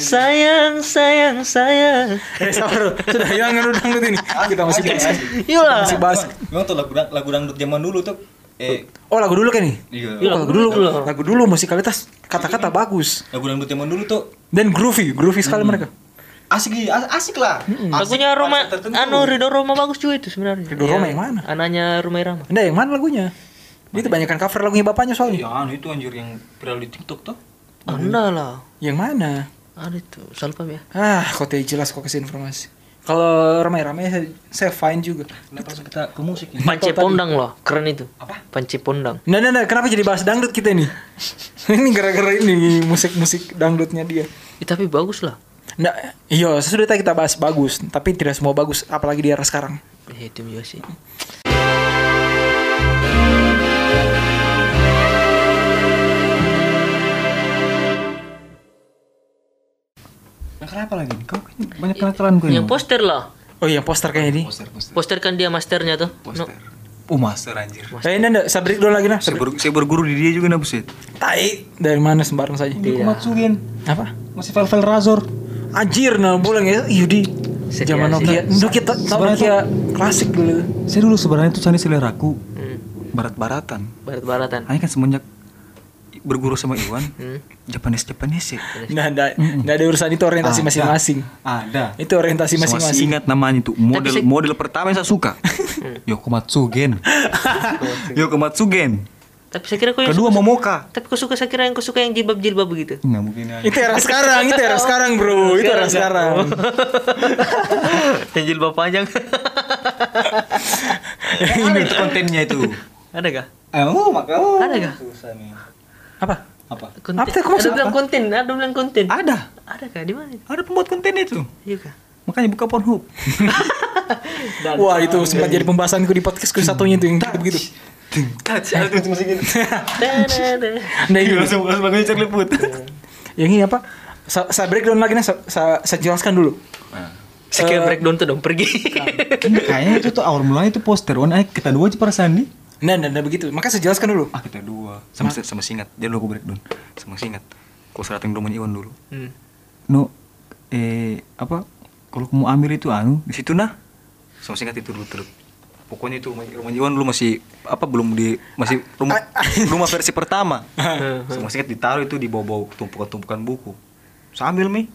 Speaker 2: Sayang, sayang, sayang.
Speaker 3: Eh sabar sudah jangan udah dangdut ini kita masih bahas.
Speaker 2: Yola.
Speaker 3: Masih bahas.
Speaker 4: Memang tuh lagu lagu dangdut zaman dulu tuh. Eh,
Speaker 3: Oh lagu dulu kan nih?
Speaker 4: iya.
Speaker 2: Iya.
Speaker 3: Lagu dulu lagu dulu musikalitas kata-kata bagus
Speaker 4: Lagu dangdut zaman dulu tuh
Speaker 3: dan groovy groovy sekali mereka.
Speaker 4: asik gih, as- asik lah.
Speaker 2: Lagunya Roma,
Speaker 4: Asik tertentu.
Speaker 2: anu Ridho Roma bagus juga itu sebenarnya.
Speaker 3: Ridho Roma yang mana?
Speaker 2: Anaknya Rumah Irama.
Speaker 3: Enggak Nah, yang mana lagunya? Dia itu banyakkan cover lagunya bapaknya soalnya.
Speaker 4: Ya anu itu anjir yang viral di TikTok tuh.
Speaker 2: Anda lah.
Speaker 3: Yang mana?
Speaker 2: Ada itu, salah paham ya.
Speaker 3: Ah, kau tidak jelas kok kasih informasi. Kalau ramai-ramai saya, saya fine juga.
Speaker 4: Kenapa langsung kita ke musik ya? ini?
Speaker 2: Panci
Speaker 3: tadi.
Speaker 2: Pondang loh, keren itu.
Speaker 4: Apa?
Speaker 2: Panci Pondang.
Speaker 3: Nah, nah, nah, kenapa jadi bahas dangdut kita ini? ini gara-gara ini musik-musik dangdutnya dia.
Speaker 2: Ih, tapi bagus lah.
Speaker 3: Nah, iya, sudah tadi kita bahas bagus, tapi tidak semua bagus, apalagi di era sekarang.
Speaker 2: Ya, itu juga sih.
Speaker 4: Nah, kenapa lagi? Kau kan
Speaker 6: Banyak kenakalan gue.
Speaker 4: Iya.
Speaker 2: Yang poster lah.
Speaker 3: Oh iya, poster kayaknya ini.
Speaker 4: poster poster
Speaker 2: Poster kan dia masternya tuh.
Speaker 4: poster.
Speaker 2: No.
Speaker 4: Oh master anjir.
Speaker 3: Eh, nah, nah, saya break dulu lagi nah.
Speaker 4: Saya, ber- saya berguru di dia juga nah buset.
Speaker 3: Tai dari mana sembarang saja.
Speaker 4: Iya.
Speaker 6: Komatsugen.
Speaker 3: Apa?
Speaker 6: Masih file-file Razor.
Speaker 3: Anjir, nah bulan ya, Yudi.
Speaker 2: Setia
Speaker 3: Zaman Nokia, Nokia, ta- tau
Speaker 6: Sebenarnya
Speaker 3: Nokia klasik dulu.
Speaker 6: Saya dulu sebenarnya tuh cari seleraku
Speaker 2: Hmm,
Speaker 6: barat-baratan.
Speaker 2: Barat-baratan.
Speaker 6: Hanya kan semenjak berguru sama Iwan,
Speaker 2: Hmm.
Speaker 6: Japanese Japanese ya.
Speaker 3: Nah, nggak nggak ada urusan itu orientasi
Speaker 6: Ada.
Speaker 3: masing-masing.
Speaker 6: Ada.
Speaker 3: Itu orientasi
Speaker 6: Saya masih
Speaker 3: Ah, masing-masing.
Speaker 6: ingat namanya itu model
Speaker 2: saya-
Speaker 6: model pertama yang saya suka Yokomatsu Gen Yokomatsu Gen
Speaker 2: Tapi saya kira kau yang
Speaker 6: kedua
Speaker 2: suka,
Speaker 6: Momoka
Speaker 2: tapi kau suka saya kira yang kau suka yang jilbab-jilbab begitu.
Speaker 6: nggak mungkin ya
Speaker 3: Itu era sekarang, itu era sekarang bro, itu era sekarang.
Speaker 2: yang jilbab panjang.
Speaker 4: Ada itu kontennya itu.
Speaker 2: Ada gak?
Speaker 6: eh, oh maka oh.
Speaker 2: Ada gak?
Speaker 4: Susah nih.
Speaker 3: Apa?
Speaker 4: Apa?
Speaker 2: Konten.
Speaker 3: Apa tuh, kau
Speaker 2: ada
Speaker 3: maksud
Speaker 2: bilang konten, ada bilang konten.
Speaker 6: ada
Speaker 2: Ada kah? Di mana? itu?
Speaker 6: ada pembuat konten itu
Speaker 2: Iya kah?
Speaker 6: makanya buka Pornhub
Speaker 3: Wah itu sempat jadi pembahasanku di podcastku satunya itu yang begitu.
Speaker 4: Touch ada tuh musik ini.
Speaker 2: Da-da-da.
Speaker 3: Nah
Speaker 6: Iya.
Speaker 3: ini,
Speaker 4: Langsung langsung lagunya Charlie Puth.
Speaker 3: yang ini apa? Sa- Saya breakdown lagi nih, sa- sa- saya jelaskan dulu.
Speaker 2: Saya
Speaker 3: Eh,
Speaker 2: kira breakdown tuh dong pergi.
Speaker 6: kayaknya itu tuh awal mulanya itu poster on aja kita dua aja perasaan nih
Speaker 3: Nah, nah, nah begitu. Maka saya jelaskan dulu.
Speaker 6: ah kita dua sama sama singat dia dulu aku breakdown sama singat kau seratin dulu Iwan dulu
Speaker 2: Hmm.
Speaker 6: no eh apa kalau kamu ambil itu anu di situ nah sama singkat itu dulu terus pokoknya itu rumah, rumah Iwan dulu masih apa belum di masih rumah rumah versi pertama sama singkat ditaruh itu di bawah-bawah tumpukan-tumpukan buku sambil mi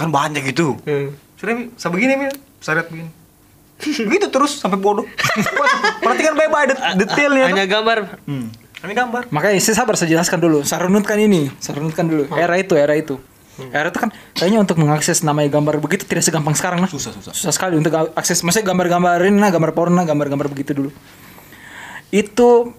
Speaker 6: kan banyak itu
Speaker 3: Iya,
Speaker 6: sudah mi sampai begini mi seret begini begitu terus sampai bodoh perhatikan baik-baik det- detailnya
Speaker 2: Hanya
Speaker 6: tuh.
Speaker 2: gambar.
Speaker 6: hmm. kami gambar
Speaker 3: Makanya saya sabar saya jelaskan dulu. Saya runutkan ini, saya runutkan dulu.
Speaker 6: Ah.
Speaker 3: Era itu, era itu.
Speaker 6: Hmm.
Speaker 3: Era itu kan kayaknya untuk mengakses namanya gambar begitu tidak segampang sekarang lah.
Speaker 6: Susah, susah.
Speaker 3: Susah sekali untuk ga- akses. Maksudnya gambar-gambarin lah, gambar porno, nah, gambar-gambar begitu dulu. Itu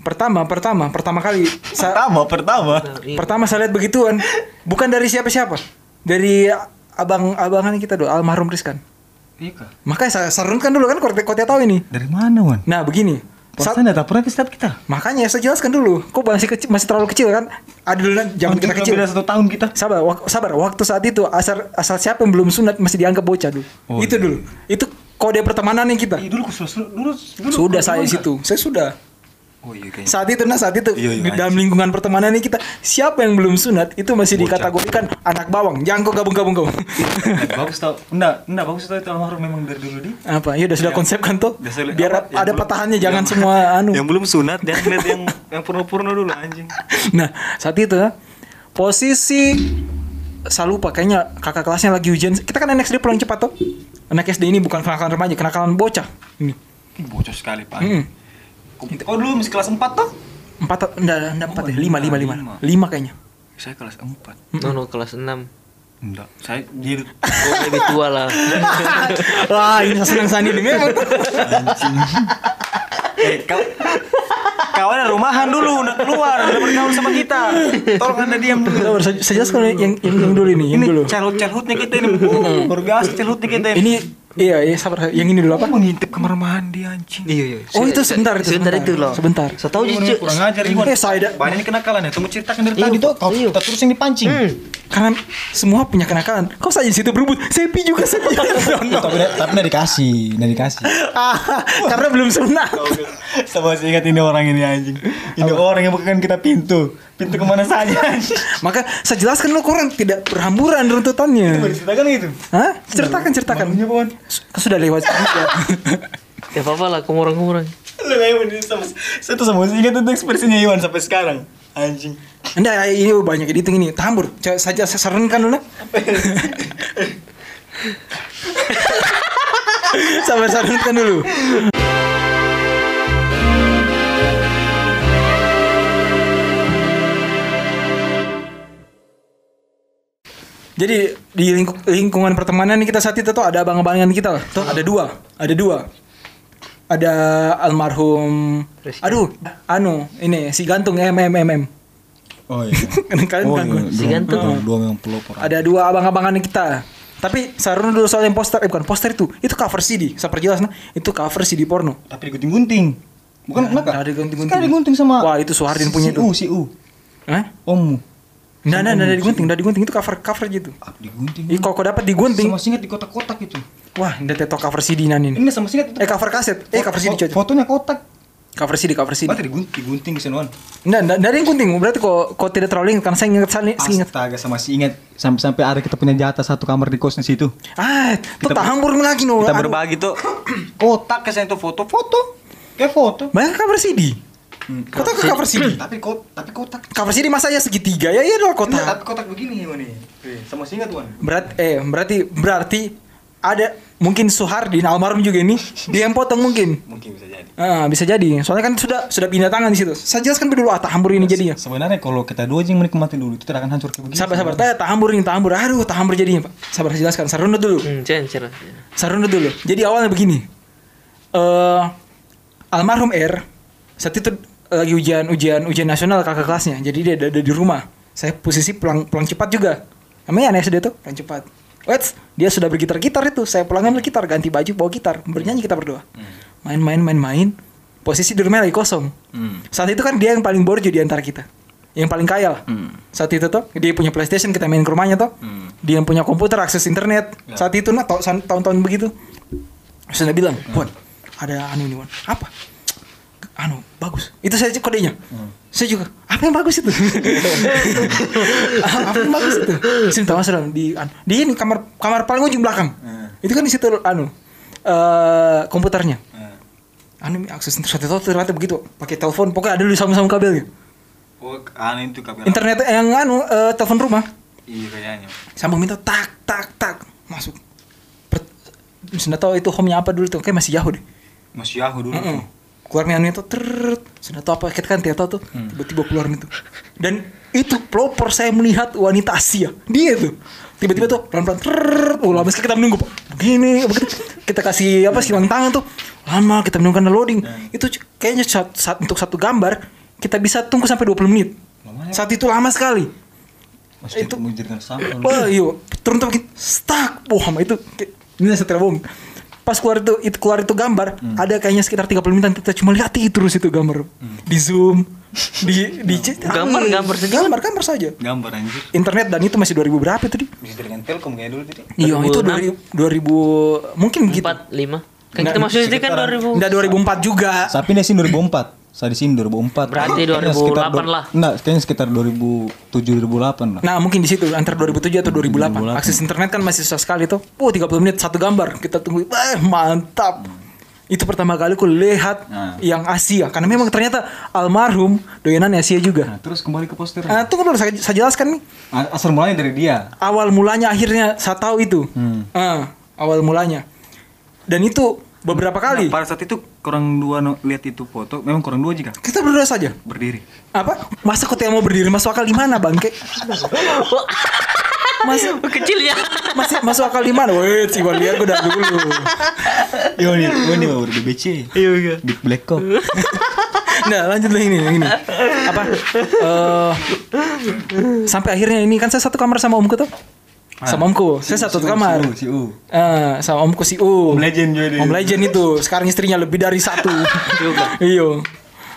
Speaker 3: pertama, pertama, pertama kali saya
Speaker 6: pertama pertama
Speaker 3: Pertama saya lihat begituan, bukan dari siapa-siapa, dari abang-abangan kita dulu, almarhum Rizkan.
Speaker 6: iya Kak.
Speaker 3: Makanya saya serunkan dulu kan, kau kau tidak tahu ini.
Speaker 6: dari mana wan
Speaker 3: Nah begini, Sa-
Speaker 6: perasaan tidak pernah ke start kita
Speaker 3: makanya saya jelaskan dulu. Kok masih kecil, masih terlalu kecil kan? Ada dulu zaman kita kecil.
Speaker 6: Beda satu tahun kita
Speaker 3: Sabar, wak- sabar. Waktu saat itu asal asal siapa yang belum sunat masih dianggap bocah dulu.
Speaker 6: Oh,
Speaker 3: itu
Speaker 6: iya.
Speaker 3: dulu. Itu kode pertemanannya kita.
Speaker 6: Ih, dulu kusul dulu dulu
Speaker 3: Sudah saya situ. Saya sudah.
Speaker 6: Oh iya kayaknya.
Speaker 3: Saat itu nah saat itu
Speaker 6: Iya, iya,
Speaker 3: di
Speaker 6: anjing.
Speaker 3: dalam lingkungan pertemanan ini kita siapa yang belum sunat itu masih
Speaker 6: Bocah. Iya.
Speaker 3: dikategorikan anak bawang. Jangan kau gabung-gabung kau.
Speaker 6: bagus tau. Enggak, enggak bagus tau itu almarhum memang dari dulu di.
Speaker 3: apa? Ya udah sudah konsep kan tuh.
Speaker 6: Iya. Biasa lihat
Speaker 3: Biar
Speaker 6: apa,
Speaker 3: ada
Speaker 6: yang belum-
Speaker 3: patahannya
Speaker 6: yang-
Speaker 3: jangan semua anu.
Speaker 6: Yang belum sunat jangan lihat yang yang purno-purno dulu anjing.
Speaker 3: Nah, saat itu posisi saya lupa kayaknya kakak kelasnya lagi hujan. Kita kan anak SD pulang cepat tuh. Anak SD ini bukan kenakalan remaja, kenakalan bocah. Ini.
Speaker 6: Ih, bocor sekali pak
Speaker 3: Mm-mm.
Speaker 4: Oh dulu masih kelas 4 tuh?
Speaker 3: Empat, enggak, enggak empat
Speaker 6: Oh,
Speaker 3: ya, lima, lima, lima,
Speaker 6: lima.
Speaker 3: lima kayaknya.
Speaker 6: saya kelas 4
Speaker 2: No, no, kelas 6
Speaker 6: enggak saya jadi
Speaker 2: Oh lebih tua lah
Speaker 3: Wah, Ah, ini senang Sandi nih memang.
Speaker 6: eh, kaw kawan rumahan dulu udah keluar udah bergaul sama kita tolong anda diam dulu
Speaker 3: Kita baru saja- saja sekarang yang, yang, yang dulu ini, yang
Speaker 6: ini
Speaker 3: dulu.
Speaker 6: childhood childhoodnya kita ini uh, luar biasa childhoodnya kita ini
Speaker 3: Ini, iya, iya, sabar. Yang ini dulu apa?
Speaker 6: Apa mengintip kamar mandi anjing Oh,
Speaker 2: Iya iya
Speaker 3: Oh, itu sebentar, itu
Speaker 2: Sebentar
Speaker 3: sebentar.
Speaker 2: itu loh
Speaker 3: Sebentar.
Speaker 2: So tau
Speaker 4: Lu
Speaker 2: jujur
Speaker 4: kurang ajar Iwan.
Speaker 3: Eh, saya
Speaker 6: banyak ini kenakalan ya tunggu ceritakan dari
Speaker 4: Tadi
Speaker 6: tadi
Speaker 4: tuh kau kita terus yang dipancing.
Speaker 6: Hmm.
Speaker 3: karena semua punya kenakalan. Kau saja di situ berebut. Sepi juga sepi.
Speaker 4: Tapi tapi udah dikasih, udah dikasih.
Speaker 3: Ah, karena belum sunat.
Speaker 4: Sama saya ingat ini orang ini anjing. Ini orang yang bukan kita pintu. Pintu kemana saja? anjing.
Speaker 3: Maka saya jelaskan lu kurang tidak berhamburan runtutannya.
Speaker 4: Ceritakan gitu.
Speaker 3: Hah? Ceritakan, ceritakan.
Speaker 4: Makanya, Bon.
Speaker 3: Su- Sudah lewat juga.
Speaker 2: Ya apa-apa lah kumurang-kumurang
Speaker 4: Lu Iwan ini sama saya tuh sama saya ingat itu ekspresinya Iwan sampai sekarang. Anjing.
Speaker 3: Enggak, eh, ini banyak dihitung ini. Tahan, Bur. Coba Saja saya sarankan dulu. Sabar sarankan dulu. Jadi di lingku- lingkungan pertemanan ini kita saat itu tuh ada abang-abangan kita lah. Tuh ada dua, ada dua. Ada almarhum
Speaker 2: Rizky.
Speaker 3: Aduh, anu ini si gantung MMMM.
Speaker 4: Oh iya.
Speaker 3: Kalian takut.
Speaker 2: Si gantung.
Speaker 4: Dua yang pelopor.
Speaker 3: Ada dua abang-abangan kita. Tapi sarung dulu soal yang poster, eh bukan poster itu, itu cover CD. Saya perjelas nah, itu cover CD porno.
Speaker 4: Tapi digunting-gunting. Bukan
Speaker 3: Nah,
Speaker 4: kenapa?
Speaker 3: ada digunting-gunting.
Speaker 4: Sekali digunting sama
Speaker 3: Wah, itu
Speaker 4: si-
Speaker 3: Soehardin punya
Speaker 4: si
Speaker 3: itu.
Speaker 4: U, si U.
Speaker 3: Hah?
Speaker 4: Om.
Speaker 3: Nggak, nggak, nggak digunting, nggak digunting itu cover cover gitu.
Speaker 4: Apa digunting?
Speaker 3: Ih, kalau kau dapat
Speaker 4: Sama
Speaker 3: digunting,
Speaker 4: singkat di kotak-kotak gitu.
Speaker 3: wah, ndak tetok cover CD nan ini.
Speaker 4: Ini sama singkat itu.
Speaker 3: Eh cover kaset, eh cover CD
Speaker 4: Fo-
Speaker 3: coy.
Speaker 4: Fotonya kotak.
Speaker 3: Cover CD, cover CD.
Speaker 4: Berarti digunting, digunting sih Wan.
Speaker 3: Nggak, nah, nggak, nggak ada yang gunting. Berarti kok kau tidak terlalu ingat karena saya ingat sekali, saya ingat.
Speaker 4: Astaga sama si ingat sampai sampai ada kita punya jatah satu kamar di kosnya situ.
Speaker 3: Ah, tuh
Speaker 6: Kita-
Speaker 3: tahambur lagi no.
Speaker 6: kita
Speaker 3: Aduh.
Speaker 6: berbagi tuh kotak kesan itu foto foto
Speaker 4: Kayak foto.
Speaker 3: Banyak cover CD. Kau tahu cover CD?
Speaker 4: tapi kot, tapi kotak.
Speaker 3: Cover CD masa ya segitiga ya iya dong
Speaker 4: Enggak,
Speaker 3: kota.
Speaker 4: tapi kotak begini Wan nih. Oke, Sama si ingat Wan.
Speaker 3: Berat eh berarti berarti ada mungkin Suhardin almarhum juga ini dia yang potong mungkin.
Speaker 4: Mungkin bisa jadi.
Speaker 3: Ah, bisa jadi. Soalnya kan sudah sudah pindah tangan di situ. Saya jelaskan dulu ah tahambur ini jadinya.
Speaker 4: Ya, Sebenarnya kalau kita dua jing menikmati dulu itu tidak akan hancur kayak begini.
Speaker 3: Sabar sabar tanya tahambur ini tahambur. Aduh, tahambur jadinya, Pak. Sabar saya jelaskan. Sarunut dulu.
Speaker 2: Hmm cencer
Speaker 3: Sarunut dulu. Jadi awalnya begini. Eh almarhum R saat itu eh, lagi ujian ujian ujian nasional kakak kelasnya. Jadi dia ada, ada di rumah. Saya posisi pulang pulang cepat juga. Namanya aneh sudah tuh pulang cepat. Wets, dia sudah bergitar-gitar itu. Saya pulangnya bergitar, ganti baju, bawa gitar, bernyanyi kita berdua. Main-main, main-main. Posisi di rumah lagi kosong.
Speaker 4: Hmm.
Speaker 3: Saat itu kan dia yang paling borju di antara kita. Yang paling kaya lah. Saat itu tuh dia punya PlayStation kita main ke rumahnya tuh. Dia yang punya komputer, akses internet. Saat itu nah tau- tahun-tahun begitu. Terus dia bilang, "Wan, ada anu ini, Wan." Apa? Anu, bagus. Itu saya cek kodenya. Saya juga, apa yang bagus itu? apa yang bagus itu? Sini tahu sudah di anu, di ini kamar kamar paling ujung belakang. Itu kan di situ anu eh komputernya anu akses internet itu ternyata begitu pakai telepon pokoknya ada dulu sama-sama kabelnya
Speaker 6: oh
Speaker 4: ah,
Speaker 6: aneh itu kamera
Speaker 3: internet yang anu eh, telepon rumah
Speaker 6: iya kayaknya
Speaker 3: sambung minta tak tak tak masuk Per- sudah tahu itu home nya apa dulu tuh kayak masih Yahoo deh
Speaker 6: masih Yahoo dulu
Speaker 3: Mm-mm.
Speaker 6: tuh.
Speaker 3: keluar menu itu terut sudah tahu apa kita kan tidak tahu tuh tiba-tiba keluar itu dan itu pelopor saya melihat wanita Asia dia tuh tiba-tiba tuh pelan-pelan terut ulah meski kita menunggu Pak. begini begitu kita kasih apa sih bang tangan tuh lama kita menunggu karena loading itu c- kayaknya saat, saat- untuk satu gambar kita bisa tunggu sampai 20 menit
Speaker 4: Lama ya.
Speaker 3: saat itu lama sekali
Speaker 4: Masih itu
Speaker 3: Itu-
Speaker 4: menjadikan sampah. lu.
Speaker 3: Wah, iya. Turun tuh makin stuck. Wah, sama itu kayak- ini setelah bom. Pas keluar itu, itu keluar itu gambar,
Speaker 2: Hmm.
Speaker 3: ada kayaknya sekitar 30 menitan kita cuma lihat itu terus itu gambar. Di zoom, di di
Speaker 2: Gambar- gambar saja.
Speaker 3: Gambar gambar saja.
Speaker 6: gambar anjir
Speaker 3: Internet dan itu masih 2000 berapa tadi?
Speaker 6: bisa dengan telkom kayak dulu tadi
Speaker 3: Iya, itu 2000,
Speaker 2: 2006.
Speaker 3: 2000 mungkin begitu.
Speaker 2: 4, 5 Kan
Speaker 3: Gitu. Nggak,
Speaker 2: kita masuk SD kan
Speaker 4: sekitaran.
Speaker 2: 2000
Speaker 3: Enggak 2004 juga.
Speaker 4: Sapi nih sih 2004. Saya di sini 2004.
Speaker 2: Berarti
Speaker 4: Kayaknya sekitar
Speaker 2: 2008
Speaker 4: du-
Speaker 2: lah.
Speaker 4: Enggak, kayaknya sekitar 2007 2008 lah.
Speaker 3: Nah, mungkin di situ antara 2007 atau 2008.
Speaker 4: 2008.
Speaker 3: Akses internet kan masih susah sekali tuh. Wah, 30 menit satu gambar. Kita tunggu. Eh, mantap. Itu pertama kali ku lihat
Speaker 4: Nah.
Speaker 3: yang Asia karena memang ternyata almarhum doyanan Asia juga.
Speaker 4: Nah, terus kembali ke poster.
Speaker 3: Nah, tunggu dulu saya, saya jelaskan nih.
Speaker 4: A- Asal mulanya dari dia.
Speaker 3: Awal mulanya akhirnya saya tahu itu.
Speaker 4: Hmm.
Speaker 3: Ah, awal mulanya. Dan itu Beberapa kali.
Speaker 4: Nah, pada saat itu kurang dua no- lihat itu foto, memang kurang dua jika
Speaker 3: Kita berdua saja.
Speaker 4: berdiri.
Speaker 3: Apa? Masa kau tidak mau berdiri masuk akal di mana, Bangke? Masuk
Speaker 2: Kecilnya.
Speaker 3: masih masuk akal di mana? Wait, si lihat gue dari dulu.
Speaker 4: Yo nih, gue nih baru BBC.
Speaker 2: Iya, iya.
Speaker 4: Big Black Cop.
Speaker 3: Nah, lanjut lagi nih, yang ini. Apa? Eh, sampai akhirnya ini kan saya satu kamar sama omku tuh. Sama omku. Saya satu kamar.
Speaker 4: Ah, Si U.
Speaker 3: Eh, sama omku si U.
Speaker 4: Om Legend juga dia.
Speaker 3: Om Legend itu sekarang istrinya lebih dari satu. Iya.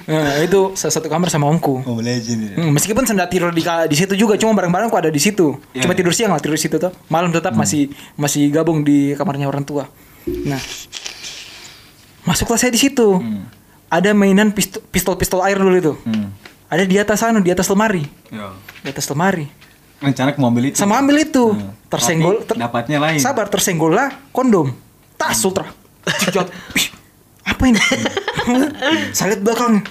Speaker 3: Nah, itu saya satu kamar sama omku.
Speaker 4: Om Oh, Legend.
Speaker 3: Hmm, meskipun senda tidur di, di situ juga, cuma bareng-bareng aku ada di situ.
Speaker 4: Iya, Hmm.
Speaker 3: cuma
Speaker 4: iya.
Speaker 3: tidur siang lah, tidur di situ tuh. Malam tetap masih masih gabung di kamarnya orang tua. Nah, masuklah saya di situ. Ada mainan pistol- pistol-pistol air dulu itu.
Speaker 4: Hmm. Ya.
Speaker 3: Ada di atas sana, di atas lemari,
Speaker 4: Yo.
Speaker 3: di atas lemari.
Speaker 4: Rencana mau ambil itu.
Speaker 3: Sama ambil itu,
Speaker 4: Hmm.
Speaker 3: tersenggol.
Speaker 4: Tapi dapatnya lain. Hmm.
Speaker 3: Sabar, tersenggol lah kondom. Tas ultra. Jat. Ih, apa ini? Saya lihat belakang.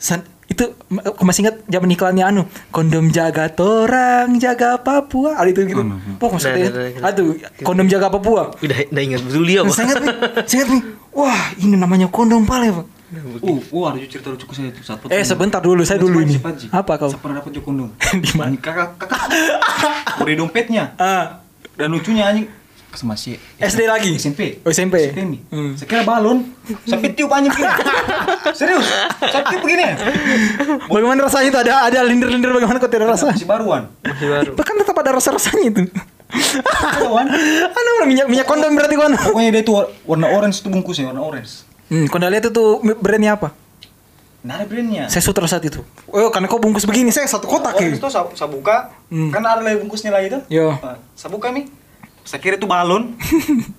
Speaker 3: San- itu ma- aku masih ingat zaman iklannya anu kondom jaga torang jaga Papua ada itu gitu
Speaker 4: Oh, no, no.
Speaker 3: Wah, maksudnya
Speaker 2: Nah, nah, nah, nah.
Speaker 3: aduh kondom jaga Papua Nah,
Speaker 2: Udah, udah ingat betul dia, Pak.
Speaker 3: saya ingat nih saya ingat nih wah ini namanya kondom pale pak
Speaker 4: Uh, uh, ada cerita lucu saya itu saat
Speaker 3: Eh, sebentar dulu, saya dulu ini. Apa kau?
Speaker 4: Saya pernah dapat jokondom.
Speaker 3: Di mana?
Speaker 4: Kakak, kakak. Udah dompetnya.
Speaker 3: ah
Speaker 4: Dan lucunya anjing sama si
Speaker 3: SD lagi?
Speaker 4: SMP.
Speaker 3: Oh, SMP.
Speaker 4: nih.
Speaker 3: Hmm.
Speaker 4: Saya kira balon. Sampai tiup anjing. Serius. Saya tiup begini.
Speaker 3: bagaimana rasanya itu ada ada lindir-lindir bagaimana kau tidak rasa
Speaker 4: Si baruan.
Speaker 2: Masih baru.
Speaker 3: bahkan tetap ada rasa-rasanya itu
Speaker 4: Kawan.
Speaker 3: anu minyak minyak kondom berarti anu. kondom
Speaker 4: Pokoknya dia itu war- warna orange itu bungkusnya warna orange.
Speaker 3: Hmm, kau lihat itu brandnya apa?
Speaker 4: Nah, ada brandnya.
Speaker 3: Saya sutra saat itu. Oh, karena kau bungkus begini, saya satu kotak
Speaker 4: Orange
Speaker 3: ya.
Speaker 4: itu saya, saya buka,
Speaker 3: Hmm. Iya.
Speaker 4: kan ada lagi bungkusnya lagi tuh.
Speaker 3: Yo.
Speaker 4: Nah, saya buka nih. Saya kira itu balon.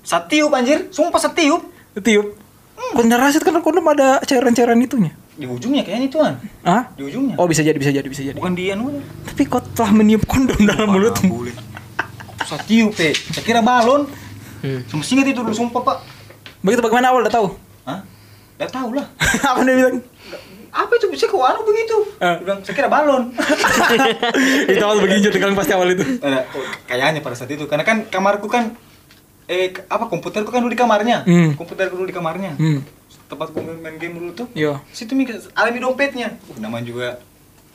Speaker 4: saya tiup anjir, sumpah saya tiup.
Speaker 3: Tiup. Kau tidak rasa itu karena kondom ada cairan-cairan itunya.
Speaker 4: Di ujungnya kayaknya itu kan.
Speaker 3: Hah?
Speaker 4: Di ujungnya.
Speaker 3: Oh, bisa jadi, bisa jadi, bisa jadi.
Speaker 4: Bukan di anu.
Speaker 3: Tapi kau telah meniup kondom dalam mulutmu.
Speaker 4: Saya tiup, eh. Saya kira balon.
Speaker 2: Hmm.
Speaker 4: Sumpah singkat itu dulu, sumpah, Pak.
Speaker 3: Begitu bagaimana awal udah tahu?
Speaker 4: Hah? Gak tau lah.
Speaker 3: Apa dia bilang?
Speaker 4: Apa itu bisa ke warung begitu?
Speaker 3: Eh.
Speaker 4: Dia bilang, saya kira balon.
Speaker 3: itu awal beginjal tegang pasti awal itu.
Speaker 4: Ada- oh, kayaknya pada saat itu. Karena kan kamarku kan... Eh, k- apa komputerku kan dulu di kamarnya.
Speaker 3: Hmm.
Speaker 4: Komputerku dulu di kamarnya.
Speaker 3: Hmm.
Speaker 4: Tempatku main, main game dulu tuh.
Speaker 3: Yo.
Speaker 4: Situ mi alami dompetnya. Uh, namanya juga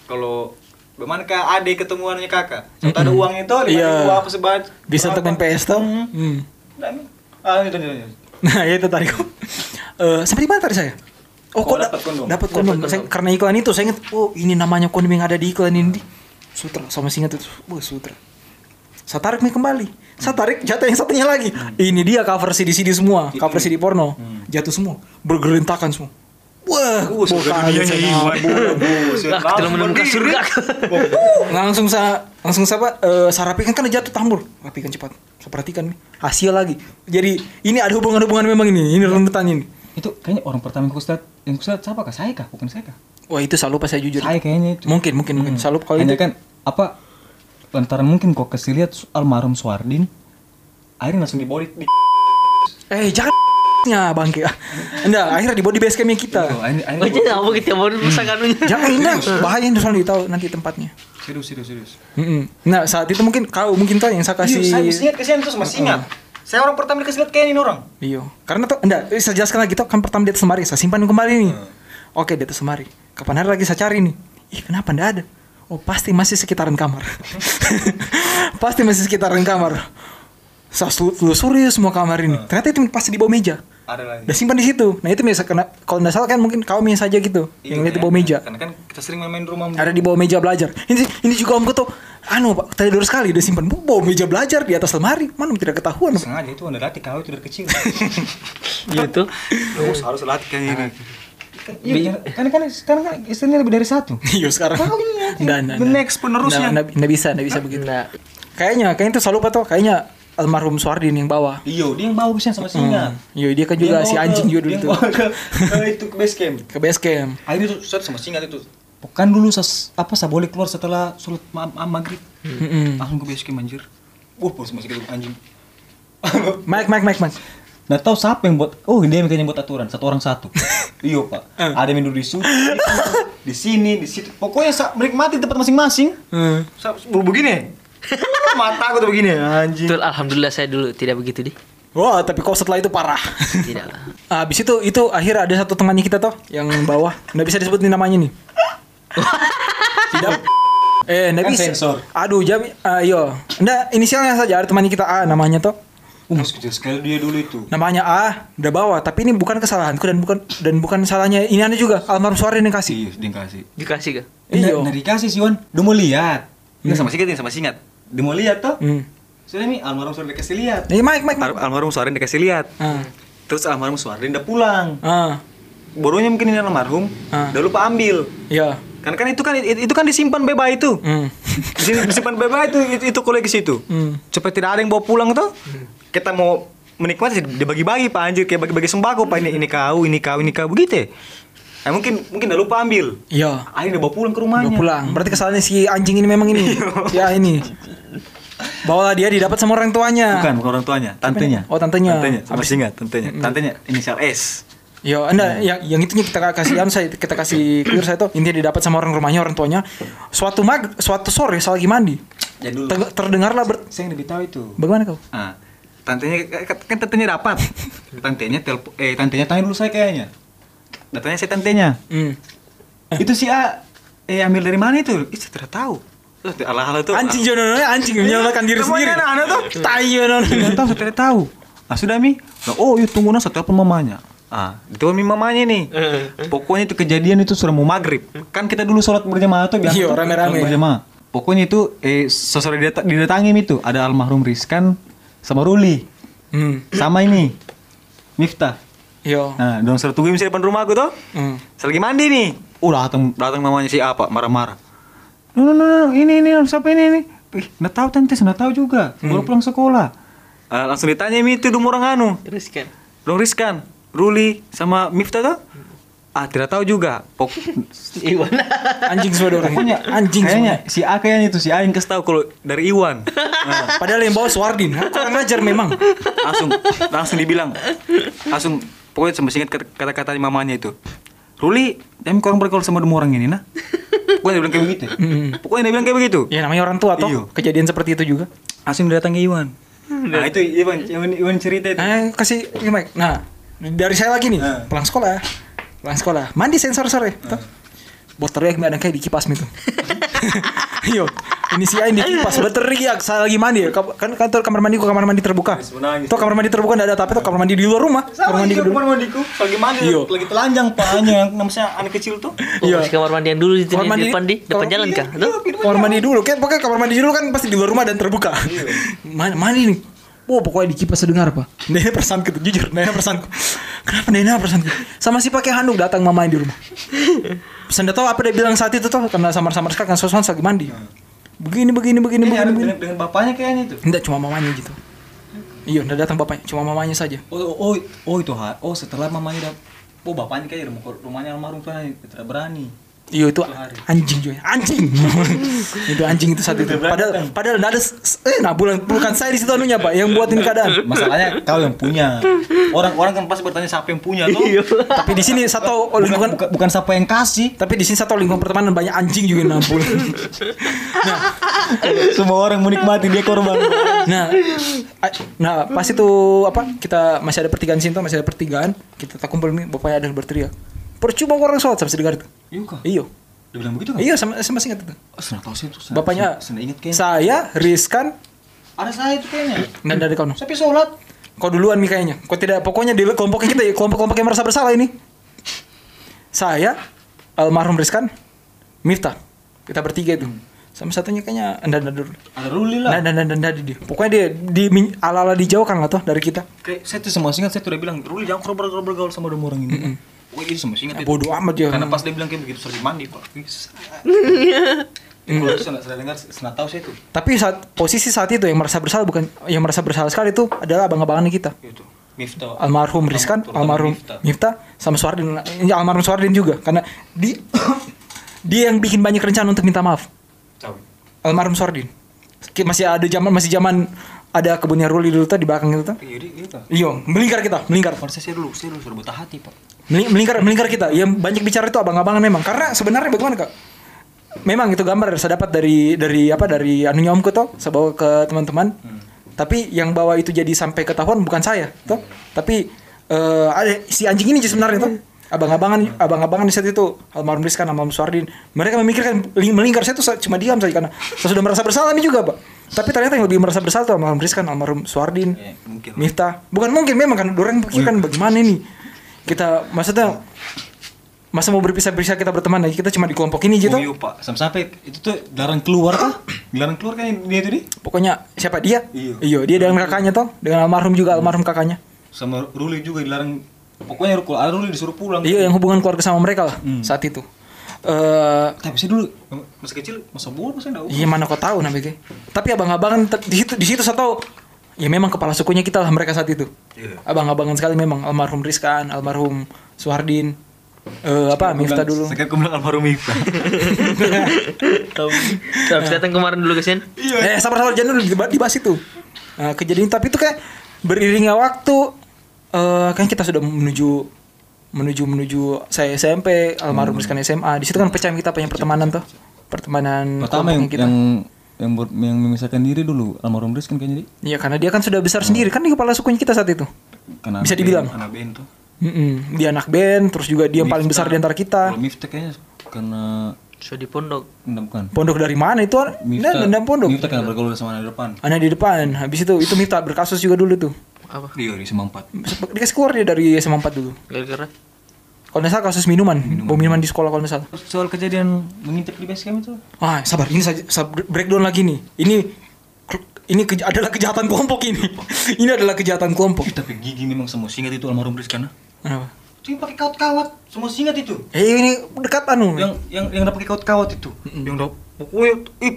Speaker 4: kalau Bagaimana kak ade ketemuannya kakak? Sampai ada
Speaker 3: Mm-mm.
Speaker 4: uangnya tuh, lima
Speaker 3: Iya.
Speaker 4: ribu apa sebat?
Speaker 3: Bisa untuk main PS tuh.
Speaker 4: Mm-mm.
Speaker 3: Hmm.
Speaker 4: Nah, ini- ah, ini, ini, ini.
Speaker 3: Nah, ya itu tadi kok. Eh, sampai di mana tadi saya? Oh,
Speaker 4: Oh,
Speaker 3: kok
Speaker 4: dapat kondom.
Speaker 3: Dapat kondom. Saya- karena iklan itu saya ingat, oh ini namanya kondom yang ada di iklan ini. Sutra, sama singa itu. Wah, sutra. Saya tarik nih kembali. Saya tarik jatuh yang satunya lagi. Ini dia cover CD-CD semua,
Speaker 4: Hmm. Itu
Speaker 3: cover
Speaker 4: nih.
Speaker 3: CD porno. Jatuh semua, bergerintakan semua. Wah,
Speaker 4: Uh, surga
Speaker 3: bukan,
Speaker 4: dunia
Speaker 3: saya
Speaker 4: nih.
Speaker 3: nabu.
Speaker 2: Ah, kita belum menemukan surga.
Speaker 3: Uh, langsung sa langsung siapa eh saya rapikan kan jatuh tambur rapikan cepat saya perhatikan nih hasil lagi jadi ini ada hubungan-hubungan memang ini ini rentetan ini
Speaker 4: Itu kayaknya orang pertama yang kusetat, yang kusetat siapa kak? Saya kak? Bukan saya kak?
Speaker 3: Wah itu saya lupa saya jujur.
Speaker 4: Saya kayaknya itu.
Speaker 3: Mungkin mungkin mungkin saya lupa kalau
Speaker 4: Hanya
Speaker 3: itu.
Speaker 4: kan apa lantaran mungkin kok kasih lihat su- almarhum Swardin akhirnya langsung dibawa di, di
Speaker 3: Eh jangan nya bangke. Enggak, akhirnya dibawa di base campnya kita.
Speaker 4: Tuh, akhirnya- akhirnya
Speaker 2: Oh, jadi apa kita
Speaker 3: Hmm.
Speaker 2: mau rusak anunya?
Speaker 3: Jangan enggak, bahaya ini soalnya tahu nanti tempatnya.
Speaker 4: dibawa- serius serius serius
Speaker 3: Mm-mm. Nah saat itu mungkin kau mungkin tahu yang saya
Speaker 4: kasih Iya, saya
Speaker 3: kasih. Hmm.
Speaker 4: masih ingat kasihan terus masih ingat saya orang pertama dikasih lihat kayaknya ini orang
Speaker 3: Iya, karena tuh enggak, eh, saya jelaskan lagi tuh kan pertama dia semari, saya simpan kembali nih.
Speaker 4: Hmm.
Speaker 3: Oke, dia semari. Kapan hari lagi saya cari nih? Ih, kenapa enggak ada? Oh, pasti masih sekitaran kamar. pasti masih sekitaran kamar. Saya selu- telusuri semua kamar
Speaker 4: Hmm.
Speaker 3: ini. Ternyata itu pasti di bawah meja.
Speaker 4: ada lagi
Speaker 3: Udah simpan di situ. Nah, itu biasa kena kalau enggak salah kan mungkin kau misalnya saja gitu. yang lihat di bawah meja.
Speaker 4: karena kan kita sering main-main di rumah
Speaker 3: Ada di bawah meja belajar. Ini ini juga omku tuh anu Pak, tadi dulu sekali udah simpan Bu, bawah meja belajar di atas lemari. Mana tidak ketahuan. Pak.
Speaker 4: sengaja itu anda latih kau itu dari kecil
Speaker 2: Gitu.
Speaker 3: Iya.
Speaker 4: harus harus latih kayaknya ini Kan- iya, karena kan sekarang kan istrinya lebih dari satu
Speaker 3: Iya sekarang.
Speaker 4: Tahu nih, nanti.
Speaker 3: Nggak, nggak,
Speaker 4: The
Speaker 3: nggak.
Speaker 4: next penerusnya.
Speaker 3: Nggak, nggak- nggak bisa, nggak bisa begitu.
Speaker 2: Nah,
Speaker 3: Kayaknya, kayaknya itu selalu tuh kayaknya almarhum Suardin yang bawa.
Speaker 4: iya dia yang bawa kesian sama singa
Speaker 3: Iya, dia kan juga si anjing juga dulu
Speaker 4: tuh
Speaker 3: tuh
Speaker 4: ke, ke itu ke base camp
Speaker 3: ke base camp.
Speaker 4: akhirnya tuh set sama singa itu bukan dulu sas, apa saya boleh keluar setelah sholat ma ma- maghrib
Speaker 3: Mm-mm.
Speaker 4: langsung ke base camp anjir wah bos masih gitu anjing
Speaker 3: Mike, Mike, Mike, Mike.
Speaker 4: Nggak tahu siapa yang buat oh dia yang kayaknya buat aturan satu orang satu iya pak ada yang duduk di situ di sini di situ pokoknya sa, menikmati tempat masing-masing
Speaker 3: Hmm.
Speaker 4: Sa- bulu begini mata aku tuh begini anjing
Speaker 2: betul alhamdulillah saya dulu tidak begitu deh.
Speaker 3: Wah, tapi kok setelah itu parah.
Speaker 2: Tidak lah.
Speaker 3: Abis Ah, itu itu akhir ada satu temannya kita toh yang bawah. Nggak bisa disebutin namanya nih. Tidak. Eh, nggak
Speaker 7: Kan
Speaker 3: bisa.
Speaker 7: sensor.
Speaker 3: Aduh, jam ayo. Nggak, inisialnya saja ada temannya kita A namanya toh.
Speaker 4: Uh,
Speaker 7: Umus kecil sekali dia dulu itu.
Speaker 3: Namanya A, udah bawah, tapi ini bukan kesalahanku dan bukan dan bukan salahnya ini ada juga almarhum Suara yang kasih.
Speaker 4: Iya, dia kasih.
Speaker 2: Dikasih kah?
Speaker 7: Iya.
Speaker 3: Iya.
Speaker 7: Nari kasih sih Wan. Dia mau lihat.
Speaker 4: Ini sama singat, ini sama singat.
Speaker 7: Dia mau lihat toh.
Speaker 3: Hmm.
Speaker 7: Sudah nih almarhum sudah dikasih lihat.
Speaker 3: Nih, Mike, Mike. Mike.
Speaker 4: Al- almarhum Suarin dikasih lihat.
Speaker 3: Ah.
Speaker 4: Terus almarhum Suarin udah
Speaker 7: Pulang.
Speaker 3: Ah.
Speaker 4: bodohnya mungkin ini almarhum,
Speaker 3: Ah.
Speaker 4: udah lupa ambil.
Speaker 3: Ya.
Speaker 4: Kan kan itu kan itu kan disimpan beba itu.
Speaker 3: Hmm.
Speaker 4: Disim- disimpan beba itu itu, itu kolek ke situ.
Speaker 3: Hmm.
Speaker 4: Supaya tidak ada yang bawa pulang tuh. Kita mau menikmati dibagi-bagi Pak anjir kayak bagi-bagi sembako Pak ini ini kau, ini kau, ini kau begitu. ya. Eh mungkin mungkin udah lupa ambil.
Speaker 3: Iya.
Speaker 4: Akhirnya bawa pulang ke
Speaker 3: Udah
Speaker 4: rumahnya.
Speaker 3: pulang. Berarti kesalahannya si anjing ini memang ini. si A ini. Bawalah dia didapat sama orang tuanya.
Speaker 4: Bukan, bukan orang tuanya, tantenya.
Speaker 3: Oh, tantenya. Hmm.
Speaker 4: Tantenya, sama singa, tantenya. Tantenya inisial S.
Speaker 3: Ya,
Speaker 4: Hmm.
Speaker 3: anda yang yang itunya kita kasih anu saya kita kasih clear saya tuh intinya didapat sama orang rumahnya orang tuanya. Suatu mag suatu sore saya lagi mandi.
Speaker 7: Ya dulu.
Speaker 3: Teng- terdengarlah ber-
Speaker 7: Saya yang lebih tahu itu.
Speaker 3: bagaimana kau?
Speaker 4: Ah, tantenya kan tantenya dapat. tantenya telpon eh tantenya
Speaker 7: Tanya dulu saya kayaknya.
Speaker 4: datanya saya tantenya.
Speaker 3: Hmm.
Speaker 4: itu si A eh ambil dari mana itu? Ih, saya Ah, tidak tahu. Terus ala-ala tuh.
Speaker 3: Anjing jodoh anjing menyalahkan diri sendiri.
Speaker 4: Semuanya anak-anak tuh.
Speaker 3: Tai jodoh.
Speaker 4: Saya tidak tahu, saya tidak tahu. Ah, sudah Mi. Nah, oh, iya tunggu nah, saya telepon mamanya. Ah, ditelepon Mi mamanya nih.
Speaker 3: Eh.
Speaker 2: Eh,
Speaker 4: Pokoknya itu kejadian itu sudah mau maghrib. Kan kita dulu sholat berjamaah tuh biasa.
Speaker 3: Iya,
Speaker 4: tuh,
Speaker 3: rame-rame.
Speaker 4: sholat Berjamaah. Pokoknya itu eh sosok didata- didatangi Mi itu ada almarhum Rizkan sama Ruli.
Speaker 3: Hmm.
Speaker 4: Sama ini. Miftah.
Speaker 3: Yo.
Speaker 4: Nah, dong suruh tungguin di depan rumah aku tuh.
Speaker 3: Hmm.
Speaker 4: Saya lagi mandi nih. Oh datang datang mamanya si apa marah-marah. No no no, no. ini ini siapa ini ini? Ih, nggak tahu tante, nggak tahu juga. Baru pulang sekolah. Hmm. Eh, langsung ditanya Mi, itu dua orang anu,
Speaker 2: Terus kan?
Speaker 4: dong Rizkan, Ruli sama Miftah tuh. Ah tidak tahu juga. Pok
Speaker 2: Iwan.
Speaker 3: Anjing semua dong.
Speaker 4: pokoknya
Speaker 3: anjing
Speaker 4: kayaknya
Speaker 3: semuanya.
Speaker 4: si A kayaknya itu si A yang kasih tahu kalau dari Iwan. Nah,
Speaker 3: Padahal yang bawa Swardin. Hah, Kurang ajar memang.
Speaker 4: langsung langsung dibilang langsung pokoknya sampai singkat kata-kata mamanya itu Ruli jangan kurang bergaul sama dua orang ini nah pokoknya dia bilang kayak begitu
Speaker 7: Mm-hmm.
Speaker 4: pokoknya dia bilang kayak begitu
Speaker 7: Iya.
Speaker 3: Ya namanya orang tua
Speaker 4: Iyo.
Speaker 3: toh. Kejadian seperti itu juga.
Speaker 4: langsung datang Iwan nah itu Iwan Iwan, Iwan
Speaker 7: Ah.
Speaker 4: cerita itu
Speaker 3: Nah, kasih ini Mike. Nah, dari saya lagi nih,
Speaker 7: Nah.
Speaker 3: pulang sekolah. Pulang sekolah, mandi sensor sore. tuh. Baterai yang ada kayak di kipas gitu. Yo, ini si Ain di kipas udah teriak saya lagi mandi ya. Kam- Kan kantor kamar mandiku kamar mandi terbuka.
Speaker 7: menangis.
Speaker 3: Tuh kamar mandi terbuka enggak ada tapi tuh kamar mandi di luar rumah. kamar
Speaker 7: Sama di
Speaker 3: mandi kedua.
Speaker 7: kamar mandiku. Lagi mandi
Speaker 3: Iya.
Speaker 7: lagi telanjang pahanya namanya anak kecil tuh.
Speaker 2: Oh,
Speaker 3: Iya.
Speaker 2: masih kamar mandi yang dulu di
Speaker 3: Kamar
Speaker 2: di
Speaker 3: mandi-
Speaker 2: depan di depan
Speaker 3: kamar-
Speaker 2: jalan
Speaker 3: iya,
Speaker 2: kah?
Speaker 7: iya,
Speaker 2: Tuh.
Speaker 7: pintu
Speaker 3: Kamar mandi dulu, kan pokoknya kamar mandi dulu kan pasti di luar rumah dan terbuka. Mana mandi nih? Wah pokoknya di kipas saya dengar apa? Nena persanku tuh jujur, Nena persanku. Kenapa Nena persanku? Sama si pakai handuk datang mamanya di rumah. Pesan tahu apa dia bilang saat itu tuh karena samar-samar sekarang kan sosokan lagi mandi. Begini begini
Speaker 7: Ini
Speaker 3: begini begini
Speaker 7: anak
Speaker 3: begini.
Speaker 7: dengan, dengan bapaknya kayaknya itu.
Speaker 3: Enggak cuma mamanya gitu. Iya, enggak datang bapaknya, cuma mamanya saja.
Speaker 7: Oh, oh, oh itu ha. Oh setelah mamanya dap- Oh bapaknya kayaknya rumah rumahnya almarhum tuh tidak berani.
Speaker 3: Iya itu anjing juga, anjing. itu anjing itu saat itu. Padahal padahal enggak ada s- eh nah bulan bukan saya di situ anunya, Pak, yang buatin keadaan.
Speaker 7: Masalahnya kau yang punya. Orang-orang kan pasti bertanya siapa yang punya tuh.
Speaker 3: Iya. Tapi di sini satu
Speaker 7: Bukan,
Speaker 3: lingkungan
Speaker 7: bukan, bukan siapa yang kasih.
Speaker 3: tapi di sini satu lingkungan pertemanan banyak anjing juga yang nampol.
Speaker 7: Semua orang menikmati dia korban.
Speaker 3: nah, a- nah pas itu apa kita masih ada pertigaan sini tuh, masih ada pertigaan kita tak kumpul nih bapaknya ada yang berteriak percuma orang sholat sampai dengar itu
Speaker 7: Iya kah?
Speaker 3: iyo
Speaker 7: Dia bilang begitu kan?
Speaker 3: iyo sama sama singkat itu
Speaker 7: Oh, senang tahu sih itu. senang-
Speaker 3: Iya. bapaknya
Speaker 7: senang ingat kayaknya.
Speaker 3: saya Rizkan
Speaker 7: Ada saya itu kayaknya.
Speaker 3: nggak dari kau no.
Speaker 7: Tapi sholat.
Speaker 3: kau duluan nih kayaknya kau tidak pokoknya di kelompoknya kita ya kelompok kelompok yang merasa bersalah ini saya almarhum Rizkan Miftah kita bertiga itu sama satunya kayaknya anda anda dulu
Speaker 7: Ada Ruli
Speaker 3: Nah,
Speaker 7: lah.
Speaker 3: nah, nah, nah, nah, dia. Pokoknya dia di min- ala-ala dijauhkan lah toh dari kita.
Speaker 7: Kayak saya tuh sama singkat saya tuh udah bilang Ruli jangan kau bergaul bergaul sama dua orang ini. Oh itu sama singkat
Speaker 3: Ya,
Speaker 7: itu.
Speaker 3: bodoh amat dia.
Speaker 7: Karena pas dia bilang kayak begitu sering mandi pak. Kalau itu saya nggak salah dengar, senang tahu saya itu.
Speaker 3: Tapi saat posisi saat itu yang merasa bersalah bukan yang merasa bersalah sekali itu adalah abang-abangan kita.
Speaker 7: Itu. Gitu. Miftah.
Speaker 3: Almarhum Rizkan,
Speaker 7: Terutama
Speaker 3: almarhum Ya.
Speaker 7: Miftah.
Speaker 3: Miftah, sama Suardin. Ini almarhum Suardin juga karena di dia yang bikin banyak rencana untuk minta maaf.
Speaker 7: Tahu.
Speaker 3: Almarhum Suardin. Ki- Masih ada zaman masih zaman ada kebunnya Ruli dulu tuh di belakang itu tuh.
Speaker 7: Iya iya kah?
Speaker 3: Iyo, melingkar kita, melingkar.
Speaker 7: Kan saya dulu, saya dulu sudah buta hati pak.
Speaker 3: Meli- melingkar melingkar kita yang banyak bicara itu abang-abangan memang karena sebenarnya bagaimana kak memang itu gambar saya dapat dari dari apa dari anunya omku tuh saya bawa ke teman-teman Tapi yang bawa itu jadi sampai ketahuan bukan saya, toh. Tapi eh, ada si anjing ini sebenarnya toh. Abang-abangan, abang-abangan di saat itu almarhum Rizkan, almarhum Suardin, mereka memikirkan ling- melingkar saya tuh sa- cuma diam saja karena saya sudah merasa bersalah ini juga, Pak. Tapi ternyata yang lebih merasa bersalah tuh almarhum Rizkan, almarhum Suardin,
Speaker 4: Ya,
Speaker 6: Iya, mungkin.
Speaker 3: Miftah. Bukan mungkin memang kan orang pikirkan bagaimana ini kita maksudnya masa mau berpisah-pisah kita berteman lagi kita cuma di kelompok ini gitu.
Speaker 4: Oh,
Speaker 6: Uyuh, Pak.
Speaker 4: Sampai-sampai itu tuh dilarang keluar kah? Dilarang keluar kan dia itu nih?
Speaker 3: Pokoknya siapa dia?
Speaker 4: Iya.
Speaker 3: Iya, dia dengan kakaknya toh, dengan almarhum juga almarhum kakaknya.
Speaker 4: Sama Ruli juga dilarang. Pokoknya kalau ada Ruli disuruh pulang.
Speaker 3: Iya, yang hubungan keluarga sama mereka lah saat itu. Eh,
Speaker 4: Tapi saya dulu masih kecil masa bodoh saya enggak.
Speaker 3: iya mana kau tahu nah BG. Tapi abang-abangan te- di situ di situ saya tahu ya memang kepala sukunya kita lah mereka saat itu.
Speaker 6: Iya.
Speaker 3: Abang-abangan sekali memang almarhum Rizkan, almarhum Suhardin, eh, apa Miftah dulu. Hmm,
Speaker 6: Saya kira bilang almarhum Miftah.
Speaker 2: Tahu. Habis datang kemarin dulu ke sini.
Speaker 4: Iya.
Speaker 3: Eh, sabar-sabar jangan dulu diba- dibahas itu. Nah, kejadian tapi itu kayak beriringnya waktu eh kan kita sudah menuju menuju menuju saya SMP, almarhum
Speaker 4: Hmm.
Speaker 3: Rizkan SMA. Di situ kan pecah kita punya pertemanan tuh. Pertemanan
Speaker 4: Pertama yang,
Speaker 3: kelompoknya kita.
Speaker 4: yang yang ber- yang memisahkan diri dulu almarhum Riz kan kayaknya di
Speaker 3: Iya, karena dia kan sudah besar
Speaker 4: Hmm.
Speaker 3: sendiri kan di kepala sukunya kita saat itu.
Speaker 4: karena
Speaker 3: Bisa dibilang.
Speaker 6: Anak bento.
Speaker 3: Mm-mm. Dia anak band, terus juga dia yang paling besar di antara kita.
Speaker 4: kalau Miftah kayaknya karena
Speaker 2: Sudah di pondok.
Speaker 4: dendam bukan
Speaker 3: Pondok dari mana itu? Nah, dendam pondok.
Speaker 4: Miftah karena bergaul sama anak di depan
Speaker 3: Anak di depan. Habis itu itu Miftah berkasus juga dulu tuh.
Speaker 2: Apa?
Speaker 6: Iya, di SMA 4.
Speaker 3: Dikasih keluar dia dari SMA 4 dulu.
Speaker 2: Gara-gara
Speaker 3: Kalau nggak salah kasus minuman, bom minuman di sekolah kalau nggak salah.
Speaker 4: soal kejadian mengintip di base camp itu
Speaker 3: Wah, sabar ini saja sab- breakdown lagi nih. Ini ini ke- adalah kejahatan kelompok ini. ini adalah kejahatan kelompok.
Speaker 6: Ih, tapi gigi memang semua singkat itu almarhum Riz karena.
Speaker 3: Kenapa?
Speaker 6: Itu yang pakai kaut kawat, semua singkat itu.
Speaker 3: Eh ini dekat anu.
Speaker 6: Yang yang yang udah pakai kaut kawat itu. Yang udah pokoknya ih,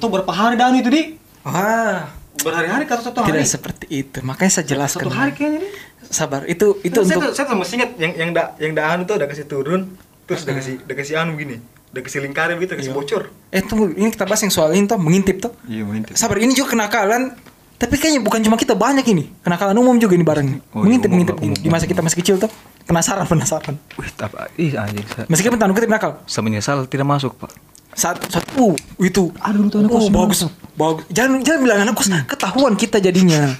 Speaker 6: itu berapa hari dan itu, Di?
Speaker 3: Wah,
Speaker 6: Berhari-hari kata satu
Speaker 3: tidak
Speaker 6: hari.
Speaker 3: seperti itu. Makanya saya jelaskan.
Speaker 6: Satu hari kayaknya, Di.
Speaker 3: Sabar, itu itu
Speaker 6: Terus saya
Speaker 3: untuk
Speaker 6: tuh- saya tuh masih ingat yang yang da yang da anu tuh udah kasih turun, terus udah kasih udah kasih anu begini. Udah kasih lingkaran gitu, kasih bocor.
Speaker 3: Eh tunggu, ini kita bahas yang soal ini toh mengintip toh.
Speaker 4: iya mengintip
Speaker 3: Sabar, ini juga kenakalan. Tapi kayaknya bukan cuma kita banyak ini. Kenakalan umum juga ini bareng. nih.
Speaker 6: Oh, iya,
Speaker 3: mengintip
Speaker 6: umum,
Speaker 3: mengintip
Speaker 6: umum,
Speaker 3: gini. di masa kita masih kecil toh. Penasaran penasaran.
Speaker 6: Wih, apa? Ih, anjing. Saya,
Speaker 3: Meskipun tanda kutip nakal.
Speaker 6: saya menyesal tidak masuk, Pak.
Speaker 3: satu satu uh, itu
Speaker 4: Aduh, itu anak kos.
Speaker 3: oh,
Speaker 4: Hmm.
Speaker 3: bagus bagus jangan jangan bilang anak kos ketahuan kita jadinya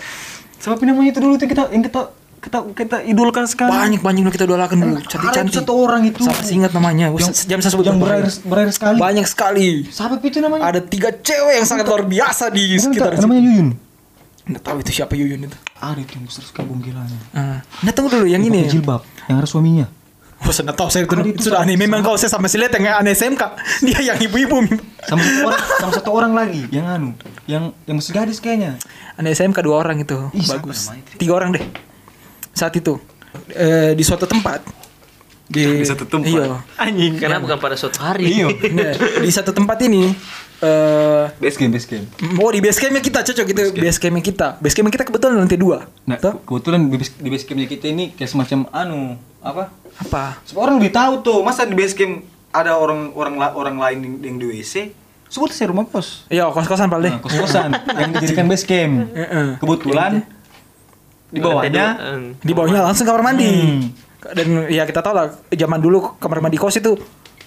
Speaker 6: Sebab namanya itu dulu tuh kita yang kita kita kita idolkan sekarang.
Speaker 3: banyak banyak yang kita dolakan dulu cantik cantik
Speaker 6: satu orang itu.
Speaker 3: Siapa sih ingat namanya Wah, se- jam saya sebut
Speaker 4: yang berair
Speaker 3: namanya.
Speaker 4: berair sekali
Speaker 3: banyak sekali
Speaker 4: siapa itu namanya
Speaker 3: ada tiga cewek yang sangat luar biasa di
Speaker 4: Bukan,
Speaker 3: sekitar
Speaker 4: tak? namanya Yuyun
Speaker 3: nggak tahu itu siapa Yuyun itu
Speaker 4: ada itu yang besar sekali bungkilannya
Speaker 3: Ah, nah tunggu dulu yang ini
Speaker 4: Pakai jilbab yang harus suaminya
Speaker 3: Wah, saya nggak tahu saya itu, itu sudah aneh memang kau saya sama si Let yang aneh SMK dia yang ibu-ibu
Speaker 4: sama satu orang sama satu orang lagi yang anu yang yang masih gadis kayaknya
Speaker 3: Anak SMK dua orang itu
Speaker 4: Ih, siapa
Speaker 3: bagus.
Speaker 4: namanya itu?
Speaker 3: Tiga orang deh. Saat itu eh, di suatu tempat di, Iya.
Speaker 6: Anjing.
Speaker 2: Karena bukan pada suatu hari.
Speaker 3: Nah, di satu tempat ini eh
Speaker 4: base game base game
Speaker 3: oh di base campnya kita cocok gitu base campnya kita. Base campnya kita kebetulan lantai dua.
Speaker 4: nah
Speaker 3: Tuh,
Speaker 4: ke- kebetulan di base, di base campnya kita ini kayak semacam anu apa
Speaker 3: apa?
Speaker 6: Semua orang udah tahu tuh, masa di base camp ada orang orang la- orang lain yang, yang di WC? Sebut saya rumah kos.
Speaker 3: Iya kos-kosan paling.
Speaker 4: nah, kos kosan yang dijadikan base camp
Speaker 3: Heeh.
Speaker 4: kebetulan di bawahnya
Speaker 2: Eng.
Speaker 3: Di bawahnya langsung kamar mandi.
Speaker 4: Hmm.
Speaker 3: Dan ya kita tahu lah zaman dulu kamar mandi kos itu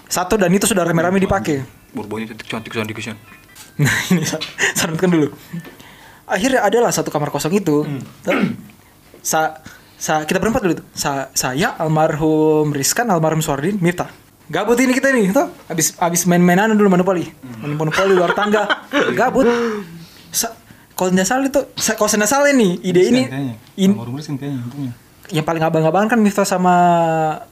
Speaker 3: satu dan itu sudah rame-rame dipakai.
Speaker 6: Borbonya cantik cantik cantik cantik.
Speaker 3: Nah ini sa- sarankan dulu. Akhirnya adalah satu kamar kosong itu.
Speaker 4: Hmm.
Speaker 3: Ter- Sa, sa, kita berempat dulu tuh. Sa, saya, almarhum Rizkan, almarhum Suardin, Mirta. Gabut ini kita nih, tuh. Abis, abis main-mainan dulu monopoli.
Speaker 4: Hmm.
Speaker 3: Main monopoli luar tangga. Gabut. Sa, kalau tidak salah itu, sa, kalau tidak salah nih, ide ini,
Speaker 4: kayaknya
Speaker 3: in-
Speaker 4: Almarhum Rizkan kayaknya untungnya.
Speaker 3: yang paling abang-abangan kan Miftah sama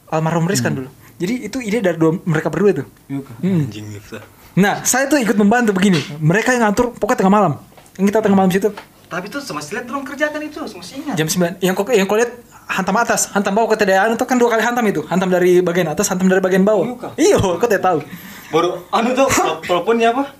Speaker 3: almarhum Rizkan
Speaker 4: Hmm.
Speaker 3: dulu. Jadi itu ide dari dua, mereka berdua tuh.
Speaker 4: Iya, Kak.
Speaker 3: Hmm.
Speaker 6: Anjing Miftah.
Speaker 3: Nah, saya tuh ikut membantu begini. Mereka yang ngatur pokoknya tengah malam. Yang kita tengah malam situ
Speaker 6: Tapi tuh sama silet dong kerjakan kan itu, semestinya.
Speaker 3: jam 9. Yang kok yang kau lihat hantam atas, hantam bawah ke TDA itu kan dua kali hantam itu. Hantam dari bagian atas, hantam dari bagian bawah. Iya, kau tidak tahu.
Speaker 6: Baru anu tuh teleponnya apa?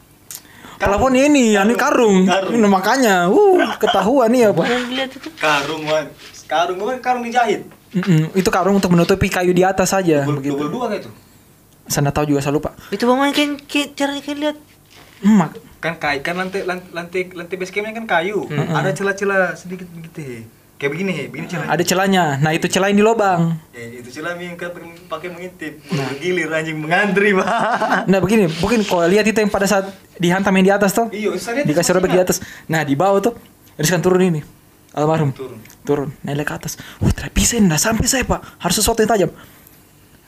Speaker 3: Telepon ini, ini karung. Ini makanya, uh, ketahuan nih ya, Pak.
Speaker 2: Yang dilihat itu.
Speaker 6: Karung wan. Karung bukan karung dijahit.
Speaker 3: Mm-mm, itu karung untuk menutupi kayu di atas saja
Speaker 6: Double
Speaker 3: begitu.
Speaker 6: double dua kayak itu.
Speaker 3: Saya nggak tahu juga saya lupa.
Speaker 2: Itu bang kan kayak caranya kayak lihat.
Speaker 3: Emak.
Speaker 6: Kan kayu kan lantai lan- lantai lantai base campnya kan kayu. Ada celah-celah sedikit begitu. Kayak begini, begini celah.
Speaker 3: Ada celahnya. Nah, itu celah ini lubang.
Speaker 6: Eh, itu celah yang kan pakai- pakai mengintip. Bergilir anjing mengantri, Pak.
Speaker 3: Nah, begini, mungkin kau lihat itu yang pada saat dihantam yang di atas tuh.
Speaker 6: Iya, saya lihat itu
Speaker 3: dikasih robek di
Speaker 6: semestinya.
Speaker 3: atas. Nah di bawah tuh Eris kan turun ini. Almarhum.
Speaker 4: Turun.
Speaker 3: Turun. Naik ke atas. Wah, tidak bisa ini. Tidak sampai saya, Pak. Harus sesuatu yang tajam.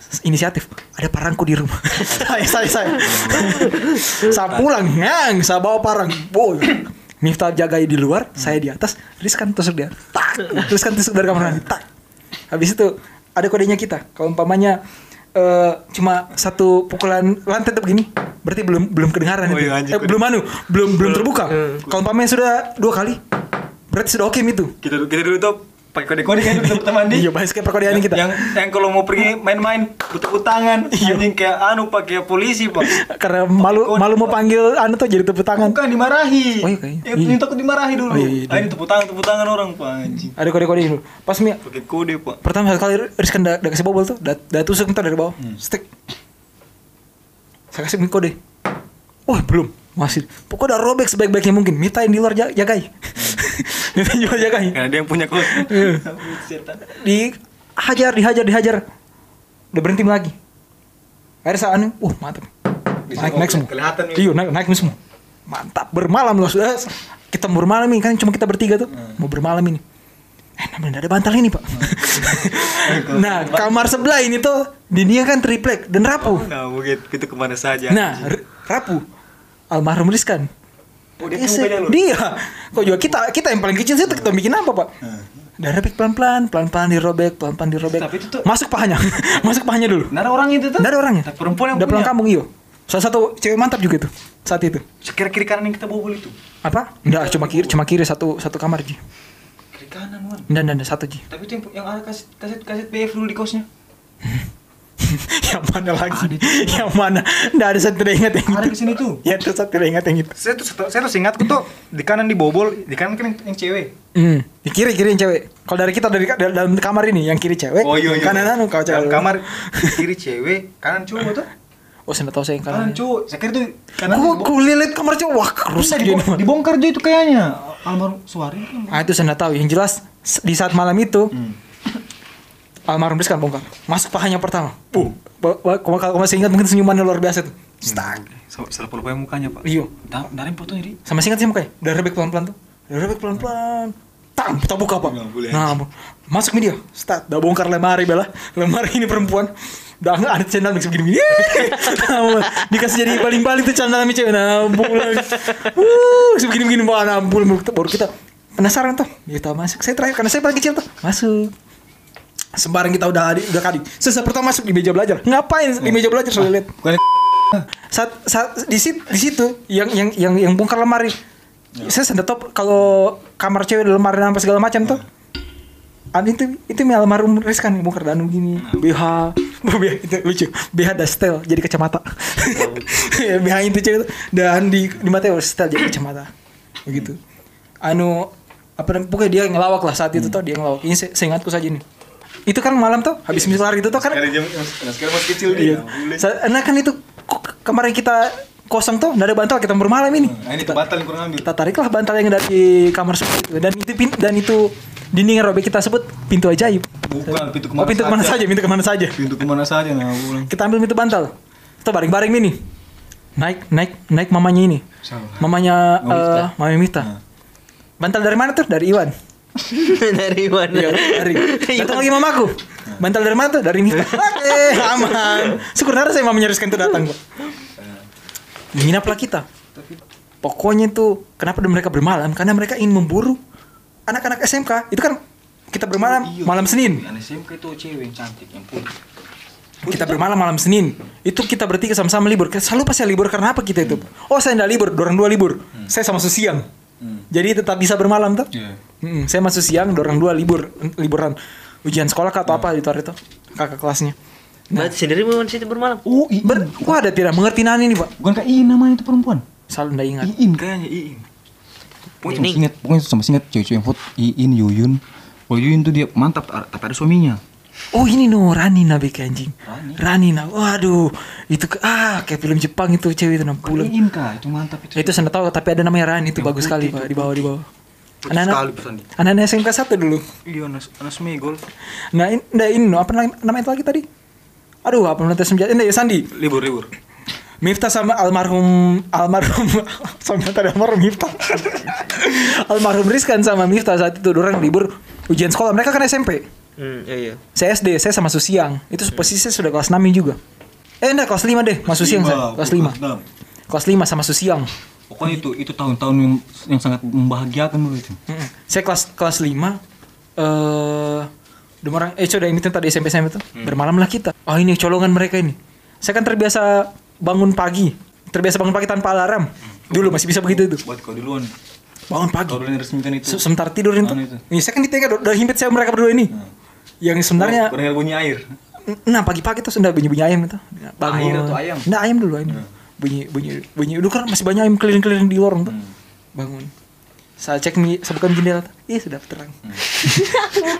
Speaker 3: S- Inisiatif. Ada parangku di rumah. Nah. saya, saya, saya. saya pulang. Ngang. Saya bawa parang. Boy. Miftah jagai di luar. Saya di atas. Rizkan tusuk dia. Tak. Rizkan tusuk dari kamar mandi. Tak. Habis itu ada kodenya kita. Kalau umpamanya eh, cuma satu pukulan lantai tetap gini, berarti belum belum kedengaran
Speaker 6: Oh
Speaker 3: itu.
Speaker 6: iya, anjing, Hmm.
Speaker 3: Eh,
Speaker 6: kode.
Speaker 3: belum anu, belum belum terbuka. Kalau umpamanya sudah dua kali, berarti sudah oke itu.
Speaker 6: Kita kita dulu tuh pakai kode-kode kan dulu teman di.
Speaker 3: Iya, bahas kayak perkodean kita.
Speaker 6: Yang yang kalau mau pergi main-main butuh tangan anjing kayak anu pak kayak polisi pak.
Speaker 3: Karena malu
Speaker 6: kode.
Speaker 3: malu mau panggil anu tuh jadi tepuk tangan.
Speaker 6: Bukan dimarahi.
Speaker 3: Oh, iya, kayaknya.
Speaker 6: Yang minta aku dimarahi dulu.
Speaker 3: Oh, iya, iya,
Speaker 6: Ah, ini tepuk tangan tepuk tangan orang pak anjing.
Speaker 3: Ada kode-kode dulu. Pas Mia,
Speaker 6: Pakai kode pak.
Speaker 3: pertama satu kali Rizkan udah udah kasih bobol tuh, udah udah tusuk ntar dari bawah, stick. Saya kasih Miko deh. Wah belum, masih. Pokoknya udah robek sebaik-baiknya mungkin. Mita yang di luar ja- jagai. Mita yang di luar jagai.
Speaker 6: Karena dia yang punya kode.
Speaker 3: Dihajar, dihajar, dihajar. Udah berhenti lagi. Akhirnya saat ini, uh mantap. Naik, naik semua.
Speaker 4: Kelihatan nih.
Speaker 3: Iya, naik, naik semua. Mantap, bermalam loh. Sudah, kita mau bermalam ini, kan cuma kita bertiga tuh.
Speaker 4: Hmm.
Speaker 3: Mau bermalam ini. Eh, namanya nggak ada bantal ini, Pak. nah, kamar sebelah ini tuh, dia kan triplek dan rapuh.
Speaker 6: Nah mungkin itu kemana saja.
Speaker 3: Nah, R- Rapu almarhum Rizkan.
Speaker 6: Oh, dia
Speaker 3: Ese-
Speaker 6: punya lu. Hmm.
Speaker 3: dia. Kok juga kita kita yang paling kecil sih kita bikin apa, Pak? Dan robek pelan-pelan, pelan-pelan dirobek, pelan-pelan dirobek.
Speaker 6: Tapi itu tuh-
Speaker 3: Masuk pahanya. Masuk pahanya dulu.
Speaker 6: Nara orang itu tuh.
Speaker 3: Nggak ada orangnya.
Speaker 6: Tapi Perempuan yang
Speaker 3: Udah pulang
Speaker 6: punya.
Speaker 3: kampung iyo. Salah satu cewek mantap juga itu saat itu.
Speaker 6: Sekira kiri kanan yang kita bobol itu.
Speaker 3: Apa? Enggak, cuma kiri, cuma kiri satu satu kamar, Ji.
Speaker 6: Kiri kanan wan.
Speaker 3: Enggak, enggak, enggak, satu, Ji.
Speaker 6: Tapi itu yang, yang ada kaset kaset kaset BF dulu di kosnya.
Speaker 3: yang mana lagi? yang mana? Enggak ada satu yang ingat yang
Speaker 6: Ada
Speaker 3: itu.
Speaker 6: ke sini tuh.
Speaker 3: Ya, terus satu yang ingat yang itu.
Speaker 6: Saya tuh saya tuh ingatku tuh di kanan dibobol, di kanan kan yang, yang cewek.
Speaker 3: Hmm, di kiri kiri yang cewek. Kalau dari kita dari dari- dalam kamar ini yang kiri cewek,
Speaker 6: Oh iya iya.
Speaker 3: kanan anu kau cewek.
Speaker 6: Dalam kamar kiri cewek, kanan cowok tuh.
Speaker 3: Oh, saya nggak tahu saya yang kanan.
Speaker 6: Kanan cowok. Saya kira tuh kanan.
Speaker 3: Gua
Speaker 6: dibo-
Speaker 3: gua lilit kamar cewek. Wah, rusak
Speaker 6: Bisa
Speaker 3: dia.
Speaker 6: dibo-
Speaker 3: ini.
Speaker 6: dibongkar juga itu kayaknya. Almarhum Suari kan.
Speaker 3: Ah, itu saya nggak tahu. Yang jelas s- di saat malam itu
Speaker 6: Hmm.
Speaker 3: almarhum Rizkan bongkar. Masuk pahanya pertama. Uh, kalau kalau masih ingat mungkin senyumannya luar biasa tuh.
Speaker 6: Stang. Salah pula mukanya, Pak.
Speaker 3: Iya.
Speaker 6: Da- Dari fotonya di.
Speaker 3: Sama singkat sih mukanya. Udah rebek pelan-pelan tuh. Udah rebek pelan-pelan. Tam, kita buka apa?
Speaker 6: Nggak boleh.
Speaker 3: Nah, bu- masuk media. Start. Udah bongkar lemari bela. Lemari ini perempuan. Udah nggak ada channel mix begini gini. Dikasih jadi baling-baling tuh channel mix cewek. Nah, bulan. Uh, sebegini begini mau nampul baru kita penasaran tuh. Kita masuk. Saya terakhir karena saya paling kecil tuh. Masuk. Sembarang kita udah adi- udah kali. Saya pertama masuk di meja belajar. Ngapain di meja belajar? Saya lihat
Speaker 4: Bukan
Speaker 3: saat, saat di situ di situ yang yang yang yang bongkar lemari saya sudah top kalau kamar cewek ada lemari apa segala macam tuh An itu itu mi almarhum Rizkan yang bongkar danu gini BH BH itu lucu BH ada setel jadi kacamata Ya, BH itu cewek tuh. dan di di mata oh, setel jadi kacamata begitu anu apa namanya pokoknya dia ngelawak lah saat itu tuh dia ngelawak ini se- seingatku saja nih itu kan malam tuh habis mislar gitu tuh kan
Speaker 4: Sekarang jam sekarang masih kecil dia.
Speaker 3: Iya.
Speaker 4: Boleh.
Speaker 3: Sa- Nah kan itu kok kemarin kita kosong tuh, nggak ada bantal kita bermalam ini.
Speaker 4: Nah, ini tuh batal yang kurang ambil.
Speaker 3: Kita tariklah bantal yang ada di kamar seperti itu dan itu pin- dan itu dinding yang robek kita sebut pintu ajaib.
Speaker 4: Bukan pintu kemana
Speaker 3: oh, pintu kemana saja, pintu kemana saja.
Speaker 4: Pintu kemana saja nah pulang.
Speaker 3: Kita ambil pintu bantal. Kita baring-baring ini. Naik, naik, naik mamanya ini.
Speaker 4: Siapa?
Speaker 3: Mamanya
Speaker 4: Mami Mita.
Speaker 3: eh, Mami Mita.
Speaker 4: Nah.
Speaker 3: Bantal dari mana tuh? Dari Iwan.
Speaker 2: dari mana?
Speaker 3: Iya, dari.
Speaker 2: Iwan.
Speaker 3: Datang lagi mamaku. Bantal dari mana tuh? Dari Mita. eh, aman. Syukur nara saya maminya Rizkan tuh datang, Pak. Menginaplah kita. Pokoknya itu kenapa mereka bermalam? Karena mereka ingin memburu anak-anak SMK. Itu kan kita bermalam
Speaker 6: Iya.
Speaker 3: malam Senin.
Speaker 6: Anak SMK itu cewek yang cantik yang putih.
Speaker 3: Kita bermalam malam Senin. Itu kita bertiga sama-sama libur. Selalu pas saya libur karena apa kita itu? Oh, saya enggak libur, orang dua libur. Saya sama Su siang. Jadi tetap bisa bermalam tuh.
Speaker 4: Iya.
Speaker 3: Mm-mm, saya masuk siang, orang dua libur liburan ujian sekolah kah atau apa gitu hari itu kakak kelasnya.
Speaker 2: Berarti sendiri Nah, mau di situ bermalam.
Speaker 4: Oh, Iin.
Speaker 3: Ber, wah ada tidak mengerti nani nih pak,
Speaker 4: Bukan Kak Iin namanya itu perempuan.
Speaker 3: selalu ndak ingat.
Speaker 4: Iin kayaknya Iin.
Speaker 2: Ini-
Speaker 4: Pokoknya sama ingat, pokoknya sama ingat cewek-cewek yang foto Iin, Yuyun. Kalau Yuyun tuh dia mantap tapi ada suaminya.
Speaker 3: Oh ini no Rani nabi ke anjing. Rani nah, waduh itu ke- ah kayak film Jepang itu cewek itu enam bulan.
Speaker 4: Iin kak, itu mantap itu.
Speaker 3: Itu saya nggak tahu tapi ada namanya Rani itu bagus sekali pak di bawah di bawah.
Speaker 6: sekali,
Speaker 3: Anak-anak
Speaker 6: pesan dia.
Speaker 3: anak-anak SMK satu dulu.
Speaker 6: Iya, anak anak semigol.
Speaker 3: Nah ini, nah, ini no, apa namanya namanya itu lagi tadi? Aduh apa namanya senjata? Ini Eh, Sandi.
Speaker 6: Libur libur.
Speaker 3: Miftah sama almarhum almarhum sama tadi almarhum Miftah. almarhum Rizkan sama Miftah saat itu orang libur ujian sekolah. Mereka kan SMP.
Speaker 2: Hmm, iya iya.
Speaker 3: Saya SD, saya sama Susiang. Itu posisi saya sudah kelas 6 juga. Eh enggak, kelas 5 deh, Mas Susiang saya. Kelas 5.
Speaker 6: Dalam.
Speaker 3: Kelas 5 sama Susiang.
Speaker 6: Pokoknya itu itu tahun-tahun yang, yang sangat membahagiakan dulu itu.
Speaker 3: Mm-mm. Saya kelas kelas 5 eh dua orang eh coba yang itu tadi SMP SMP itu bermalamlah kita. Oh ini colongan mereka ini. Saya kan terbiasa bangun pagi, terbiasa bangun pagi tanpa alarm. Dulu masih bisa begitu itu.
Speaker 6: Buat kau duluan.
Speaker 3: Bangun pagi.
Speaker 6: Kau duluan yang resmikan itu.
Speaker 3: Se- Sebentar tidur itu.
Speaker 6: Anu itu. Hmm.
Speaker 3: Ini saya kan di tengah udah himpit saya mereka berdua ini. Yang sebenarnya
Speaker 6: Berdengar bunyi air.
Speaker 3: nah pagi-pagi tuh sudah bunyi-bunyi ayam itu. Bangun.
Speaker 6: Air atau ayam?
Speaker 3: Nah, ayam dulu ayam.
Speaker 6: Hmm.
Speaker 3: Bunyi bunyi bunyi dulu kan masih banyak ayam keliling-keliling di lorong tuh.
Speaker 6: Hmm.
Speaker 3: Bangun. Saya cek mi, saya bukan jendela. tuh. Ih, sudah terang.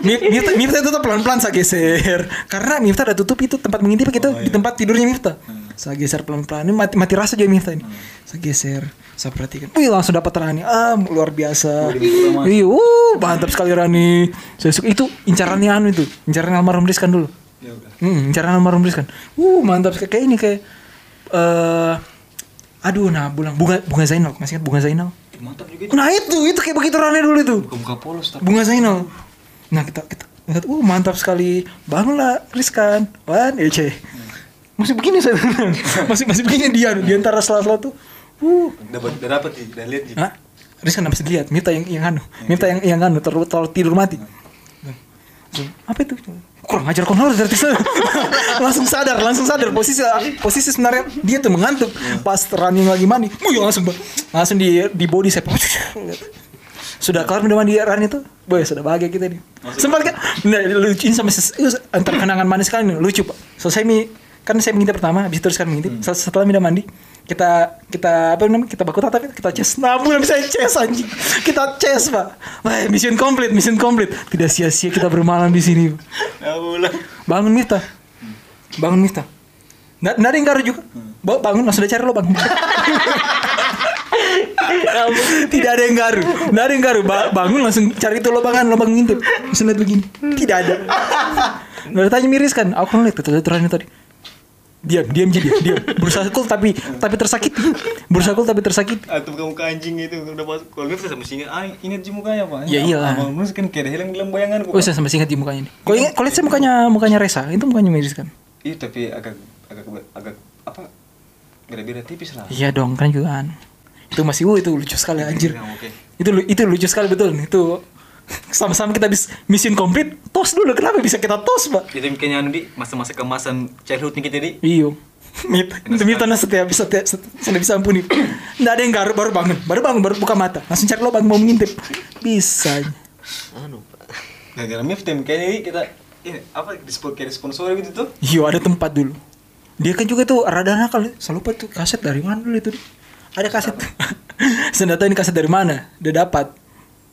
Speaker 3: Mi- Miftah, Miftah itu tuh pelan-pelan saya geser. Karena Miftah udah tutup itu tempat mengintip kita
Speaker 6: Oh,
Speaker 3: di
Speaker 6: iya.
Speaker 3: tempat tidurnya Miftah.
Speaker 6: Hmm.
Speaker 3: Saya geser pelan-pelan. Ini mati, mati rasa juga Miftah ini. Saya geser. Saya perhatikan. Wih, langsung dapat Rani. Ah, luar biasa. Iya, uh, mantap sekali Rani. Saya suka itu incarannya anu itu. Incaran almarhum Rizkan dulu.
Speaker 6: Ya udah.
Speaker 3: Hmm, cara almarhum Rizkan. Uh, mantap sekali. kayak ini kayak eh aduh nah bulan bunga bunga Zainal masih ingat bunga Zainal
Speaker 6: Mantap juga itu.
Speaker 3: nah itu itu kayak begitu rame dulu itu
Speaker 6: Buka-buka polos tapi.
Speaker 3: bunga Zainal nah kita kita ngeliat uh mantap sekali bangunlah Rizkan wan ece masih begini saya bilang. masih masih begini dia di antara sela-sela tuh uh
Speaker 6: Dapat udah dapat sih, udah lihat sih.
Speaker 3: Hah? Rizkan habis dilihat, minta yang yang anu, minta yang yang anu terlalu terlalu tidur mati. Langsung, Apa itu? Kurang ajar kau nolak dari sana. langsung sadar, langsung sadar posisi posisi sebenarnya dia tuh mengantuk pas running lagi mandi. Wih, langsung langsung di di body saya. Sudah kelar udah mandi run itu, boy sudah bahagia kita nih. Sempat kan, nah, lucuin sama ses- eh, antar kenangan manis sekali nih, lucu pak. Selesai mi, kan saya mengintip pertama, habis itu terus kan mengintip. Setelah- Setelah minta mandi, kita kita apa namanya kita baku tatap kita chess nah belum saya chess anjing kita chess pak wah mission complete mission complete tidak sia-sia kita bermalam di sini Pak.
Speaker 4: Nah, pulang.
Speaker 3: bangun Mita bangun Mita nggak nggak ada yang ngaruh juga Ba- bangun langsung udah cari lubang tidak ada yang ngaruh tidak ada yang ngaruh Ba- bangun langsung cari itu lubangan lubang ngintip langsung lihat begini tidak ada nggak ada tanya miris kan aku kan lihat tuh tuh tadi diam diam jadi diam berusaha cool tapi tapi tersakit berusaha cool tapi tersakit
Speaker 4: atau kamu ke anjing itu udah pas kalau nggak saya mesti ingat ah, ingat sih mukanya pak
Speaker 3: Ya, iyalah.
Speaker 4: abang kan kayak ada hilang dalam bayanganku
Speaker 3: oh saya sampai ingat di mukanya nih kalau ingat kalau lihat saya mukanya mukanya Resa itu mukanya miris kan
Speaker 4: iya tapi agak agak agak apa beda-beda tipis lah
Speaker 3: Iya dong, kan juga anu. Itu masih uh, itu lucu sekali anjir.
Speaker 6: Oke.
Speaker 3: Itu lu- itu lucu sekali betul nih. Itu sama-sama kita bis mission complete. Tos dulu kenapa bisa kita tos, Pak?
Speaker 6: Itu kayaknya anu di masa-masa kemasan childhoodnya kita di.
Speaker 3: Iyo. Iya. Mit, demi tanah setiap bisa setiap sudah bisa ampuni. Nggak ada yang garuk baru bangun, baru bangun baru buka mata, langsung cari lubang mau mengintip. Bisa.
Speaker 2: Anu, Pak.
Speaker 4: gara-gara miftah kayaknya ini kita ini apa dispon kayak sponsor gitu tuh
Speaker 3: Iyo Iya, ada tempat dulu. Dia kan juga tuh rada nakal, saya lupa tuh kaset dari mana dulu itu. Ada kaset. Saya nggak tahu ini kaset dari mana, udah dapat.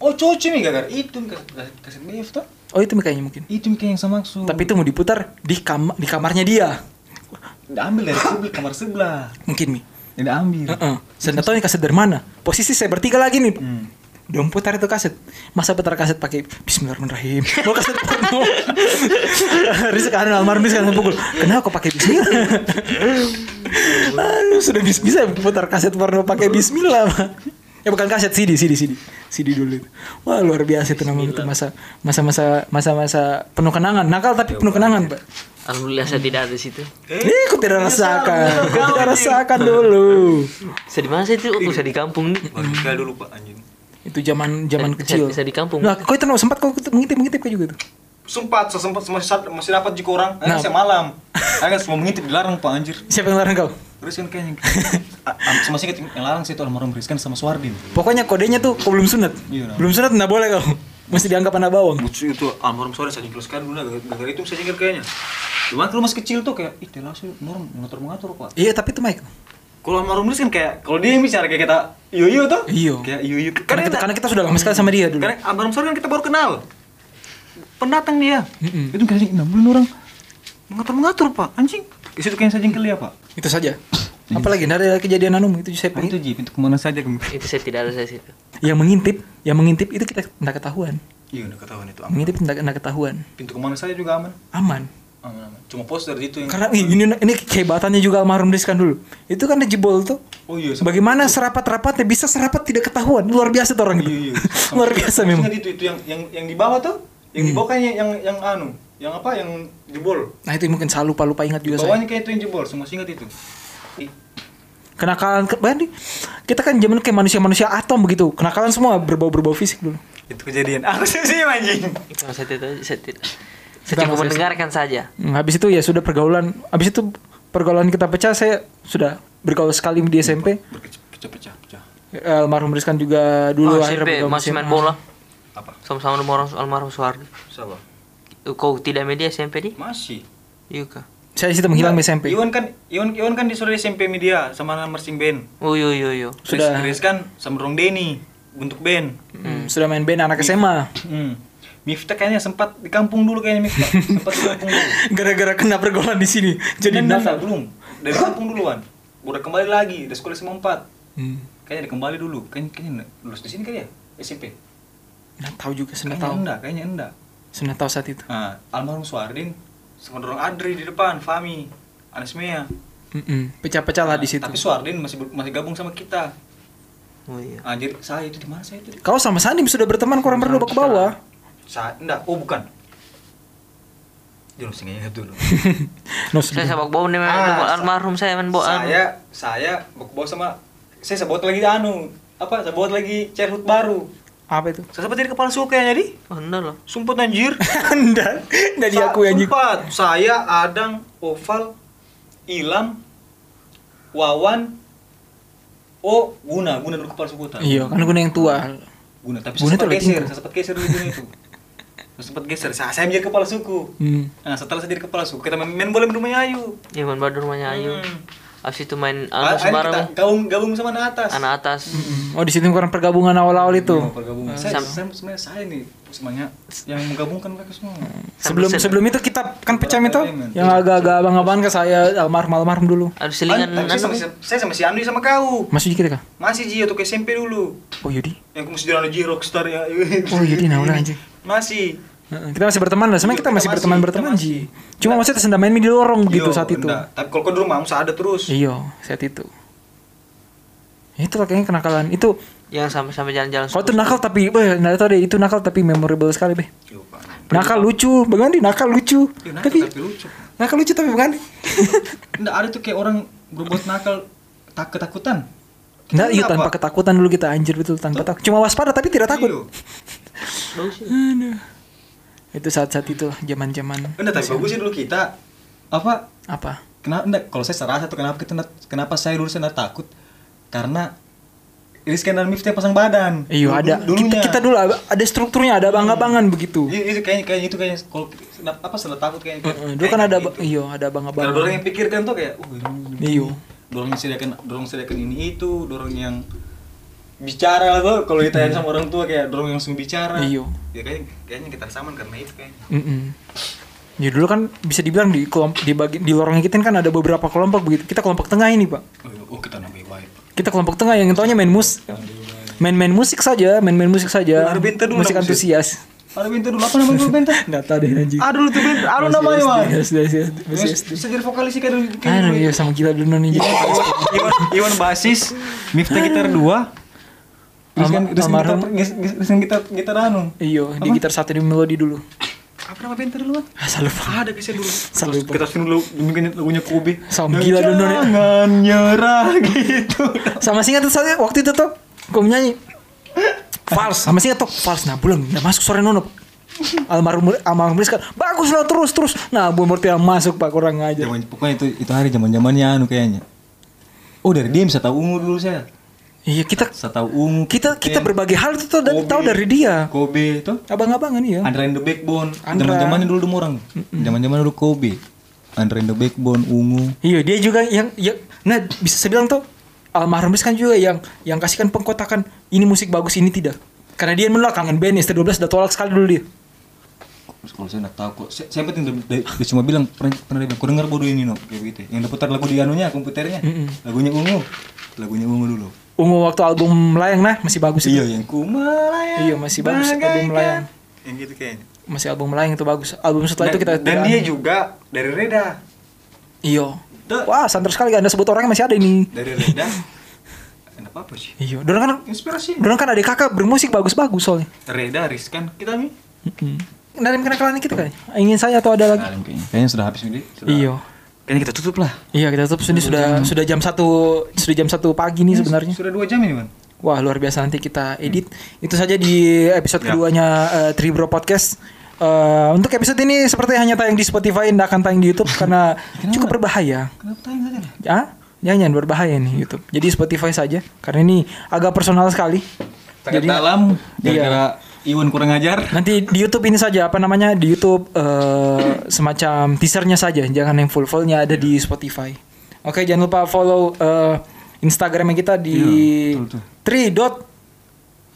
Speaker 4: oh cocok nih gara-gara itu gara-gara kasih miftah
Speaker 3: Oh itu kayaknya mungkin.
Speaker 4: itu kayak yang sama maksud
Speaker 3: Tapi itu mau diputar di kam di kamarnya dia.
Speaker 4: udah ambil dari sebelah kamar sebelah
Speaker 3: Mungkin Mi.
Speaker 4: udah ambil
Speaker 3: Heeh. Saya nggak tahu ini kaset dari mana. Posisi saya bertiga lagi nih. Udah putar itu kaset. Masa putar kaset pakai bismillahirrahmanirrahim. Mau kaset porno. Rizk kan almarhum Rizk kan pukul. Kenapa kau pakai bismillah? Aduh, sudah bis- bisa putar kaset porno pakai bismillah, Pak. Ya bukan kaset CD, CD, CD. CD dulu itu. Wah, luar biasa itu namanya itu masa masa-masa masa-masa penuh kenangan. Nakal tapi penuh kenangan, Pak.
Speaker 2: Alhamdulillah saya tidak ada di situ.
Speaker 4: Eh?
Speaker 3: Ih, aku tidak rasakan. Aku tidak rasakan dulu.
Speaker 2: Saya di mana saya itu?
Speaker 3: Iya.
Speaker 2: Oh, saya di kampung nih.
Speaker 6: Bagus sekali dulu Pak anjing.
Speaker 3: Itu zaman zaman
Speaker 2: Saya-
Speaker 3: kecil.
Speaker 2: saya- saya di kampung.
Speaker 3: Nah, kau itu no, sempat kau ikut- mengintip mengintip kau juga tuh.
Speaker 4: sempat saya sempat masih masih dapat juga orang nah.
Speaker 3: Nah.
Speaker 4: saya malam agak semua mengintip dilarang pak anjir
Speaker 3: Siapa yang larang kau?
Speaker 4: terus kan kayaknya Ah, ah, sama sih yang larang sih itu almarhum Rizkan sama Suwardin
Speaker 3: Pokoknya kodenya tuh kau belum sunat.
Speaker 4: Iya, nah.
Speaker 3: Belum sunat nggak boleh kau. Mesti dianggap anak bawang.
Speaker 6: Bucu itu almarhum sore saya jengkel sekali dulu gara- gara itu saya jengkel kayaknya. Cuman
Speaker 4: Cuman kalau masih kecil tuh kayak, ih telah sih norm mengatur mengatur pak.
Speaker 3: Iya, tapi itu Mike.
Speaker 6: kalau almarhum Lis kan kayak kalau dia yang bicara kayak kita iyo iyo tuh.
Speaker 3: Iyo.
Speaker 6: Kayak iyo iyo.
Speaker 3: Karena kita, karena kita sudah lama sekali sama dia dulu.
Speaker 6: Karena almarhum sore kan kita baru kenal. Pendatang dia.
Speaker 4: Hmm.
Speaker 3: Mm-mm.
Speaker 4: Itu kayaknya enam bulan orang.
Speaker 6: Mengatur mengatur Pak anjing.
Speaker 4: Di situ kayaknya saya jengkel ya pak.
Speaker 3: Itu saja. Apalagi nggak ada kejadian anum itu saya
Speaker 4: Nah, Iya. itu
Speaker 3: pengin-
Speaker 4: ji pintu kemana saja kamu.
Speaker 2: Itu saya tidak ada saya di situ.
Speaker 3: yang mengintip, yang mengintip itu kita tidak ketahuan.
Speaker 6: Iya udah ketahuan itu.
Speaker 3: Mengintip tidak ketahuan.
Speaker 4: Pintu kemana saja juga aman.
Speaker 3: Aman.
Speaker 4: aman-aman. Cuma poster itu yang
Speaker 3: Karena ih, ini ini kehebatannya juga almarhum Rizkan dulu. Itu kan dia jebol tuh.
Speaker 4: Oh iya, sama-
Speaker 3: Bagaimana serapat-rapatnya bisa serapat tidak ketahuan? Luar biasa tuh orang
Speaker 4: Iya, iya.
Speaker 3: itu. Luar biasa
Speaker 4: Terus
Speaker 3: memang. Hmm.
Speaker 4: ingat itu itu yang yang yang di bawah tuh, yang di bawah kayaknya yang yang anu, yang apa yang jebol.
Speaker 3: Nah itu mungkin saya lupa-lupa ingat
Speaker 4: Di
Speaker 3: juga saya.
Speaker 4: bawahnya kayak itu yang jebol, semua ingat itu. Ih,
Speaker 3: Kenakalan ke- bahkan di- kita kan zaman kayak manusia-manusia atom begitu. Kenakalan semua berbau-berbau fisik dulu.
Speaker 6: Itu kejadian. Aku sih sih anjing.
Speaker 2: Oh, saya tidak saya tidak
Speaker 3: Kita
Speaker 2: saya cukup
Speaker 3: masih-
Speaker 2: mendengarkan saja
Speaker 3: Hmm, habis itu ya sudah pergaulan. Habis itu pergaulan kita pecah. Saya sudah bergaul sekali di SMP.
Speaker 4: pecah-pecah, pecah.
Speaker 3: Eh, Almarhum Rizkan juga dulu
Speaker 2: oh,
Speaker 3: akhirnya
Speaker 2: SMP
Speaker 3: bergaul
Speaker 2: masih
Speaker 3: sama-
Speaker 2: main bola
Speaker 4: Apa?
Speaker 2: sama-sama sama orang almarhum Soehardi
Speaker 4: Siapa?
Speaker 2: kau tidak media SMP di
Speaker 4: Masih.
Speaker 2: iya kah
Speaker 3: Saya situ menghilang di SMP.
Speaker 4: Iwan kan Iwan Iwan kan disuruh SMP media sama nama mersing band.
Speaker 2: oh yo yo yo
Speaker 3: Sudah.
Speaker 4: Chris, Chris kan sama Rong Denny untuk band.
Speaker 3: Hmm, sudah main band anak SMA.
Speaker 4: Hmm. Miftah kayaknya sempat di kampung dulu kayaknya Miftah. sempat di kampung dulu.
Speaker 3: Gara-gara kena pergaulan di sini. Jadi
Speaker 4: Enggak, enggak,
Speaker 3: nakal.
Speaker 4: belum. Dari kampung duluan. Udah kembali lagi dari sekolah SMA 4.
Speaker 3: Hmm.
Speaker 4: Kayaknya ada kembali dulu. Kayaknya, kayaknya lulus di sini kali ya? SMP.
Speaker 3: Nah, tahu juga sudah
Speaker 4: Kayaknya
Speaker 3: tahu.
Speaker 4: enggak, kayaknya enggak.
Speaker 3: Sudah tahu saat itu.
Speaker 4: Nah, almarhum Suardin sama dorong Adri di depan, Fami, Anesmea.
Speaker 3: Mm-mm. Pecah-pecah lah Ah, di situ.
Speaker 4: Tapi Suardin masih ber- masih gabung sama kita.
Speaker 2: oh iya
Speaker 4: Anjir, saya itu di mana saya itu? di-
Speaker 3: Kau sama Sanim sudah berteman kurang berdua ke bawah.
Speaker 4: Saya enggak. Oh, bukan. Jangan sih ingat dulu.
Speaker 3: No,
Speaker 2: saya
Speaker 3: sudah.
Speaker 2: sepak bau nih main
Speaker 4: Ah,
Speaker 2: bola.
Speaker 4: sa-
Speaker 2: almarhum saya main bola
Speaker 3: anu.
Speaker 4: Saya saya bawa sama saya sebut lagi anu apa saya buat lagi childhood baru
Speaker 3: Apa itu?
Speaker 4: saya sempat jadi kepala suku kayaknya jadi
Speaker 2: oh enggak loh
Speaker 4: sumput anjir
Speaker 3: Anda enggak
Speaker 4: Sa-
Speaker 3: diakui anjing.
Speaker 4: Empat. Saya, Adang, Oval, Ilham, Wawan, O, Guna. Guna dulu kepala suku utara.
Speaker 3: Iya, kan guna yang tua.
Speaker 4: Guna. Tapi
Speaker 3: Guna
Speaker 4: saya sempat
Speaker 3: tuh lagi
Speaker 4: geser.
Speaker 3: tinggal.
Speaker 4: Saya sempat geser dulu Guna itu. Saya sempat geser. Saya, saya menjadi kepala suku.
Speaker 3: Hmm.
Speaker 4: Nah, setelah saya jadi kepala suku, kita main, main bola di rumahnya Ayu.
Speaker 2: iya main bola di rumahnya Ayu
Speaker 4: Hmm.
Speaker 2: abis itu main
Speaker 4: Ah, akhirnya kita
Speaker 2: anak Anu, sembarang
Speaker 4: gabung, gabung sama anak atas.
Speaker 2: anak atas
Speaker 3: Oh, di situ kurang pergabungan awal-awal itu.
Speaker 4: Iya, pergabungan. Saya,
Speaker 2: Sama.
Speaker 4: saya, sebenarnya saya nih semuanya yang menggabungkan mereka semua.
Speaker 3: Sebelum
Speaker 2: Sambil-
Speaker 3: sebelum itu kita kan pecah itu
Speaker 4: Berapa
Speaker 3: yang agak-agak abang-abangan ke saya almarhum almarhum dulu.
Speaker 2: Aduh
Speaker 4: Kan,
Speaker 2: selingan
Speaker 4: tapi saya, sama,
Speaker 2: anu.
Speaker 4: si- saya sama si Andi sama kau.
Speaker 3: Masuk dikit ya, kah?
Speaker 4: Masih Ji untuk SMP dulu.
Speaker 3: Oh Yudi.
Speaker 4: yang masih jalan aja rockstar ya
Speaker 3: Oh Yudi nah
Speaker 4: iya,
Speaker 3: orang anjing.
Speaker 4: masih
Speaker 3: Heeh, Kita masih berteman lah,
Speaker 4: Iya,
Speaker 3: sebenarnya kita
Speaker 4: kita
Speaker 3: masih
Speaker 4: masih-
Speaker 3: berteman berteman
Speaker 4: kita
Speaker 3: sih.
Speaker 4: masih.
Speaker 3: Cuma maksudnya sedang main di lorong gitu
Speaker 4: Yo,
Speaker 3: saat itu.
Speaker 4: enggak. tapi kalau kau di rumah masa ada terus
Speaker 3: Iya, saat itu. Itu lah kayaknya kenakalan. Itu
Speaker 2: yang sama-sama jalan-jalan
Speaker 3: kau tuh Oh, nakal tapi, weh, nggak tahu deh itu nakal tapi memorable sekali beh.
Speaker 4: Yo, Pak.
Speaker 3: Nakal lucu, Bang Andi nakal lucu.
Speaker 4: Yo, Iya, nakal
Speaker 3: tapi
Speaker 4: tapi lucu
Speaker 3: nakal lucu tapi Bang Andi.
Speaker 4: enggak ada tuh kayak orang berbuat nakal tak ketakutan
Speaker 3: Nah, iya
Speaker 4: Kenapa?
Speaker 3: tanpa ketakutan dulu kita anjir betul tanpa takut. Cuma waspada tapi tidak
Speaker 4: Yo.
Speaker 3: takut.
Speaker 2: Bagus sih.
Speaker 3: Itu saat-saat itu lah, zaman-zaman
Speaker 4: enggak tapi bagus sih dulu kita apa
Speaker 3: apa?
Speaker 4: kenapa enggak kalau saya serasa tuh kenapa kita enggak- kenapa saya dulu saya enggak takut karena Rizky dan Miftah pasang badan
Speaker 3: Iya
Speaker 4: Dulu-
Speaker 3: ada. Kita,
Speaker 4: dulunya.
Speaker 3: kita dulu ab- ada strukturnya, ada abang-abangan begitu.
Speaker 4: Iya, itu kayaknya kayaknya itu kayaknya kalau kenapa apa saya enggak takut kayaknya
Speaker 3: Heeh, Dulu kan ada
Speaker 4: Kayak
Speaker 3: ab-
Speaker 4: gitu.
Speaker 3: iya ada
Speaker 4: Karena orang
Speaker 3: abang-abangan.
Speaker 4: yang pikirkan tuh kayak, oh, ini- ini-
Speaker 3: Iya.
Speaker 4: dorong yang sediakan dorong sediakan ini itu dorong yang bicara lah tuh kalau ditanya sama orang tua kayak dorong yang langsung bicara
Speaker 3: Iya.
Speaker 4: ya kayaknya kayaknya kita saman karena itu kayaknya
Speaker 3: Mm-mm. Ya dulu kan bisa dibilang di kelomp- di bagi- di lorong kita kan ada beberapa kelompok begitu. Kita kelompok tengah ini, Pak.
Speaker 4: oh, iya. oh kita nambah baik
Speaker 3: Kita kelompok tengah yang taunya main mus main-main musik saja, main-main musik saja.
Speaker 4: Ada bintang dulu
Speaker 3: Musik
Speaker 4: lah musik.
Speaker 3: antusias.
Speaker 4: ada pintu dulu apa nama dulu pintu
Speaker 3: Enggak tahu deh anjing.
Speaker 4: Iya. ada dulu tuh pintu ada namanya man bisa jadi vokalis sih kayak dulu kayak
Speaker 3: Aduh,
Speaker 4: dulu.
Speaker 3: iya sama gila dulu nih.
Speaker 4: Iwan Iwan basis Miftah gitar dua terus kan terus kan
Speaker 3: Almarhum.
Speaker 4: gitar- terus kan gitar gitar anu
Speaker 3: Iya, di gitar satu di melodi dulu.
Speaker 4: apa nama pintu dulu man
Speaker 3: Ah, saya lupa.
Speaker 4: ada kisah dulu
Speaker 3: Salah lupa.
Speaker 4: kita sini dulu mungkin lagunya Kobe
Speaker 3: Sama gila dulu nih.
Speaker 4: jangan nyerah gitu
Speaker 3: Sama singa tuh saya waktu itu tuh gue nyanyi fals sama singa tuh fals nah belum udah masuk sore nono Pak. almarhum almarhum Rizka bagus lah terus terus nah bu Murti yang masuk pak kurang aja
Speaker 4: Zaman pokoknya itu itu hari zaman zamannya anu kayaknya. Oh dari dia bisa tahu ungu dulu saya.
Speaker 3: iya kita
Speaker 4: Bisa tahu ungu.
Speaker 3: kita kita
Speaker 4: Ken,
Speaker 3: berbagai hal itu tuh dari-
Speaker 4: Kobe,
Speaker 3: tahu dari dia
Speaker 4: Kobe itu.
Speaker 3: abang-abangan iya
Speaker 4: Andra and the Backbone.
Speaker 3: Andra.
Speaker 4: Zaman zamannya dulu Demorang. Zaman zaman dulu Kobe. Andra and the Backbone ungu.
Speaker 3: iya dia juga yang ya nah bisa saya bilang tuh ah, almarhum Rizka kan juga yang yang kasihkan pengkotakan ini musik bagus ini tidak karena dia menolak kangen band ST12 udah tolak sekali dulu dia
Speaker 4: Terus kalau saya nggak tahu kok. Saya, saya penting dia- dia, dia cuma bilang pernah, pernah dia bilang kau dengar bodoh ini no kayak gitu. Yang dia putar lagu di anunya komputernya. Lagunya ungu. Lagunya ungu dulu.
Speaker 3: ungu waktu album melayang nah masih bagus itu
Speaker 4: Iya yang ku melayang.
Speaker 3: Iya, masih bagus album
Speaker 4: bagaikan-
Speaker 3: Melayang.
Speaker 4: Yang gitu kayaknya.
Speaker 3: masih album lain itu bagus album setelah itu kita
Speaker 6: dan, dan
Speaker 3: tidak-
Speaker 6: dia juga dari Reda
Speaker 3: iyo
Speaker 6: Tuh.
Speaker 3: wah santer sekali anda sebut orangnya masih ada ini
Speaker 6: dari Reda ada apa sih
Speaker 3: iyo dorong kan
Speaker 6: inspirasi
Speaker 3: dorong kan ada kakak bermusik bagus-bagus soalnya
Speaker 6: Reda Rizkan kita nih
Speaker 3: Mm-mm. dari kenakalan kita kan ingin saya atau ada lagi Iya.
Speaker 6: kayaknya kayaknya sudah habis ini
Speaker 3: iyo
Speaker 6: kayaknya kita tutup lah
Speaker 3: Iya kita tutup ini sudah sudah jam satu sudah jam satu pagi nih sebenarnya.
Speaker 6: sudah dua jam ini man
Speaker 3: Wah luar biasa nanti kita edit. Itu saja di episode
Speaker 6: Ya.
Speaker 3: keduanya eh, Tribro Podcast. Eh, untuk episode ini seperti hanya tayang di Spotify, tidak akan tayang di YouTube karena cukup berbahaya.
Speaker 6: kenapa tanya saja lah
Speaker 3: Ya, jangan berbahaya nih YouTube. Jadi Spotify saja karena ini agak personal sekali.
Speaker 6: Sangat dalam
Speaker 3: Iya.
Speaker 6: gara-gara Iwan kurang ajar
Speaker 3: Nanti di YouTube ini saja apa namanya di YouTube eh, semacam teasernya saja, jangan yang full fullnya ada di Spotify. Oke, jangan lupa follow eh, Instagramnya kita di
Speaker 6: Iya, betul, betul.
Speaker 3: tri dot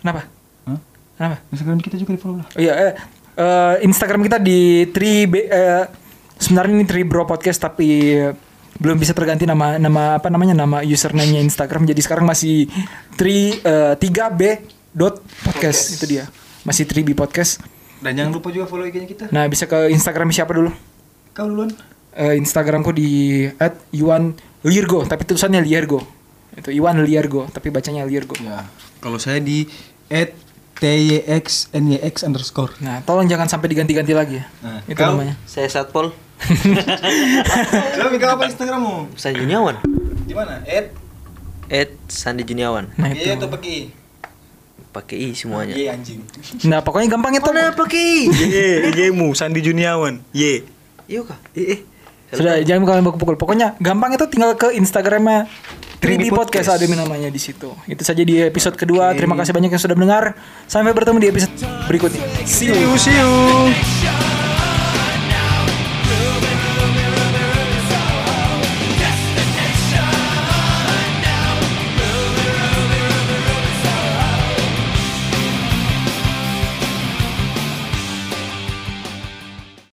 Speaker 3: kenapa?
Speaker 6: Hah?
Speaker 3: Kenapa?
Speaker 6: Instagram kita juga di follow lah
Speaker 3: Oh, iya, eh, eh, Instagram kita di tri B- eh, sebenarnya ini tri bro podcast tapi eh, belum bisa terganti nama nama apa namanya nama username-nya Instagram. Jadi sekarang masih tri tiga b dot podcast itu dia masih 3B podcast.
Speaker 6: dan jangan lupa juga follow IG-nya kita
Speaker 3: Nah bisa ke Instagram siapa dulu?
Speaker 6: kau duluan
Speaker 3: Eh, Instagramku di @iwanlirgo tapi tulisannya Liergo. Itu Iwan Liergo tapi bacanya Liergo.
Speaker 6: ya
Speaker 4: Iya. Kalau saya di at TYX NYX underscore.
Speaker 3: Nah tolong jangan sampai diganti-ganti lagi ya.
Speaker 6: Nah,
Speaker 3: itu
Speaker 6: kau?
Speaker 3: namanya.
Speaker 2: Saya Satpol
Speaker 6: Coba kau apa Instagrammu?
Speaker 2: Sandi Juniawan.
Speaker 6: Di mana? Ed,
Speaker 2: At Sandi Juniawan.
Speaker 3: Nah
Speaker 6: Iya
Speaker 3: itu.
Speaker 6: atau pakai?
Speaker 2: Pakai i semuanya.
Speaker 6: Iya anjing.
Speaker 3: Nah pokoknya gampang itu.
Speaker 2: Mana pakai i?
Speaker 4: Ye, yemu Sandi Juniawan. Ye.
Speaker 2: Iya kah? Eh, eh.
Speaker 3: Sudah jangan kalian baku pukul. Pokoknya gampang itu tinggal ke Instagramnya 3D
Speaker 6: 3D Podcast.
Speaker 3: Podcast ada namanya di situ. Itu saja di episode kedua. Terima kasih banyak yang sudah mendengar. Sampai bertemu di episode berikutnya.
Speaker 6: See you, see you.
Speaker 8: Show.